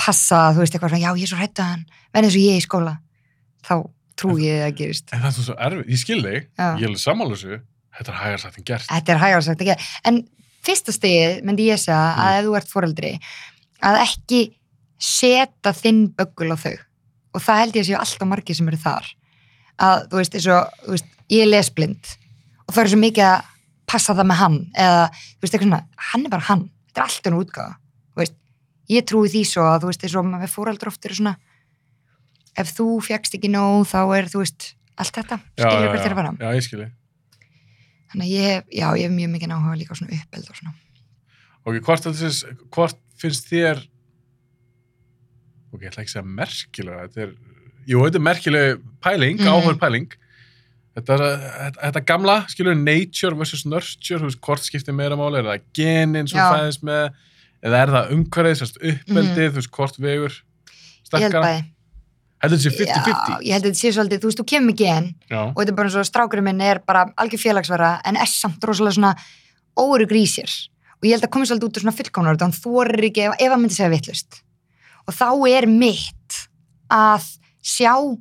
S2: passa, þú veist eitthvað svona, já ég er svo hrættu hann verð eins og ég í skóla þá trúi ég að það gerist
S1: En það er svo erfið, ég skil þig
S2: Já.
S1: ég er alveg sammála þessu, þetta er hægar sagt en gert
S2: Þetta er hægar sagt ekki. En fyrsta stegið myndi ég segja
S1: Mm.
S2: að ef þú ert foreldri að ekki setja þinn böggul á þau og það held ég að séu alltaf margir sem eru þar að þú veist, eins og, þú veist ég er lesblind og það er svo mikið að passa það með hann eða þú veist, eitthvað svona, hann er bara hann þetta er allt hann útgáða þú veist, ég trúi því svo að þú veist, eins og með foreldri oft eru svona ef þú fjækst ekki nóg þá er þú veist, allt þetta
S1: Já, já,
S2: skilur hvert
S1: já.
S2: þeirra fara
S1: já, ég skil þig
S2: Þannig að ég hef, já, ég hef mjög mikið áhuga líka á svona uppeld og svona.
S1: Ok, hvort, heldur þess- hvort finnst þér ok, ég ætla ekki að segja merkilega þetta er, jú, þetta er merkileg pæling, mm
S2: Mhm.
S1: pæling þetta, er, þetta, þetta gamla, skilur nature versus nurture, þú veist, hvort skiptir meira máli, er það genin sem
S2: Já.
S1: fæðist með eða er það umhverfið, sérst uppeldið þú veist, hvort vegur
S2: Mhm. Ég held
S1: stakkara,
S2: bæði.
S1: heldur þetta sé
S2: Já,
S1: 50-50
S2: ég held að þetta sé svolítið, þú veist, þú kemur ekki enn
S1: já,
S2: og þetta er bara eins og strákurinn minn er bara algjör félagsvara en er samt rosalega svona órug í sér. Og ég held að komið svolítið út úr svona fullkomnar, þannig að þú vorir ekki ef, ef að myndi segja vittlust. Og þá er mitt að sjá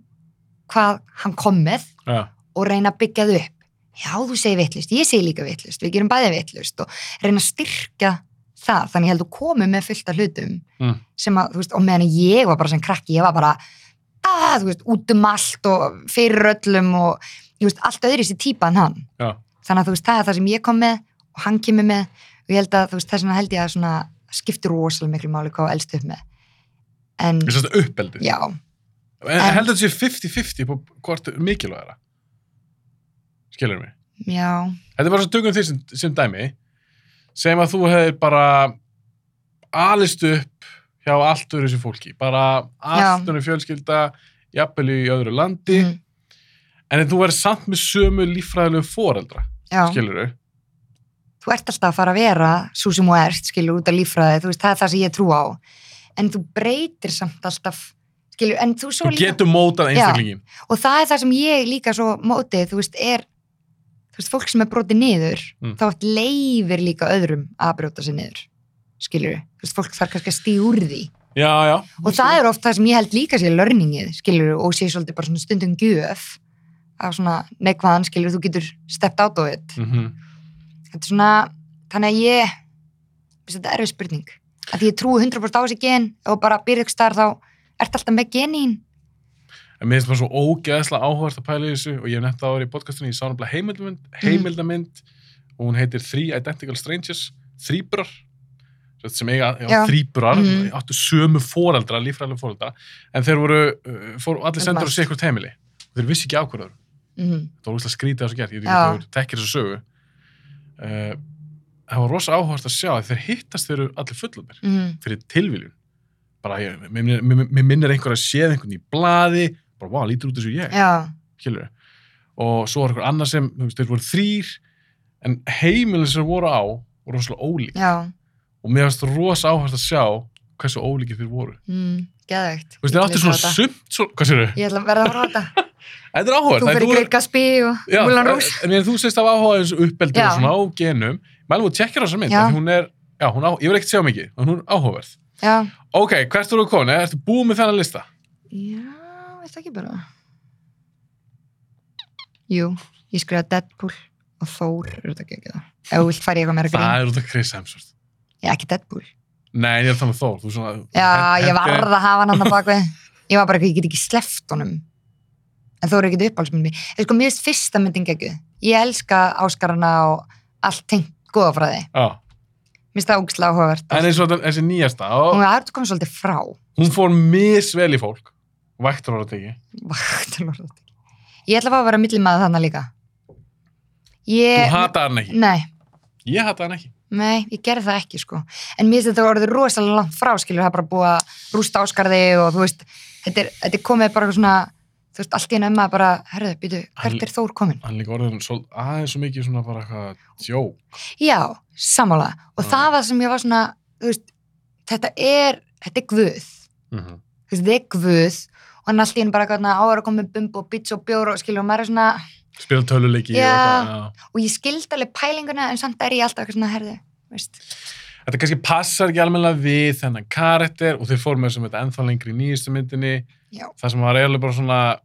S2: hvað hann kom með
S1: já,
S2: og reyna að byggja þau upp. Já, þú segir vittlust, ég segi líka vittlust, við gerum bæði vittlust og reyna að styrka það. Þannig ég held að þú komið með fullt af hlutum
S1: Mm.
S2: sem að, þú veist, og meðan ég var bara sem krakki, ég var bara, að, þú veist, út um allt og fyrir öllum og, þú veist, allt öðru sér típa en hann.
S1: já,
S2: Þannig að þú veist, það er það sem ég kom með og hann kemur með og ég held að, þú veist, þess vegna held ég að svona skiptir rosalega miklu máli hvað elst upp með. En,
S1: þess að uppeldið
S2: já,
S1: en,
S2: en-
S1: heldur þetta sé 50-50 på hvort mikilvægara skilur mig
S2: já,
S1: Þetta er bara svo tökum því sem, sem dæmi segjum að þú hefðir bara alist upp hjá allt öðru þessu fólki bara allt
S2: Já.
S1: öðru fjölskylda jafnvel í öðru landi
S2: mm,
S1: en þú verður samt með sömu líffræðilegu foreldra,
S2: já.
S1: skilur þau
S2: þú ert alltaf að fara að vera svo sem þú ert, skilur, út af líffræði, þú veist, það er það sem ég trú á. En þú breytir samt alltaf, skilur, en þú svo
S1: þú getur mótað einstaklingin
S2: og það er það sem ég líka svo mótið, þú veist, er, þú veist, fólk sem er brotið niður,
S1: Mm.
S2: þá oft leifir líka öðrum að brjóta sig niður, skilur, þú veist, fólk þarf kannski að stíða úr því.
S1: já, já,
S2: Og það er oft það sem ég held líka sé learningið, skilur, og sé svolítið bara svona stundum gjöf af svona neikvaðan, skilur, þú getur stepped out of it
S1: mm
S2: þetta er svona, þannig að ég veist, þetta er erfið spurning að ég trúi 100% á þessi gen og bara byrja ykkur starf þá ertu alltaf með genin
S1: en mér finnst bara svo ógeðslega áhverst að pæla í þessu og ég hef nefnt áður í podcastinu, ég sá náttúrulega
S2: Mm.
S1: heimildamynd, heimildamynd og hún heitir Three Identical Strangers, þrýbrar sem sagt, sem eiga
S2: Já.
S1: já. þrýburar,
S2: Mhm.
S1: áttu sömu foreldra, lífræðilega foreldra, en þeir voru, uh, fór, allir sendur á
S2: Margt.
S1: sikkurt heimili og þeir vissi ekki ákvörður.
S2: mhm,
S1: Það var úrslega skrítið að þessu gert, ég veit
S2: Já.
S1: ekki þú tekkir þessu sögu. Uh, það var rosa áhugast að sjá að þeir hittast þeir eru allir fullandir
S2: mhm,
S1: fyrir tilviljun. Bara, ég, mér, minnir- mér, mér minnir einhver að séð einhvern í blaði, bara, vá, lítur út þessu ég
S2: já,
S1: skilur og svo var einhver annar sem, þú veist, þeir voru þrýr en heimilin sem þeir voru á voru rosalega ólík
S2: já,
S1: og mér finnst rosa áherslu að sjá hversu ólíkir þeir voru
S2: mhm, geðveikt.
S1: þú veist, þeir
S2: Ég
S1: áttu
S2: ætla að
S1: svona
S2: sjá þetta.
S1: sumt svo, hvað sér þau?
S2: Ég ætla að verða að horfa á þetta.
S1: Þetta er áhugað
S2: Þú fyrir Great Gatsby og Mulan Rouge.
S1: en en þú sést af áhugað eins og uppeldi
S2: Já.
S1: og svona á genum mælum þú tjekkir á þessa mynd
S2: Já.
S1: af því hún er, já, hún á, ég vil ekkert sjá mikið en hún er áhugaverð
S2: Já.
S1: ok, hvert eru þú komin, eða ertu búið með þennan lista?
S2: Já, veit það ekki bara. Jú, ég skrifa Deadpool og Thor, eru þetta ekki ekki það? Ef þú vilt fara í eitthvað meira grín.
S1: það er út af Chris Hemsworth
S2: Já, ekki Deadpool.
S1: nei, ég er þannig Þór, þú svona
S2: Já,
S1: hent-
S2: ég
S1: henti-
S2: varð að hafa hann annað bakvið. Ég var bara ekki, ég get ekki sleppt honum. En þó er ekki uppáhaldsmynd mér. Ég sko, mér finnst fyrsta myndin geggjuð. Ég elska áskarana og allt tengt góða frá því.
S1: Já.
S2: Mér finnst það ógislega áhugavert.
S1: en eins og þetta- þessi nýjasta og,
S2: Hún er aðra komið svolítið frá.
S1: hún fór misvel í fólk vægtur var þetta ekki
S2: Vaktalorð. Ég ætla að fá að vera milli maður þannig líka.
S1: þú
S2: Ég...
S1: hataði hann ekki,
S2: Nei,
S1: ég hataði hann ekki
S2: nei, ég gerði það ekki sko. En mér finnst þetta orðið rosalega langt frá, skilur, það er bara búið að rústa áskarði og þú veist, þetta er, þetta er komið bara eitthvað svona, þú veist, allt í enn emma bara, herðu, býtu,
S1: Hann-
S2: hvert er Þór komin?
S1: hann er líka orðin svol, aðeins svo mikið svona bara eitthvað sjó
S2: Já, sammála. Og
S1: Já.
S2: það var sem ég var svona, þú veist, þetta er, þetta er guð.
S1: mm -hmm.
S2: þú veist, þið er guð og hann allt í enn bara gana á að koma með bumbu og bits og bjór og skilur og maður er svona,
S1: spila töluleiki og
S2: Já.
S1: eitthvað, já.
S2: og ég skildi alveg pælinguna en samt er ég alltaf eitthvað svona herði veist.
S1: þetta kannski passar ekki almennilega við þennan karakter og þeir fór með sem þetta ennþá lengri í nýjastu myndinni
S2: Já.
S1: það sem var eiginlega bara svona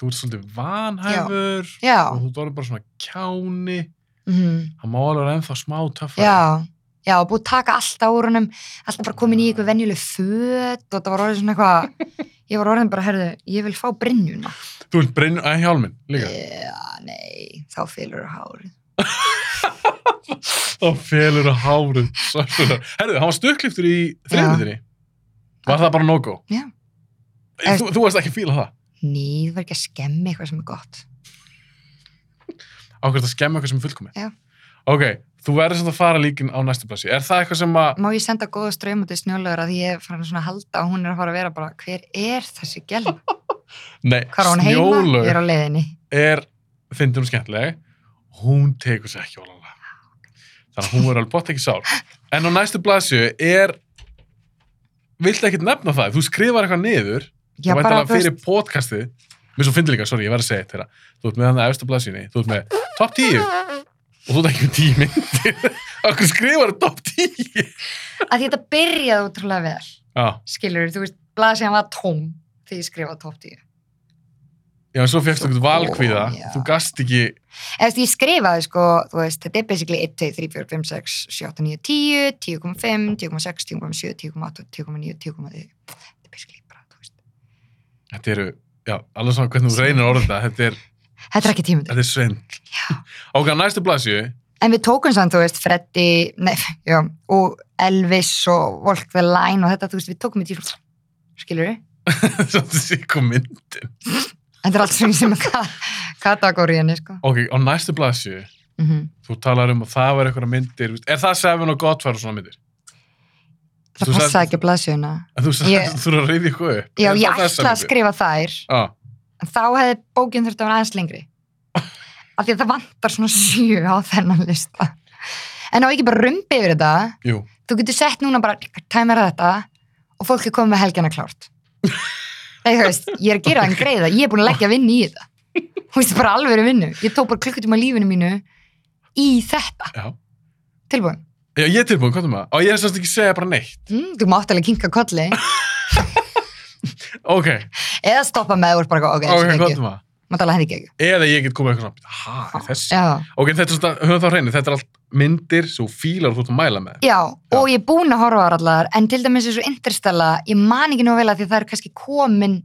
S1: þú ert svolítið vanhæfur
S2: já,
S1: og þú ert orðin bara svona kjáni
S2: mm
S1: hann má alveg vera ennþá smá töffar
S2: já já, og búið að taka alltaf úr honum alltaf bara komin í eitthvað venjuleg föt og það var orðið svona eitthvað ég var orðin bara herði, ég vil fá brinnjuna
S1: þú ert brinn að hjálminn líka
S2: Eh. já, nei, þá fylgur hárið
S1: Þá félur að hárið svartunar. Herðu, hann var stökkliftur í þriðmyndinni. Var það bara no-go?
S2: Já.
S1: Ég- Þú, þú varst ekki að fíla það.
S2: ný, þú verður ekki að skemmi eitthvað sem er gott
S1: Á hvert að skemma eitthvað sem er fullkomið.
S2: Já.
S1: Ok, þú verður samt að fara líkin á næstu plassi. Er það eitthvað sem að...
S2: má ég senda góða ströymandi snjólagur að ég er farin svona að halda og hún er að fara að vera bara hver er þessi gæl,
S1: Nei,
S2: hvað er hún heima
S1: Snjólaug
S2: ég er á leiðinni
S1: er, finnst hún skemmtileg, hún tekur sér ekki ólega. Þannig að hún er alveg bótt ekki sár. En á næstu plassi er... Viltu ekkert nefna það? Þú skrifar eitthvað niður
S2: já,
S1: og
S2: bara,
S1: væntalega
S2: þú veist,
S1: fyrir podcastið mér svo fyndir líka, sorry, ég verð að segja þetta þú ert með hann að efstu blaðsýni, þú ert með top 10 og þú ert ekki með 10 myndir okkur skrifar top 10
S2: að því þetta byrjaði útrúlega vel
S1: já,
S2: skilur, þú veist, blaða sem var tóm þegar ég skrifaði top 10
S1: já, en svo fegst okkur valkvíða
S2: Já.
S1: þú gast ekki,
S2: eða þú veist, ég skrifaði sko, þú veist, þetta er basically 1, 2, 3, 4, 5, 6, 7, 8, 9, 10 10,5, 10,6, 10,7, 10,8 10,9, 10,10 þetta er basically bara, þú veist,
S1: þetta eru já, alveg svona hvernig þú reynir orða þetta þetta er,
S2: þetta er ekki tímundur
S1: þetta er svend ok, á næstu blaðsýni
S2: en við tókum samt, þú veist, Freddy nei, já, og Elvis og Walk the Line og þetta, þú veist, við tókum þetta í tímundur skilur við,
S1: svo þetta sé kom myndin
S2: þetta er allt svona sem að kategóriðinni, sko
S1: ok, á næstu blaðsýni
S2: mm
S1: þú talar um að það var eitthvað myndir þú veist, er það Seven og Godfather og svona myndir? Þú
S2: það
S1: sagðir-
S2: passaði ekki að blaðsjöna
S1: en þú
S2: Ég-
S1: sagðist- þú þurfum að reyði eitthvað upp
S2: já,
S1: Er
S2: ég
S1: það þessar
S2: ætla að
S1: myndir?
S2: skrifa þær
S1: Já.
S2: en þá hefði bókin þurft að vera aðeins lengri af því að það vantar svona sjö á þennan lista en á ekki bara rumbi yfir þetta
S1: Jú,
S2: þú getur sett núna bara tæmera þetta og fólk er komið með helgjana klárt Nei, þú veist, ég er að gera þann greiða ég er búin að leggja vinnu í þetta þú veist, bara alveg vinnu ég tók bara klukkutum á lífinu mínu í þetta,
S1: já.
S2: tilbúin
S1: Já, ég er tilbúin, hvað er maður? Og ég er semst ekki að segja bara neitt.
S2: mm, þú mátt alveg kinka kolli
S1: Ok,
S2: eða stoppa með og bara, ok,
S1: ok,
S2: okay
S1: hvað
S2: ekki,
S1: er maður?
S2: mátt alveg henni ekki
S1: Eða ég get komið eitthvað svona, ha, er þessi?
S2: já
S1: Ok, þetta er svona, höfum það á hreinu, þetta er allt myndir sem þú fílar og þú ert að mæla með.
S2: Já,
S1: Já.
S2: og ég er búin að horfa á þær allar, en til dæmis eins og Interstellar, ég man ekki nú vel að því að það er kannski komin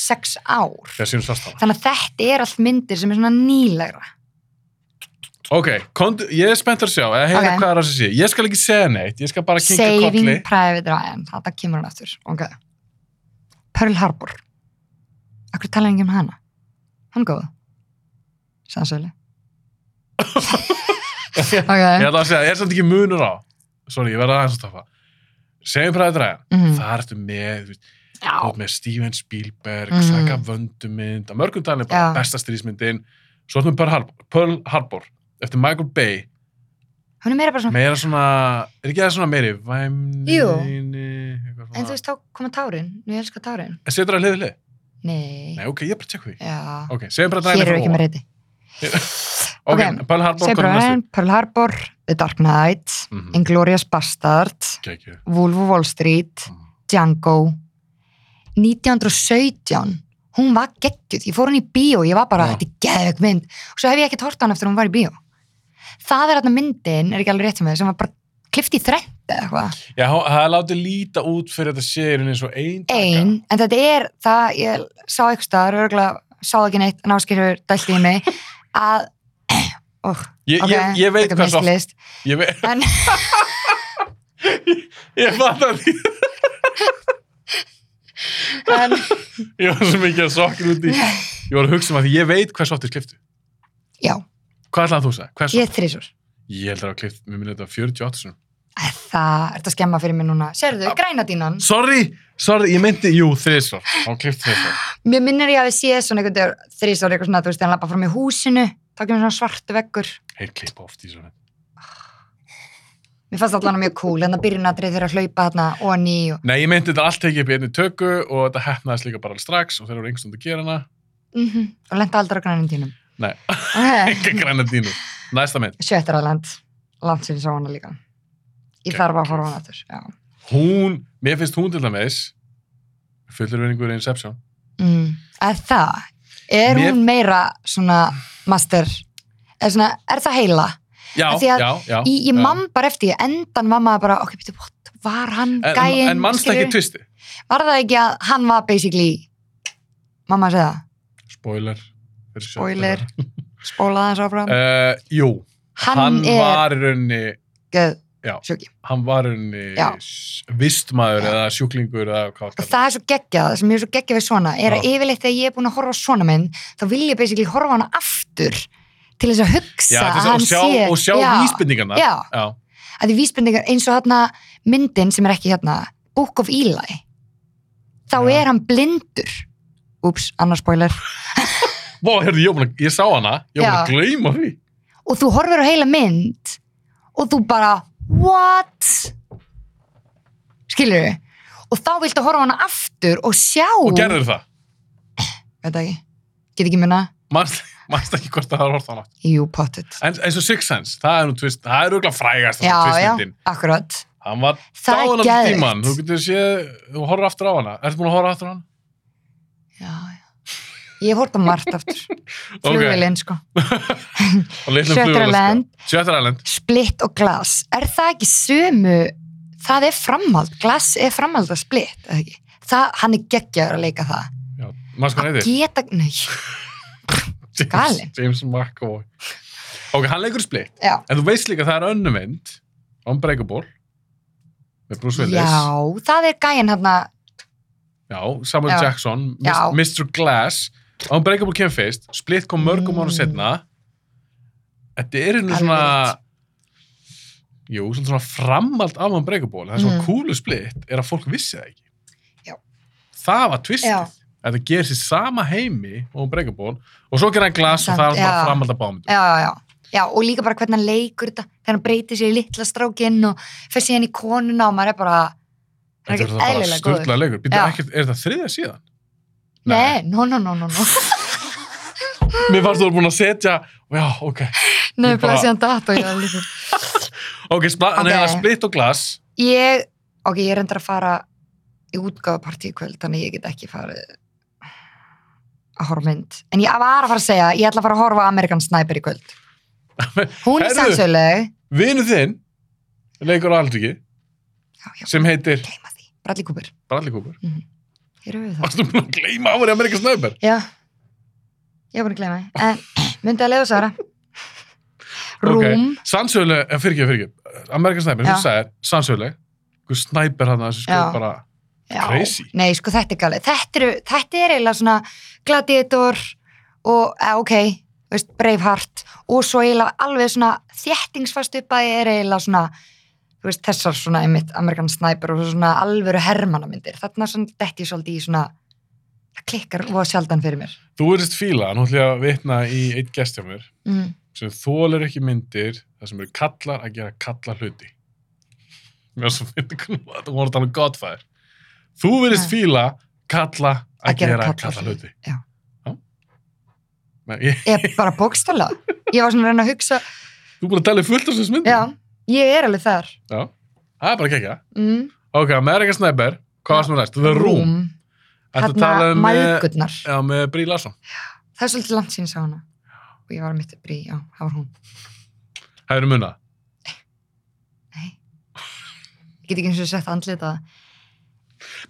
S2: sex ár.
S1: um Þegar síðan svarst hana.
S2: Þannig að þetta er allt myndir sem er svona nýlegra.
S1: Ok, kondu, ég er spennt að sjá, eða heyra
S2: Ok.
S1: hvað er að sé. Ég skal ekki segja neitt, ég skal bara kinka kolli.
S2: Saving Private Ryan, þetta kemur hann aftur ok Pearl Harbor Akkur tala enginn um hana Hann góð Sannsöli
S1: ég
S2: Ok,
S1: ætla að segja, ég er samt ekki munur á. Sorry, ég verða aðeins að taffa. Saving Private Ryan,
S2: Mhm.
S1: það ertu með, þú veist,
S2: já,
S1: þú ert með Steven Spielberg,
S2: Mhm.
S1: mm. Saga Vöndumynd, að mörgum talin bara
S2: Já.
S1: besta strísmyndin. Svo ertu með Pearl Harbor, Pearl Harbor, eftir Michael Bay,
S2: hún er meira bara svona
S1: meira svona, er ekki það svona meiri, væmni,
S2: Mhm. Jú.
S1: eitthvað
S2: En þú
S1: svona.
S2: veist, þá koma tárin, nú ég elska tárin
S1: En setur það liðið lið?
S2: Nei,
S1: Nei, ok, ég er bara að tjekka því.
S2: já
S1: Ok, Saving Private Ryan er
S2: Hér eru
S1: fyrir
S2: ekki
S1: ofan.
S2: með reyti
S1: Ok,
S2: Ok,
S1: Pearl Harbor, hvað er
S2: Saving Private
S1: næstu?
S2: Ryan, Pearl Harbor The Dark Knight,
S1: Mhm.
S2: Inglourious Bastard
S1: Gekkið.
S2: Wolf of Wall Street
S1: Mhm.
S2: Django 1917 hún var geggjuð, ég fór hún í bíó ég var bara,
S1: Já.
S2: þetta er geggjöð mynd og svo hef ég ekki hort hann eftir hún var í bíó það er þarna myndin, er ekki alveg rétt sem það sem var bara klift í þrengt eða eitthvað
S1: Já, hó- það er látið líta út fyrir þetta sérinn eins og ein taka.
S2: ein, en þetta er það, ég sá eitthvað staðar, örgulega sá ekki neitt, náskilur, dælti í mig að ó,
S1: Ég,
S2: ok,
S1: ég, ég veit
S2: þetta er
S1: hvað svo
S2: mislist.
S1: Ég veit
S2: En-
S1: Ég fann að því
S2: en,
S1: Ég var svo mikið að sokkin út í Ég var að hugsa um að því ég veit hvað svo aftur kliftu
S2: já,
S1: Hvað ætlaði þú að segja? Hvað svo?
S2: ég þrísur
S1: Ég held að það var klift, mér minni þetta var 48 sinum
S2: það er þetta skemma fyrir mig núna sérðu, græna dínan
S1: Sorry, sorry, ég myndi, jú, þriðsvar Á klift þriðsvar
S2: Mér minnir ég að við séð svona einhvern veginn þrísar eitthvað svona, þú veist, þegar hann lappa fram í húsinu, þá kemur svona svartu veggur.
S1: Heir klippa oft í svona
S2: Mér fannst allan mjög cool, hérna byrjunadrið þegar að hlaupa hérna og ný og...
S1: Nei, ég myndi þetta allt tekið upp í einni tökku og þetta hefnaðist líka bara alveg strax og þeir voru engstund að gera hana
S2: Mm Og lenda aldrei á grænum tínum.
S1: Nei.
S2: Ok.
S1: Enga græna dínu Næsta mynd
S2: Sjöttaraland, land sem ég sá hana líka. Ég þarf að horfa á hana aftur, já.
S1: hún, mér finnst hún til dæmis fullur verningur Inception
S2: Mm. Er það, er
S1: Mér-
S2: hún meira svona master, er, svona, er það heila?
S1: já,
S2: Af því að
S1: já, já
S2: Í, ég
S1: já.
S2: man bara eftir, ég endan var maður bara, ok, betur, what, var hann
S1: en,
S2: gæinn?
S1: en mannst ekki
S2: skilurðu?
S1: tvisti
S2: Var það ekki að hann var basically Mamma segja það,
S1: spoiler fyrir sjálf.
S2: Spoiler. spólaði hans áfram
S1: Eh, jú,
S2: Hann,
S1: hann,
S2: er
S1: var
S2: var...
S1: í rauninni Já.
S2: sjúki
S1: hann var í rauninni
S2: Já.
S1: s- vistmaður
S2: Já.
S1: eða sjúklingur eða hvað
S2: Og
S1: var
S2: það er svo geggjað, það sem ég er svo geggjað við svona er að
S1: Já.
S2: yfirleitt þegar ég er búin að horfa á svona mynd þá vil ég basically horfa á hana aftur til þess að hugsa
S1: Já, þess, að-
S2: að
S1: og
S2: hann
S1: sjá,
S2: sé
S1: og sjá
S2: já,
S1: vísbendingarnar
S2: Já,
S1: já,
S2: að því vísbendingar eins og hérna myndin sem er ekki hérna Book of Eli þá
S1: Já.
S2: er hann blindur Úps, annar spoiler
S1: Vá, heyrðu, ég, var búinn að- ég sá hana ég var búin að gleyma því
S2: og þú horfir á heila mynd og þú bara what skilur og þá viltu horfa á hana aftur og sjá
S1: og gerður það,
S2: veit það ekki, get ekki minna
S1: mannst, mannst ekki hvort það var hort hana
S2: jú, pottet
S1: en, eins og Six Sense, það er nú tvist það er auðvitað frægast
S2: já, já,
S1: tvistmyndin
S2: akkurat
S1: hann var
S2: það
S1: Dáðan
S2: er
S1: alltaf tíman, þú
S2: geðvikt
S1: getur séð, þú horfður aftur á hana. Ertu búin að horfa aftur á hana?
S2: já, já. ég hef hort á margt aftur flugvélinn sko,
S1: Og litlum
S2: Shutter
S1: flugvélaskan.
S2: Island.
S1: Shutter Island.
S2: splitt og glas er það ekki sömu það er framhald, glas er framhald að splitt, eða ekki það, hann er geggjaður að leika það
S1: Já, maður sko
S2: að
S1: neyðir.
S2: geta, nei, galinn.
S1: James McAvoy. Ok, hann leikur splitt.
S2: já
S1: En þú veist líka að það er önnu mynd, Unbreakable, með Bruce Willis.
S2: Já, það er gæinn hérna,
S1: Já, Samuel
S2: Já.
S1: Jackson,
S2: Já.
S1: Mis- Mr. Glass. Unbreakable kemur fyrst, splitt kom mörgum
S2: Mm.
S1: ára setna. Þetta er einu
S2: Alveg
S1: svona...
S2: rétt.
S1: Jú, svolítið svona framald af Unbreakable. Það sem mm.
S2: Mm.
S1: kúlu splitt er að fólk vissi það ekki.
S2: Já.
S1: Það var tvistið.
S2: Já.
S1: Þetta gerir sér sama heimi og Unbreakable og svo gerir hann glas og
S2: Samt,
S1: það er bara
S2: já.
S1: framald af bámyndum.
S2: já, já, já, já, og líka bara hvernig hann leikur þetta, þegar hann breytir sér í litla strákinn og fyrir síðan í konuna og maður er bara,
S1: Þetta
S2: hann
S1: er
S2: er ekki
S1: það bara
S2: eðlilega góður.
S1: störtlega leikur. Býttu,
S2: Já.
S1: ekkert, er það þriðja síðan?
S2: Nei, no, no, no, no, no,
S1: Mér fannst þú að búin að setja, já, ok.
S2: nei,
S1: Ég bara-
S2: bara síðan datt og ég var líka.
S1: Ok, spla,
S2: Ok.
S1: okay. Neina, splitt og glas.
S2: Ég, ok, ég er endur að fara í útgáfupartí í kvöld, þannig ég get ekki farið að horfa á mynd. En ég var að fara að segja, ég ætla að fara að horfa á Amerikan Sniper í kvöld. Hún er
S1: Herðu.
S2: sannsöguleg.
S1: Vinu þinn leikur á aldriki
S2: Já, já,
S1: sem heitir
S2: gleyma því. Bradley Cooper. Mhm.
S1: Bradley Cooper.
S2: Hér við það.
S1: Varstu búin að gleyma að voru Amerika Snæber?
S2: Já, ég er búin að gleyma því. En myndi að leiða Sara. rúm
S1: Sannsöguleg, en fyrir ekki, fyrir ekki. Amerikan Sniper, eins og þú sagðir, sannsöguleg. Einhver Sniper hann að þessu sko
S2: Já.
S1: bara,
S2: Já.
S1: Crazy.
S2: Nei, sko þetta er galið. Þetta, eru, þetta er eiginlega svona gladiator og, eh, ok, veist, Braveheart og svo eiginlega alveg svona þjættingsfast upp að er eiginlega svona þú veist, þessar svona einmitt Amerikan Sniper og svona alvöru hermannamyndir. Þarna svona detti ég svolítið í svona það klikkar og sjaldan fyrir mér.
S1: þú erist fíla, nú ætlum ég að vitna í eitt gest hjá mér,
S2: Mm.
S1: sem þólar ekki myndir, það sem eru kallar að gera kallar hluti. Mér er svo myndið, þú voru að tala um Godfire. Þú verist
S2: Já.
S1: fíla kalla að,
S2: Að gera
S1: gera, gera
S2: kallar
S1: kallar hluti.
S2: Já.
S1: Nei, ég,
S2: Ég bara bókstala. Ég var svona að reyna að hugsa,
S1: þú er búin að tala um fullt af þessum myndum.
S2: já, ég er alveg þar.
S1: Já. Það er bara kekja.
S2: Mm.
S1: Ok, Amerikan Sniper, hvað varst með næst? The Room. Ertu að tala
S2: Þarna
S1: um með,
S2: mæðgurnar.
S1: já, með Brí Larsson.
S2: Það er svolítið langt sín sá hana. Og ég var mitt að brí, já, það var hún.
S1: Hefur munað?
S2: Nei. Ég get ekki eins og sett andlið það.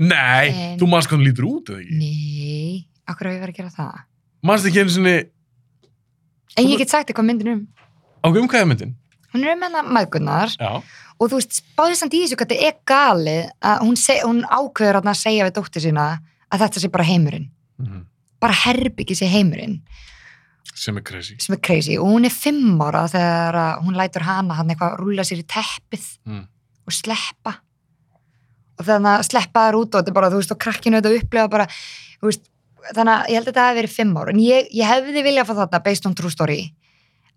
S1: Nei,
S2: En-
S1: þú manst hvað hún lítur út eða ekki?
S2: Nei, okkur hef ég verið að gera það.
S1: Manst ekki einu sinni,
S2: En
S1: Þú-
S2: ég get sagt þér hvað myndin er um.
S1: á um hvað er myndin?
S2: Hún er um hennar maðgunnar
S1: Já.
S2: og þú veist, spáðið samt í þessu hvað þetta er galið að hún, seg, hún ákveður þarna að segja við dóttir sína að þetta sé bara heimurinn. Bara herbyggi sé heimurinn
S1: Mhm, Sem er crazy.
S2: sem er crazy og hún er fimm ára þegar að hún lætur hana hann eitthvað rúla sér í teppið
S1: Mm.
S2: og sleppa og þannig að sleppa þær út og þetta er bara, þú veist, og krakkinu þetta upplega bara, þú veist, þannig að ég held að þetta hafi verið fimm ára, en ég, ég hefði viljað fá þetta based on true story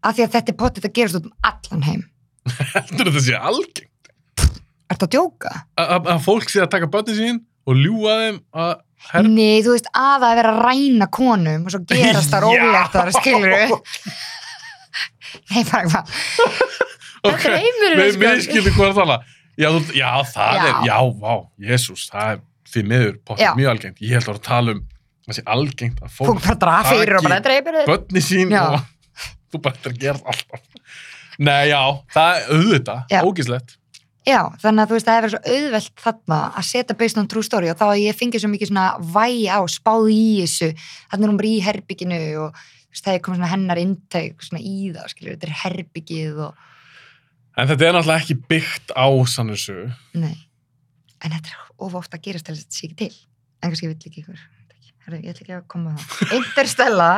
S2: af því að þetta er potið að gerast út um allan heim
S1: Heldur þetta sé algeng?
S2: Ertu að djóka?
S1: Að- Að að fólk sé að taka börnin sín og ljúa þeim að her...
S2: Nei, þú veist, að það er verið að ræna konum og svo gerast það
S1: Já.
S2: rólegt þar, skilur Nei, bara hvað, þetta er
S1: Nei,
S2: heimurinn,
S1: mér skilur hvað er það að Já, þú- já, það
S2: Já.
S1: er, já, vá, jésús, það er því miður, potið
S2: Já.
S1: mjög algengt. Ég held að vera að tala um, það sé algengt að fólk
S2: Fólk bara draða fyrir og bara dreipir þau.
S1: börni sín
S2: Já.
S1: og þú bara ættir að gera það alltaf. Nei, já, það er auðvitað,
S2: Já.
S1: ógíslegt.
S2: Já, þannig að þú veist, það hefur verið svo auðvelt þarna að setja based on true story og þá að ég fengið svo mikið svona vægi á, spáði í þessu, þannig er hún bara í herbygginu og þú veist, það er komið svona hennar inntæk svona í það, skilur, þetta er herbyggið og,
S1: En þetta er náttúrulega ekki byggt á sanninsu.
S2: nei, en þetta er of ofta að gerast til þess að þetta sé ekki til, en kannski vill ekki ykkur, herru, ég ætla ekki að koma með það. Interstella,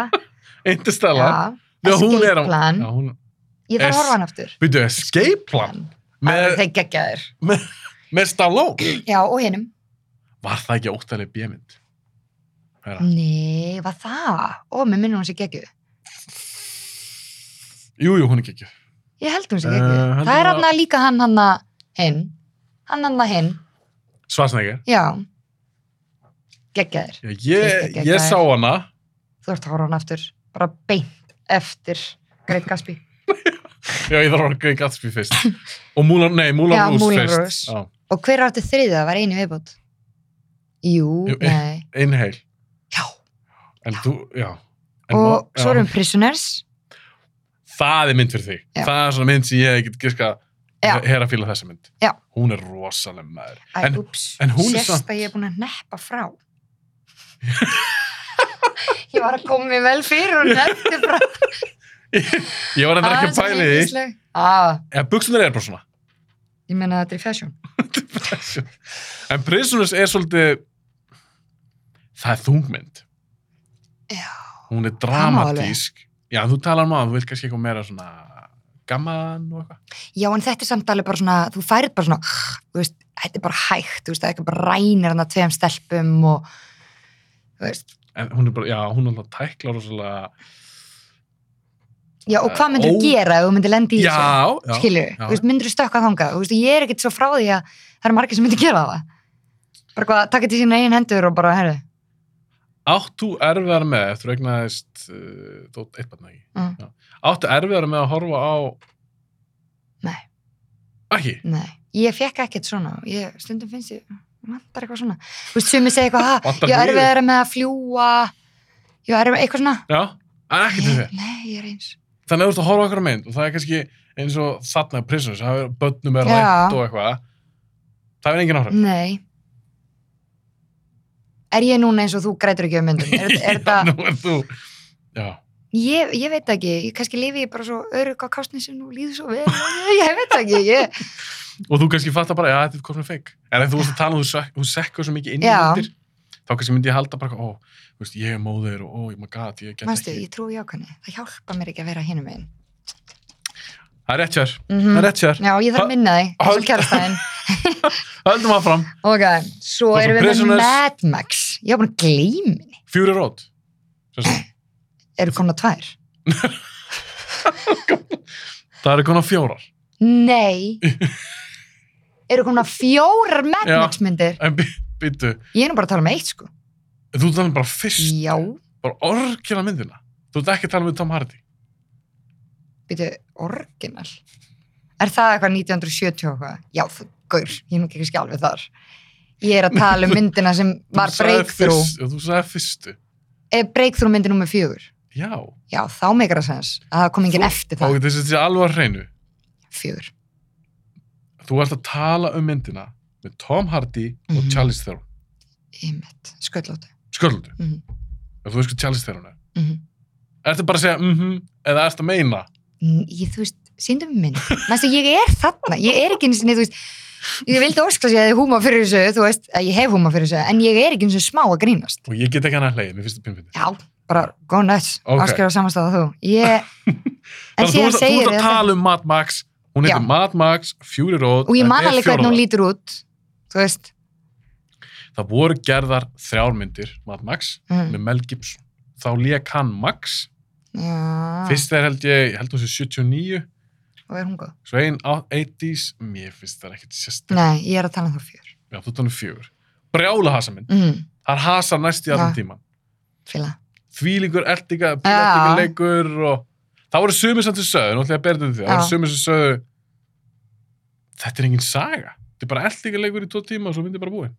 S1: Interstellar.
S2: já,
S1: Já, hún er á-
S2: escape plan,
S1: Já, hún...
S2: ég þarf að
S1: Es-
S2: horfa hann aftur.
S1: Byrju, Escape Plan
S2: með...
S1: með,
S2: Þeir geggjaðir,
S1: með, með Stallone.
S2: já, og hinnum.
S1: Var það ekki óttalega bjömynd? Herra.
S2: Nei, hvað það? Ó, mér minnum hún sé geggjuð.
S1: Jú, jú, hún er ekki.
S2: Ég held hún sig
S1: Eh,
S2: ekki.
S1: heldur
S2: það er
S1: hún
S2: hann að líka hann hann að hinn. Hann hann að hinn,
S1: Svarsnegir.
S2: já. Geggjaðir.
S1: Ég,
S2: Finnst
S1: ég,
S2: ekki
S1: ég
S2: ekki
S1: sá hana.
S2: Þú ert að horfa á hann aftur. Bara beint eftir Great Gatsby.
S1: Já, ég þarf að orga í Gatsby fyrst. Og Múlan, nei,
S2: Já,
S1: Múlan Rús
S2: Moulin
S1: fyrst.
S2: Rouge.
S1: Já,
S2: Og hver var þetta þriðið? Það var einu viðbútt. Jú,
S1: Jú, eh.
S2: nei.
S1: Inhale.
S2: Já.
S1: En þú, já. En
S2: Og
S1: ma-
S2: svo
S1: já.
S2: erum Prisoners.
S1: það er mynd fyrir þig
S2: Já.
S1: það er svona mynd sem ég get giska
S2: Já.
S1: hér að fíla þessa mynd
S2: Já.
S1: hún er rosaleg maður
S2: Æ,
S1: En-
S2: ups.
S1: en hún er
S2: Sést
S1: samt-
S2: að ég er búin að neppa frá. ég var að koma mér vel fyrir og nefndi frá.
S1: ég var endur ekki að
S2: Aðeins
S1: pæli því
S2: yndisleg. Ah,
S1: en buksunar er bara
S2: ég meina þetta er í fashion.
S1: svona en Prisoners er svolítið það er þungmynd
S2: Já.
S1: hún er
S2: Það má alveg.
S1: dramatísk já, þú talar um að þú vil kannski eitthvað meira svona gaman og eitthvað
S2: Já, en þetta er samt alveg bara svona, þú færið bara svona, þú veist, þetta er bara hægt, þú veist, það er ekki bara rænir hann að tveim stelpum og, þú veist,
S1: en hún er bara, já, hún er alltaf tækla rosalega
S2: já, og hvað myndir
S1: Ó.
S2: þú gera ef þú myndir lendi í
S1: já,
S2: þessu,
S1: já,
S2: skilju,
S1: já.
S2: þú veist, myndir þú stökka þangað, þú veist, ég er ekkit svo frá því að það er margir sem myndir gera það, bara hvað, takk þetta í sína eigin hendur og bara, herru,
S1: Áttu erfiðar með, eftir regnaðist uh, dótt eitt barn ekki
S2: Mm.
S1: Já. Áttu erfiðar með að horfa á
S2: Nei.
S1: Ekki?
S2: nei, ég fekk ekkit svona, ég, stundum finnst ég, vantar eitthvað svona, þú veist, sumi segja eitthvað, ha,
S1: Vantar
S2: ég er
S1: hugið?
S2: erfiðara með að fljúa, ég er eitthvað svona,
S1: Já, en ekki til
S2: nei,
S1: þér
S2: nei, ég er eins,
S1: Þannig að þú ert að horfa okkur á mynd og það er kannski eins og þarna prisoners, það er börnum er
S2: Já.
S1: rætt og eitthvað Það er engin áhrif
S2: Nei. Er ég núna eins og þú grætur ekki um myndum? Er, er
S1: Já,
S2: það,
S1: Nú er þú Já,
S2: Ég, ég veit það ekki, ég kannski lifi ég bara svo örug á kásnisin og líður svo vel ég, ég veit það ekki, ég,
S1: og þú kannski fattar bara, já, þetta er komin feik en ef þú veist að tala, um þú, sek, þú sekkur svo mikið inn í
S2: Já.
S1: myndir þá kannski myndi ég halda bara, ó, þú veist, ég er móður og ó, ég maður gat, ég get
S2: Manstu,
S1: ekki
S2: ég trúi jákvæðni, það hjálpa mér ekki að vera hinum einn
S1: það er rétt hjör,
S2: mm
S1: það er rétt hjör
S2: Já, ég þarf að minna þig,
S1: Höld-
S2: þessu kjærstæðin
S1: höldum að fram,
S2: Ok, svo
S1: Þú ert
S2: erum
S1: svo
S2: við
S1: prisoners.
S2: með Mad Max Ég var búin að gleymi henni,
S1: fjúri rót Sem sagt,
S2: eru konar tvær
S1: það eru konar fjórar
S2: Nei Eru konar fjórar Mad
S1: Já.
S2: Max myndir
S1: en by- byttu,
S2: Ég er nú bara að tala um eitt sko
S1: þú ert þannig bara fyrst
S2: Já,
S1: bara orkjala myndina þú ert ekki að tala um Tom Hardy
S2: byrju, orginal Er það eitthvað 1970 og eitthvað? Já, þú, gaur, ég er nú ekki skjálfið þar Ég er að tala um myndina sem
S1: Þú
S2: var
S1: sagðir
S2: breakthrough
S1: fyrst- já, þú sagði fyrstu,
S2: eh, Breakthrough myndi nummer fjögur
S1: já
S2: Já, þá meikar það sens að það kom enginn eftir það
S1: og þessi þessi alvar hreinu
S2: Fjögur
S1: þú ert að tala um myndina með Tom Hardy og
S2: Mhm.
S1: Charlize Theron
S2: Ímett, sköllóttu
S1: Sköldu,
S2: Mhm.
S1: ef þú veist hvað Charlize Theron er
S2: mm
S1: Ertu bara að segja mhm, eða ertu að meina
S2: Ég, þú veist, síndum minn Næstu, ég er þarna, ég er ekki einu sinni, þú veist Ég vildi óskla sér að ég hefði húma fyrir þessu, þú veist, að ég hef húma fyrir þessu, en ég er ekki eins og smá að grínast.
S1: og ég get ekki hann að hleyja, mér finnst þetta pinnfindi
S2: Já, bara go nuts,
S1: Ok.
S2: okay. á samanstáða þú. Ég,
S1: þú ert að,
S2: en síðan
S1: þú
S2: segir
S1: ert að
S2: ég
S1: tala um Mad Max hún heitir
S2: Já.
S1: Mad Max, Fury Road
S2: og ég
S1: en
S2: man
S1: er
S2: alveg hvernig hún
S1: fjórða.
S2: lítur út, þú veist.
S1: Það voru gerðar þrjármyndir Mad Max
S2: Mm.
S1: með Mel Gibson þá lék hann Max
S2: Já,
S1: fyrst er held ég, ég held hún sé 79
S2: og er hún góð?
S1: svo ein á 80s, mér finnst það ekkit sérstaklega,
S2: Nei, ég er að tala um þá fjör.
S1: já þú tónum fjögur brjála hasa mynd,
S2: Mm,
S1: hann hasar næst í allan
S2: Já.
S1: tíman
S2: fíla.
S1: þvílingur eldinga,
S2: Já.
S1: bílættingaleikur og það voru sumir sem til söðu, nú ætla ég að berða um því, það
S2: Já.
S1: voru sumir sem söðu þetta er engin saga, þetta er bara eldingaleikur í tvo tíma og svo myndi bara búin.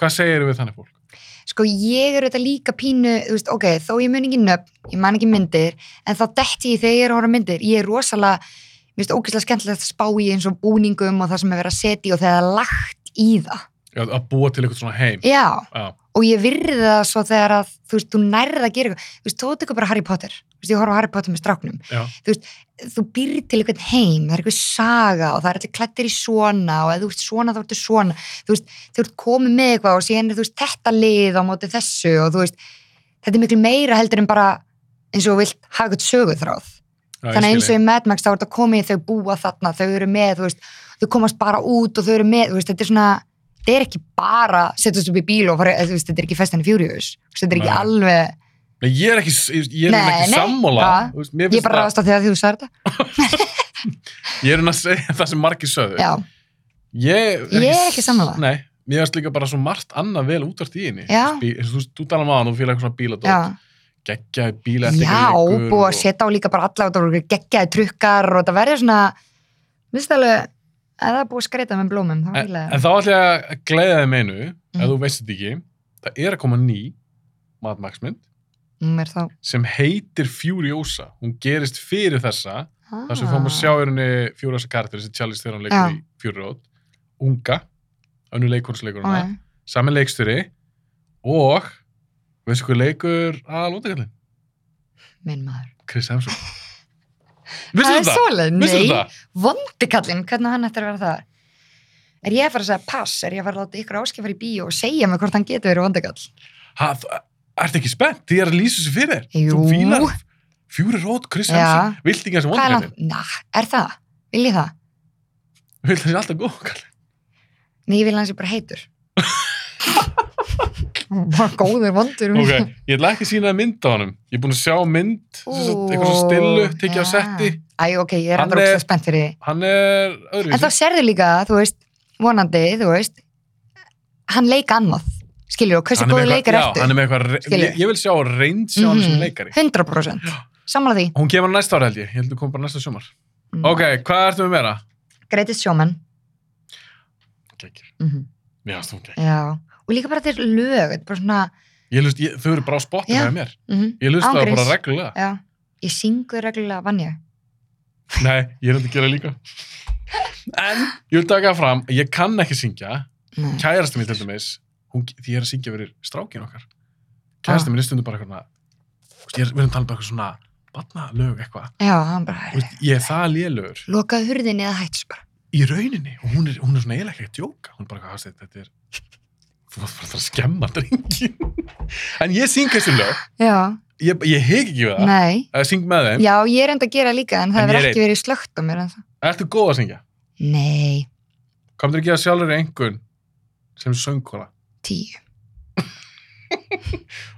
S1: Hvað segir við þannig fólk?
S2: Sko, ég er auðvitað líka pínu, þú veist, ok, þó ég mun ekki nöfn, ég man ekki myndir, en þá detti ég þegar ég er að horfa á myndir. Ég er rosalega, mér finnst ógeðslega skemmtilegt að spá í eins og búningum og það sem er verið að setja og þegar það er lagt í það.
S1: Já, að búa til eitthvað svona heim.
S2: Já,
S1: Já,
S2: og ég virði það svo þegar að, þú veist, þú nærði að gera eitthvað. Þú veist, þú tekur bara Harry Potter, þú veist, ég horfa á Harry Potter með stráknum.
S1: já,
S2: þú býrð til einhvern heim, það er einhver saga og það er allir klættir í svona og ef þú ert svona þá ertu svona, þú veist, þú ert komið með eitthvað og síðan er þú veist þetta lið á móti þessu og þú veist, þetta er miklu meira heldur en bara eins og þú vilt hafa eitthvað söguþráð.
S1: já
S2: Þannig að eins og í Mad Max þá er þetta komið þau búa þarna, þau eru með, þú veist, þau komast bara út og þau eru með, þú veist, þetta er svona, þetta er ekki bara setjast upp í bíl og fara, þú veist, þetta er ekki Fast and Furious, þú veist, þetta er ekki
S1: Nei.
S2: alveg,
S1: Nei, ég er ekki, ég, ég er
S2: Nei,
S1: ekki
S2: nei,
S1: sammála.
S2: já.
S1: Þú Veist, mér
S2: ég
S1: finnst
S2: bara
S1: það,
S2: ráðast á því að þú sagði þetta.
S1: ég er hún að segja það sem margir söðu.
S2: Já,
S1: Ég
S2: Ég er ekki sammála.
S1: Nei, mér finnst líka bara svo margt annað vel útvart í henni.
S2: Já.
S1: Bí- eins og Þú veist, þú talar maður, þú fýlar eitthvað svona bíladótt.
S2: já.
S1: geggjaði bíla
S2: Já, búið að setja á líka bara alla og það voru geggjaði trukkar og það verður svona minnst alveg að það er búið að skreita með blómum þá
S1: en,
S2: fíla ég
S1: en þá ætla ég að gleyða þið meinu ef
S2: Mhm.
S1: þú veist þetta ekki það er að koma ný Mad Max mynd
S2: það Hún er þá
S1: sem heitir Furiosa hún gerist fyrir þessa þar sem
S2: Ah.
S1: fáum að sjá er henni Furiosa karakter þessi Charlize Theron leikur
S2: Já.
S1: í Furyrót unga, önnu leikonsleikur
S2: Ok.
S1: hana okay. sami leiksturi og veistu hvað leikur að lótakallin
S2: Minn maður
S1: Chris Hemsworth
S2: Það
S1: Visstu
S2: er
S1: þetta?
S2: svoleið,
S1: Visstu
S2: nei,
S1: þetta?
S2: vondikallinn hvernig hann ætti að vera það Er ég að fara að segja pass, er ég að fara að láta ykkur áskifar í bíó og segja mig hvort hann getur verið vondikall
S1: Ha, þú- ertu ekki spennt? Þið er að lýsa þessu fyrir þér. Þú
S2: Jú.
S1: fílar fjúri rót, Chris
S2: Já.
S1: Hansen, vilt ekki þessi
S2: Hvað er
S1: vondakallin?
S2: langt? Ná, er það? Vil ég það?
S1: Vilt þessi alltaf góð kallin?
S2: Nei, ég vil hans ég bara heitur Bara Góður vondur um
S1: Ok, ég ætla ekki að sína það mynd á honum. Ég er búin að sjá mynd, sem sagt, eitthvað svo stillu, tekið á setti.
S2: Æ, ok, ég er
S1: Hann
S2: alltaf
S1: er-
S2: ógstlega spennt fyrir því
S1: Hann er öðru.
S2: En þá sérðu líka, þú veist, vonandi, þú veist, hann leik annað, skilur og hversu góðu leikar
S1: Já,
S2: ertu?
S1: hann er með eitthvað, re-
S2: Skilju.
S1: ég, ég vil sjá reynd sjá
S2: Mhm.
S1: hann sem leikari.
S2: 100%. Samla því.
S1: Hún kemur næsta ára held ég, ég held að hún kom bara næsta sumar. Ok, hvað ertu með meira?
S2: Greatest showman.
S1: Gekir.
S2: Mm
S1: Já, þú gekir.
S2: Já. Og líka bara þeir lög, þetta er bara svona,
S1: Ég hlust, ég, þau eru bara á spottinu
S2: Já.
S1: með mér.
S2: mm
S1: Ég hlust það
S2: Ángriðs.
S1: bara reglulega.
S2: já, ég syng þau reglulega vannja.
S1: Nei, ég er þetta að gera líka En, ég vil taka það fram Ég kann ekki syngja,
S2: Nei.
S1: kærasta mín til dæmis hún, Því ég er að
S2: Ah.
S1: syngja verið strákin okkar Kærasta mín er stundum bara eitthvað svona- Þú veist, Ég er verið að tala um bara eitthvað svona barnalög eitthvað
S2: já, hann bara
S1: Þú veist, ég er það lélögur
S2: lokaði hurðinni eða hættu svo bara
S1: í rauninni og hún er, hún er svona eiginlega ekki að djóka hún er bara, hvað þetta, þetta er þú varst bara að skemma drengin en ég syng þessu lög
S2: já,
S1: ég, ég heg ekki við það,
S2: nei
S1: að syng með þeim
S2: já, ég er enda að gera líka en það
S1: En ég
S2: hefur
S1: er
S2: ekki verið slögt á mér en það
S1: ertu góð að syngja?
S2: nei,
S1: komður ekki að sjálfur einhvern sem söngkona
S2: tíu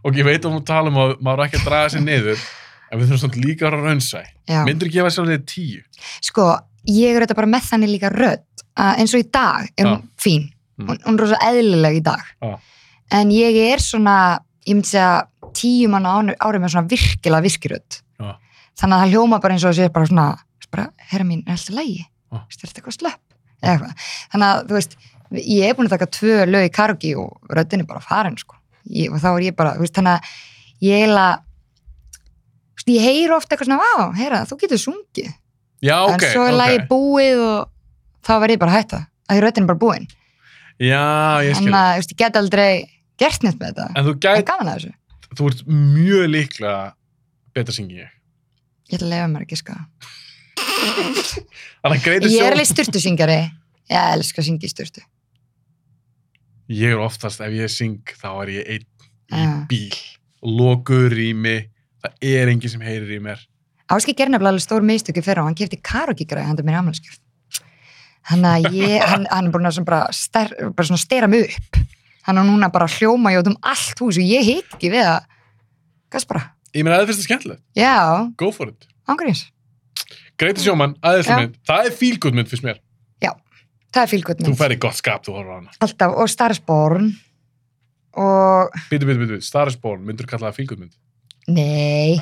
S1: og ég veit að hún tala um að maður á ekki að draga sér niður en við þurfum svona líka að vera raunsæ
S2: já.
S1: myndur ekki að vera sjálfur þig tíu
S2: sko, ég er þetta bara með þannig líka rödd að eins og í dag er hún fín
S1: Mm.
S2: hún, hún er rosa eðlileg í dag
S1: Já.
S2: en ég er svona ég myndi segja tíu mann ári, ári með svona virkilega virkirödd
S1: Já.
S2: þannig að það hljóma bara eins og sé bara svona bara, herra mín, er alltaf lægi
S1: Já.
S2: er þetta eitthvað slöpp Eða eitthvað. þannig að þú veist, ég er búin að taka tvö lög í kargi og röddin er bara farin sko. ég, og þá er ég bara, þú veist, þannig að ég heila ég heyri ofta eitthvað svona, vá, heyra, þú getur sungið
S1: já, ok,
S2: en svo er
S1: ok
S2: lagið búið og þá verð ég bara að hætta að því röddin er bara búin
S1: já, ég skil
S2: en að, þú veist, ég get aldrei gert neitt með þetta en,
S1: en þú
S2: en
S1: gæt,
S2: gaman að þessu
S1: þú ert mjög líklega betra syngi ég
S2: ég ætla að lefa mér ekki sko
S1: þannig að greita
S2: ég er
S1: sjálf
S2: alveg styrtu syngari ég elska að syngja í styrtu
S1: ég er oftast, ef ég syng þá er ég einn í
S2: Já.
S1: bíl lokuður í mig það er enginn sem heyrir í mér
S2: Áski gerði nefnilega alveg stór mistöki fyrir og hann kefti karokígræði handa mér afmæliskjöf hann að ég, hann, hann er búin að svona bara, ster, bara svona stera mig upp hann er núna bara að hljóma í út um allt hús og ég hik ekki við að gæst bara,
S1: ég meina að það finnst það skemmtilegt,
S2: já,
S1: go for it
S2: ángríns
S1: Greita sjómann, aðeinslega
S2: Já.
S1: mynd, það er fílgútt mynd fyrst mér,
S2: það er fylgjöld
S1: þú
S2: minn,
S1: færði gott skap þú horfður á hana,
S2: alltaf og starfsborn og
S1: bítu, bítu, bítu starfsbón, myndur kalla það fílgútt mynd
S2: nei,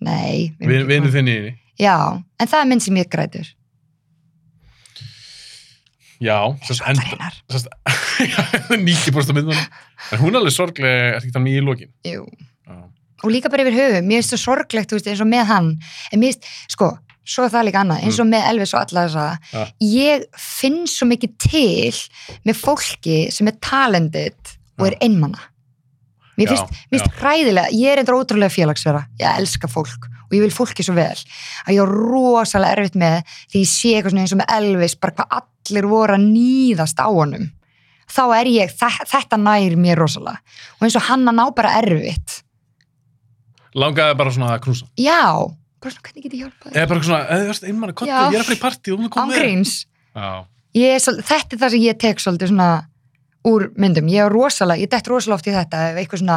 S1: Nei.
S2: nei við erum
S1: Vin-
S2: ekki
S1: vinur
S2: komin-
S1: þinn í henni,
S2: já, en það er minn sem ég grætur
S1: já sérst, en,
S2: hennar,
S1: sérst, 90% af myndunum en hún er alveg sorglega, er ekki þannig í lokin
S2: jú
S1: já,
S2: og líka bara yfir höfu, mér finnst það sorglegt þú veist, eins og með hann, en mér finnst sko, svo er það líka annað, eins og með Elvis og alla þessa,
S1: Mm. Ja.
S2: ég finn svo mikið til með fólki sem er talented og er
S1: Ja.
S2: einmana mér
S1: Já,
S2: finnst, mér finnst hræðilega, ég er endur ótrúlega félagsvera ég elska fólk og ég vil fólki svo vel að ég á rosalega erfitt með því ég sé eitthvað svona eins og með Elvis bara hvað allir voru að nýðast á honum þá er ég, þe- þetta nær mér rosalega og eins og hann að ná bara erfitt
S1: langaði bara svona að knúsa
S2: já, bara svona hvernig get ég hjálpað þér
S1: eða bara svona, eða þú veist, einmann, komdu,
S2: Já.
S1: ég er að fara í partí þú mér
S2: án
S1: komið
S2: gríns
S1: já,
S2: Ég er svol- þetta er það sem ég tek svolítið svona úr myndum, ég er rosalega, ég dett rosalega oft í þetta ef eitthvað svona,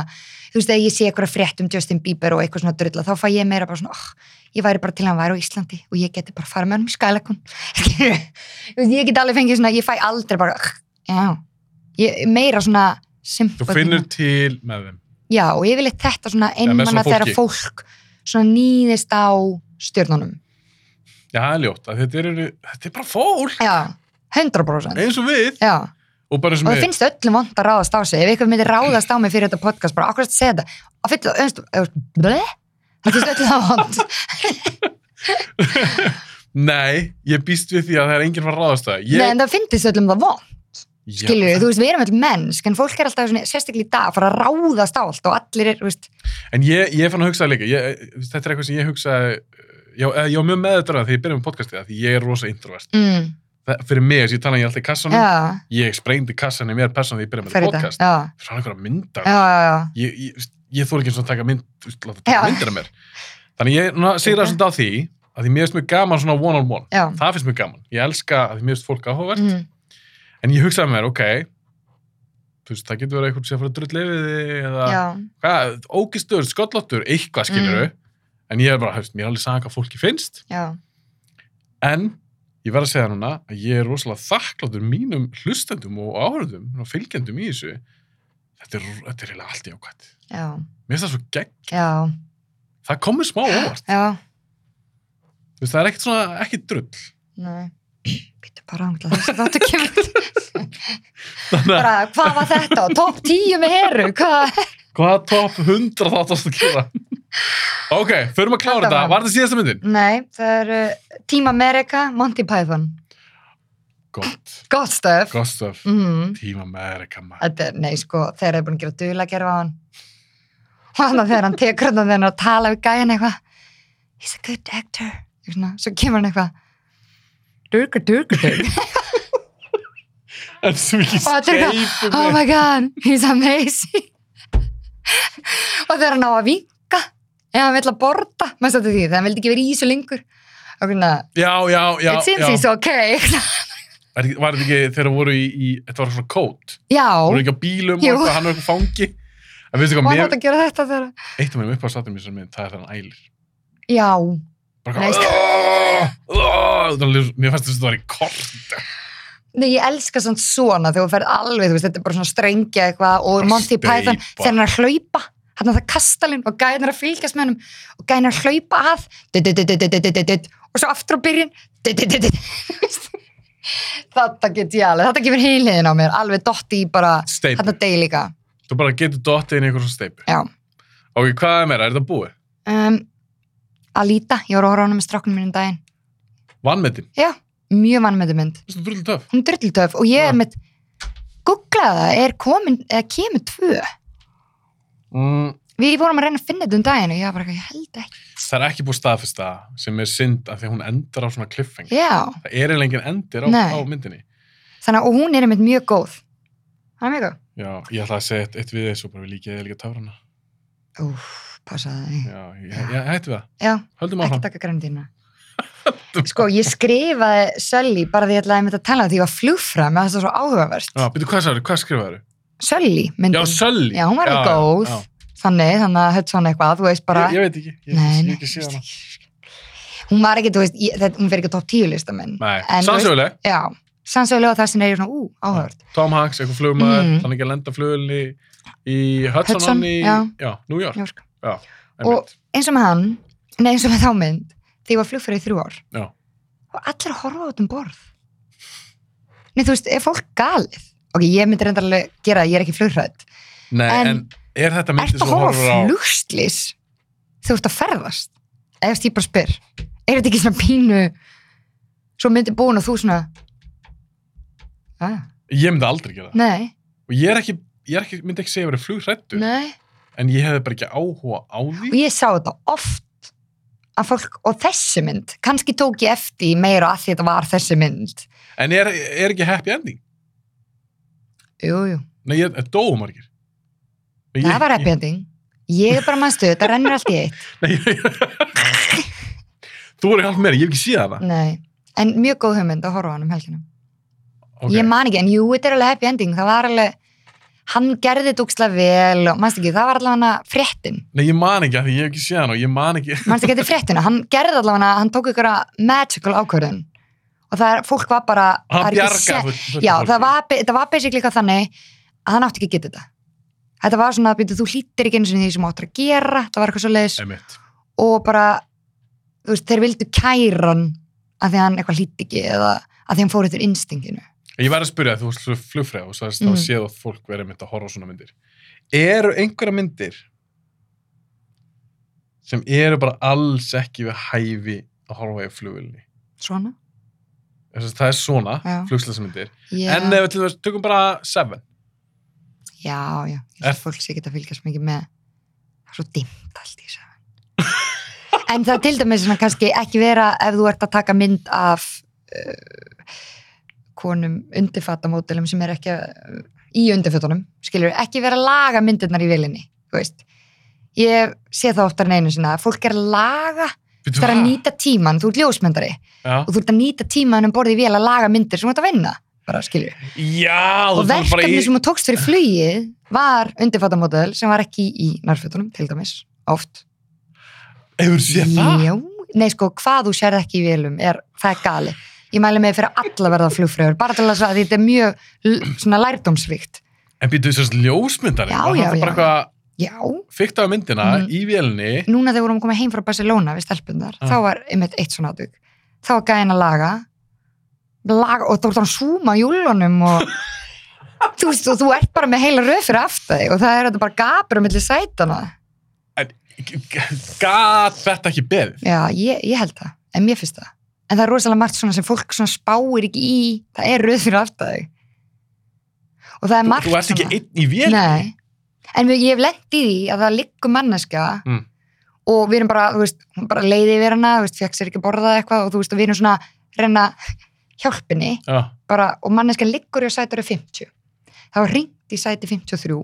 S2: þú veist, ef ég sé eitthvað frétt um Justin Bieber og eitthvað svona drulla þá fæ ég meira bara svona, oh, ég væri bara til að hann væri á Íslandi og ég geti bara farið með hann í skælakon ég get alveg fengið svona, ég fæ aldrei bara oh, já, ég, meira svona
S1: þú
S2: sympati-
S1: finnur til með þeim
S2: já, og ég vil þetta svona
S1: með svona
S2: einmanna þegar fólk svona nýðist á stjörnunum
S1: já, það er ljótt, að þetta, er, þetta er bara fólk
S2: já, 100%
S1: eins og við,
S2: já
S1: og bara sem
S2: og það finnst öllum vond að ráðast á sig ef eitthvað myndir ráðast á mig fyrir þetta podcast bara akkurat að segja þetta og fyrir það öllum það finnst öllum það vond
S1: nei, ég býst við því að það er enginn var að ráðast á það
S2: Nei,
S1: ég,
S2: en það finnst öllum það vond
S1: Já,
S2: skilur þú veist, við erum öll mennsk en fólk er alltaf svona, sérstaklega í dag að fara að ráðast á allt og allir er, þú veist,
S1: en ég, ég fann að hugsa það líka ég, þetta er eitthvað sem ég hugsaði já, eða ég var mjög meðutröðan þegar ég byrjaði með podcastið af því ég er rosa introvert
S2: mm,
S1: það, fyrir mig, þess að ég tala ég alltaf í kassanum
S2: já,
S1: ég sprengdi kassan í mér person þegar ég byrjaði með
S2: fyrir þetta
S1: podcast
S2: já,
S1: svona einhverja mynda
S2: já, já, já,
S1: ég, ég, veist, ég þóri ekki svona að taka, mynd, veist, láta taka
S2: Já.
S1: myndir af mér þannig ég ná, segir það svona á því að því mér finnst mjög gaman svona one on one
S2: já.
S1: það finnst mjög gaman, ég elska að því mér finnst fólk áhugavert
S2: Mm,
S1: en ég hugsaði með mér, ok þú veist, það getur verið eitthvað sem fyrir að drull yfir þig eða
S2: já,
S1: hvað, ógistur, skollottur, eitthvað skilur
S2: Mm.
S1: en ég er bara, hefst, mér er alveg sagan hvað fólki finnst
S2: já,
S1: en ég verð að segja núna að ég er rosalega þakkláttur mínum hlustendum og áhörðum og fylgjendum í þessu þetta er, þetta er eiginlega allt í ákvæmt
S2: já,
S1: mér finnst það svo gegn
S2: já,
S1: það komið smá óvart
S2: já,
S1: Þú veist, það er ekkert svona, ekki drull
S2: nei, býttu bara ángt að þessi þáttu kemur
S1: þannig að
S2: bara, hvað var þetta, topp tíu með heru, hvað,
S1: hvað top 100 þáttast að gera ok, förum að klára
S2: Þetta
S1: þetta,
S2: var-
S1: var þetta síðasta myndin?
S2: nei, það er uh, Team America, Monty Python
S1: gott,
S2: Gott stöf.
S1: gott stöf
S2: Mm.
S1: Team America maður
S2: Þetta er, nei sko, þeir eru búin að gera dula gerfa á hann. Og þannig að þegar hann tekur hann og þegar hann er að tala við gæjan eitthvað. he's a good actor Eitthvað svona, svo kemur hann eitthvað durga durga durga
S1: En svo ekki
S2: Og þetta er eitthvað,
S1: skeipum
S2: oh my god, he's amazing og þegar hann á að vinka eða hann vill að borta maður stætti því, þegar hann vildi ekki vera í þessu lengur og svona,
S1: Já, já, já,
S2: it seems
S1: já.
S2: he's okay
S1: Er ekki- Var þetta ekki þegar voru í, í Þetta var svona kót Voru
S2: já,
S1: ekki á bílum
S2: Jú.
S1: og eitthvað, hann var eitthvað fangi En veistu hvað,
S2: var
S1: mér,
S2: þetta að gera þetta þegar
S1: eitt af mér upp á statum í þessar mynd, það er þannig ælir
S2: já,
S1: Bara
S2: Nei, sko.
S1: eitthvað "Aah, aah", það er- Mér fannst þess að það var í kort
S2: Nei, ég elska samt svona þegar þú ferð alveg, þú veist, þetta er bara svona strengja eitthvað og
S1: Bara
S2: Monty
S1: steypa.
S2: Python þegar hann er að hlaupa, hann er það kastalinn og gæðin er að fylgjast með hann og gæðin er að hlaupa að dit, dit, dit, dit, dit, dit, dit, og svo aftur á byrjun dit, dit, dit, dit. þetta get ég alveg, þetta gefur heiliðin á mér alveg dotti í bara
S1: Steip,
S2: þetta deg líka
S1: þú bara getur dottið inn í eitthvað svona steipu
S2: Já.
S1: Ok, hvað er meira, er þetta búið?
S2: um, Alita, ég var að horfa á hana með stráknum minn um daginn,
S1: Vannmetin,
S2: mjög vannmyndu mynd
S1: þetta er drullið töf
S2: hún er drulltöf og ég
S1: Já.
S2: er með googlaði það, er komin, eða kemur tvö
S1: mm,
S2: Við vorum að reyna að finna þetta um daginn og ég var bara, eitthvað, ég held ekki.
S1: Það er ekki búið staðfesta sem er synd af því að hún endar á svona cliffhanger
S2: Já,
S1: Það er eiginlega enginn endir á,
S2: Nei.
S1: á myndinni
S2: þannig að og hún er einmitt mjög góð. Hann er mjög góð.
S1: Já, ég ætla að segja eitt, eitt við þessu bara við líkið eða líka táfrana
S2: Úf, passaði þig.
S1: Já, ég, ég hættu við það,
S2: Já,
S1: höldum
S2: ekki
S1: áfram
S2: taka grænum Sko, ég skrifaði Sölli bara því ég ætlaði einmitt að tala um því ég var flugfra með það svo áhugaverst.
S1: Já, byrju, hvað sagður, hvað skrifaður?
S2: Sölli
S1: Já,
S2: myndin.
S1: Sölli
S2: Já, hún var alveg góð.
S1: já.
S2: þannig, þannig að höll svona eitthvað, þú veist bara.
S1: Ég, ég veit ekki, ég,
S2: nei,
S1: ég
S2: nei,
S1: hef ekki séð hana
S2: hún var ekki, þú veist, ég, þetta, hún fer ekki á topp tíu listamenn.
S1: Nei,
S2: En, þú veist-
S1: sannsöguleg,
S2: Já, sannsögulega það sem er ég svona, ú, áhugavert.
S1: Tom Hanks, eitthvað flugmaður,
S2: Mhm.
S1: hann ekki að lenda flugulni í Hudson,
S2: Hudson,
S1: í,
S2: já.
S1: New York,
S2: New York.
S1: einmitt.
S2: eins og með hann, nei eins og með þá mynd þegar ég var flugferði í þrjú ár
S1: Já.
S2: og allir að horfa út um borð nei þú veist, er fólk galið ok, ég myndi reyndar alveg gera það, ég er ekki flugrætt
S1: Nei,
S2: En-
S1: en, er þetta myndi
S2: ertu
S1: sem þú
S2: að horfa
S1: horfur á
S2: flugslis þú ert að ferðast eða veist, ég bara spyr, er þetta ekki svona pínu svo myndi búin og þú svona ah,
S1: Ég myndi aldrei gera það
S2: nei,
S1: Og ég er ekki, ég er ekki, myndi ekki segja að vera flugrættur
S2: nei
S1: En ég hefði bara ekki áhuga á
S2: og
S1: því
S2: ég sá þetta oft að fólk, og þessi mynd kannski tók ég eftir í meira að því þetta var þessi mynd
S1: En er, er ekki happy ending
S2: jú, jú
S1: Nei, ég, ég dóu margir Nei,
S2: Það var happy ending. Ég er bara mannstu, þetta rennur allt í eitt.
S1: Nei, ég, Þú voru hálf meira, ég hef ekki síða það
S2: Nei. En mjög góð hugmynd að horfa á hann um helgina.
S1: okay.
S2: Ég man ekki, en jú, þetta er alveg happy ending. Það var alveg, hann gerði þetta úkslega vel og mannstu ekki, það var allavega fréttin.
S1: Nei, ég man ekki að því ég hef ekki síða hann og ég man ekki
S2: Mannstu ekki þetta er fréttina. Hann gerði allavega, hann tók ykkur magical ákvörðun. Og það er, fólk var bara... það
S1: Hann
S2: er ekki sé-
S1: bjarga
S2: Já, það var, það var basically eitthvað þannig að hann átti ekki að geta þetta. Þetta var svona, býtu, þú hlýttir ekki eins og því sem þú áttir að gera. Það var eitthvað svo
S1: Einmitt.
S2: og bara þú veist, þeir vildu kæran að því að hann eitthvað hlýtt ekki eða að því hann fór eftir instinginu
S1: Ég var að spyrja að þú varst flugfræð og sagðist mm.
S2: Mhm.
S1: að séð að fólk verið mynd að horfa á svona myndir. Eru einhverja myndir sem eru bara alls ekki við hæfi að horfa í flugvölinni?
S2: svona
S1: Það er svona,
S2: Já.
S1: flugslæsmyndir.
S2: yeah.
S1: En eh, ef við til dæmis tökum bara Seven.
S2: já, já, ég
S1: Er-
S2: held að fólk sé ekki að fylgjast mikið með það er svo dimmt allt í þessu en það er til dæmis svona kannski ekki vera ef þú ert að taka mynd af uh, konum undirfattamótilum sem er ekki uh, í undirfattunum, skilur, ekki vera að laga myndirnar í vilinni, þú veist ég sé það oftar en einu sinna að fólk er að laga
S1: Bíddu,
S2: þú ert að
S1: ha?
S2: nýta tíman, þú ert ljósmyndari
S1: Já,
S2: og þú ert að nýta tíman um borðið vel að laga myndir sem þú ert að vinna, bara skilju
S1: Já þú
S2: og
S1: ert bara
S2: verkefni
S1: í...
S2: sem þú tókst fyrir flugið var undirfattamódel sem var ekki í nærfötunum, til dæmis, oft
S1: Hefur séð það?
S2: Já, nei sko, hvað þú sérð ekki í velum er, það er gali ég mæli mig fyrir alla að verða flugfröður bara til að svo að þetta er mjög l- svona lærdómsvíkt
S1: En býttu þessast ljósmyndari.
S2: Já,
S1: var
S2: já,
S1: það
S2: já.
S1: bara eitthvað
S2: Já,
S1: fyrkt af myndina
S2: Mhm.
S1: í vélni.
S2: núna þegar við vorum að koma heim frá Barcelona við stelpunar,
S1: Ah.
S2: þá var einmitt eitt svona atvik þá var gæðin að laga, laga og þá voru þannig súma í júlunum og þú veist, og þú ert bara með heila röð fyrir aftur þig og það er þetta bara gapur um milli sætana
S1: Gat þetta ekki beðið?
S2: já, ég, ég held það, en mér finnst það en það er rosalega margt svona sem fólk svona spáir ekki í, það er röð fyrir aftur þig og það er
S1: Þú,
S2: margt
S1: þú ert ekki
S2: svona-
S1: einn í vélni?
S2: Nei, en mér- ég hef lent í því að það liggur manneska
S1: Mm.
S2: og við erum bara, þú veist, hún bara leiði yfir hana, þú veist, fekk sér ekki að borða eitthvað og þú veist, og við erum svona að reyna hjálpinni
S1: já,
S2: bara, og manneskan liggur í sætur 50 þá er ringt í sæti 53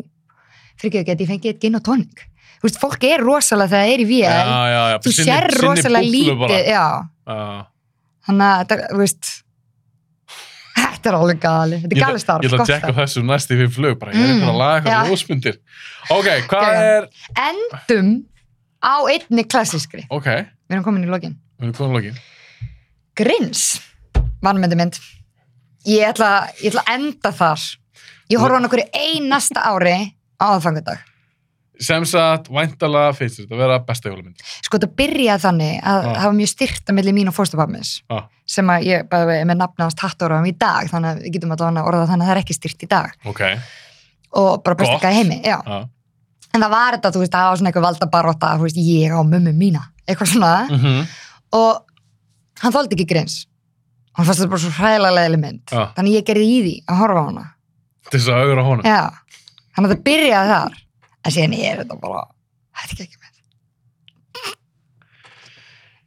S2: fyrir ekki að ég fengi eitt gin og tónik þú veist, fólk er rosalega þegar það er
S1: já,
S2: í vél
S1: já, já.
S2: þú
S1: Sinni-
S2: sér
S1: sinni
S2: rosalega
S1: búblu
S2: lítið
S1: bara.
S2: já,
S1: Já.
S2: þannig að þetta, þú veist þetta er alveg gali þetta
S1: Ég
S2: er
S1: ætla-
S2: gali starf,
S1: Ég ætla
S2: gott
S1: að tjekka
S2: starf
S1: þessu næst í fyrir flug, bara ég er
S2: Mm.
S1: eitthvað að laga eitthvað
S2: Já.
S1: ljósmyndir. Ok, hvað
S2: Geggjað.
S1: er,
S2: endum á einni klassískri
S1: ok,
S2: við erum komin í lokin
S1: við erum komin að lokin.
S2: Grins, vanmyndumynd ég ætla, ég ætla að enda þar ég horfa hann okkur einasta ári á aðfangadag
S1: Sem sagt, væntalega finnst þér þetta að vera besta jólumynd.
S2: sko þetta byrjaði þannig að
S1: Já.
S2: það var mjög styrta millir mín og fórstapapmins
S1: Já.
S2: sem að ég bara er með nafna hans tattóraðum í dag þannig að við getum allavega að orða þannig að það er ekki styrt í dag
S1: Ok,
S2: og bara besta
S1: Gott.
S2: ekki að heimi já.
S1: já.
S2: en það var þetta, þú veist, það var svona eitthvað valdabaróta þú veist, ég á mömmu mína, eitthvað svona
S1: Mhm.
S2: og hann þóldi ekki grins hann fannst þetta bara svo hræðilega leðileg mynd
S1: Já.
S2: þannig ég gerði í því að horfa á hana
S1: Til þess að augra honum.
S2: já. þannig að það byrjaði þar en síðan er þetta bara þetta er ekki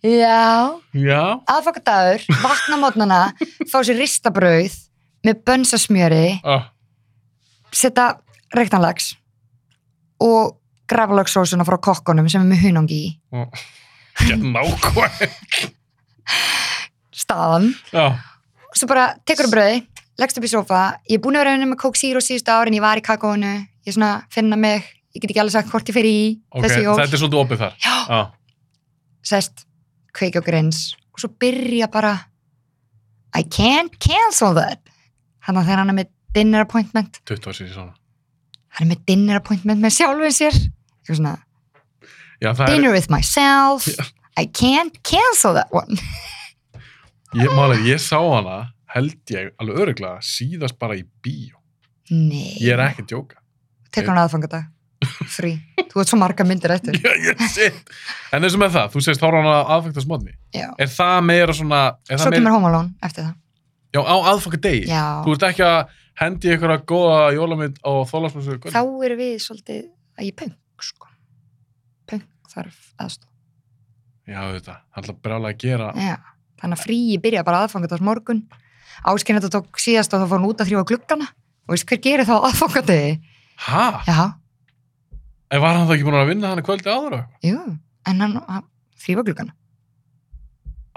S2: mynd já
S1: Já,
S2: aðfokkadagur, vakna á mótnana fá sér ristabrauð með bönsasmjöri,
S1: ah,
S2: setja rektanlags og grafalagsósuna frá kokkonum sem er með hunangi í
S1: get nákvæm.
S2: staðan,
S1: Já,
S2: og svo bara tekur þú brauði, leggst upp í sofa ég er búin að vera að vinna með kók síru síðustu árin ég var í kakóinu, ég svona finna mig ég get ekki alveg sagt hvort ég fer í
S1: ok,
S2: þessi jól,
S1: þetta er svolítið opið þar.
S2: Já.
S1: Já,
S2: sest kveiki og grins og svo byrja bara I can't cancel that hann að þegar hann er með dinner appointment
S1: 20 ár síðan svona.
S2: hann er með dinner appointment með sjálfum sér eitthvað svona,
S1: Já, það er,
S2: dinner with myself I can't cancel that one
S1: ég, málega, ég sá hana, held ég, alveg öruglega, síðast bara í bíó.
S2: nei,
S1: Ég er ekki að djóka.
S2: tekur hann aðfangadag frí, þú ert svo marga myndir eftir
S1: Já, ég sitt. En eins og með það, þú segist þá er hana aðfækta smotni.
S2: já,
S1: Er það meira svona... Er
S2: svo
S1: það meira,
S2: kemur Home Alone eftir það
S1: Já, á aðfækta degi. Þú
S2: já,
S1: ert ekki að hendi ykkur að góða jólamynd á þólasmjössu.
S2: þá erum við svolítið að ég punk sko punk þarf aðstof
S1: Já, þetta. Það er alltaf brjálega að gera.
S2: já, þannig að fríi byrja bara aðfangadags morgun áskinn þetta tók síðast og þá fór hann út að þrjóða gluggana og veist hver gerir þá aðfangadagi
S1: Hæ?
S2: já,
S1: En var hann það ekki búin að vinna hann kvöldi áður og eitthvað?
S2: jú, en hann, hann þrjóða gluggana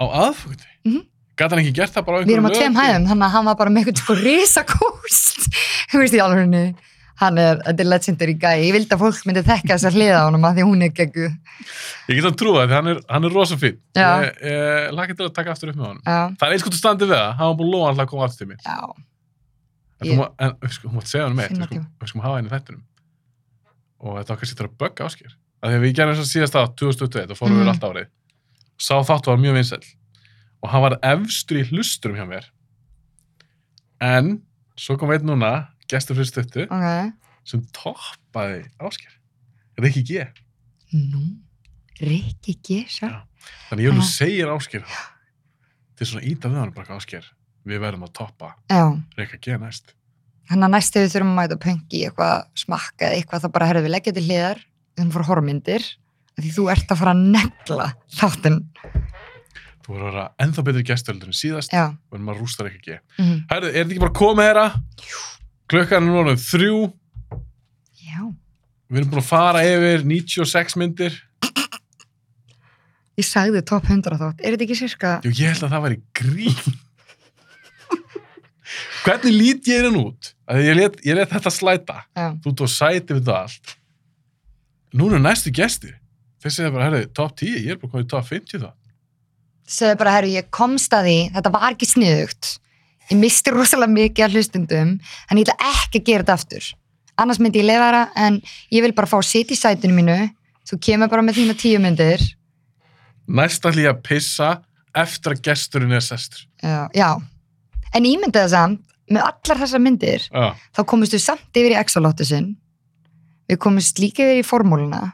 S1: Á aðfækta? Mm
S2: Mhm.
S1: -hmm. Gat hann ekki gert það bara á
S2: við
S1: einhverjum
S2: erum á tveim hæðum, þannig að hann var bara með eitthvað sko risakúst þú veist í alvegni hann er, þetta er legendary guy, ég vildi að fólk myndi þekka þess að hliða á honum að því hún er geggu
S1: Ég get að trúa það, því hann er, hann er rosa fín.
S2: Já.
S1: Ég, ég laki til að taka aftur upp með honum.
S2: já,
S1: Það er eins gott að standi við það, hann var búin að lofa hann til að koma aftur til mín.
S2: já,
S1: En,
S2: Ég-
S1: þú, má- en við skulum- hún mátt segja hann meitt,
S2: Finna
S1: við skulum, við skulum hafa henni í þættinum. Og þetta okkar sittur að bögga áskir. Af því að við gerum þess að síðast á 2021 og fórum
S2: Mhm.
S1: við allt árið. Sá þáttu var mjög vinsæll. Og hann var efstur í hlusturum hjá mér. En, svo kom einn núna, gestur fyrir stöttu,
S2: ok
S1: sem toppaði áskir. Þetta ekki ég.
S2: nú, Rikki Gésar
S1: Já. Þannig ég vil nú
S2: Já.
S1: segja áskir til svona íta við hann bara áskir. Við verðum að toppa
S2: já,
S1: Rikka G næst.
S2: þannig að næst þegar við þurfum að mæta pöngi í eitthvað smakka eða eitthvað þá bara herðum við leggja til hliðar við þurfum að fara hormyndir því þú ert að fara að negla þáttinn
S1: Þú verður að vera ennþá betur gestöldur en síðast
S2: já,
S1: og maður rústar Rikka G.
S2: mm.
S1: Herðu, er þetta ekki bara komið þeirra? Klukkan er núna um þrjú.
S2: já
S1: Við erum búin að fara yfir 96 myndir.
S2: ég sagði top 100 þátt, er þetta ekki sirka
S1: Jú, ég held að það væri grín. Hvernig lít ég hérna út? Af því Ég let, ég let þetta slæta.
S2: já,
S1: Þú ert á sæti við það allt. Núna er næstu gestir. Þeir segja bara, herðu, top 10, ég er bara komið í top 50 þá.
S2: segðu bara, herru, ég komst að því þetta var ekki sniðugt ég misti rosalega mikið af hlustundum en ég ætla ekki að gera þetta aftur annars myndi ég lefa það en ég vil bara fá sitt í sætinu mínu þú kemur bara með þína tíu myndir
S1: Næst ætlum ég að pissa eftir að gesturinn er sestur.
S2: já, já. en ímyndið það samt með allar þessar myndir
S1: Já,
S2: þá komist við samt yfir í Exolottu sinn við komist líka yfir í formúluna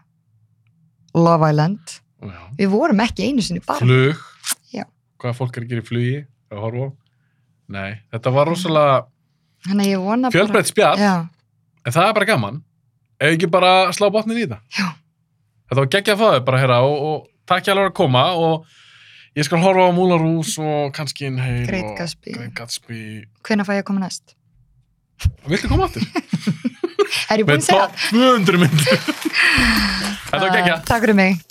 S2: Love Island
S1: já.
S2: við vorum ekki einu sinni bara
S1: flug
S2: Já.
S1: hvað fólk er að gera í flugi að horfa á. nei, þetta var rosalega
S2: þannig að ég vona
S1: fjölbreytt spjall
S2: bara já,
S1: en það er bara gaman ef ekki bara slá botnin í þetta
S2: Já.
S1: Þetta var geggjað að fá þau bara hérna og, og takk hjá að koma og ég skal horfa á Múla Rús og kannski inn heil
S2: Great
S1: og
S2: Gatsby.
S1: Great Gatsby.
S2: Hvenær fæ ég að koma næst?
S1: Viltu koma aftur?
S2: Er ég búin að
S1: Með
S2: segja?
S1: topp 200 myndir. Þetta var
S2: það?
S1: geggjað.
S2: Takk fyrir mig.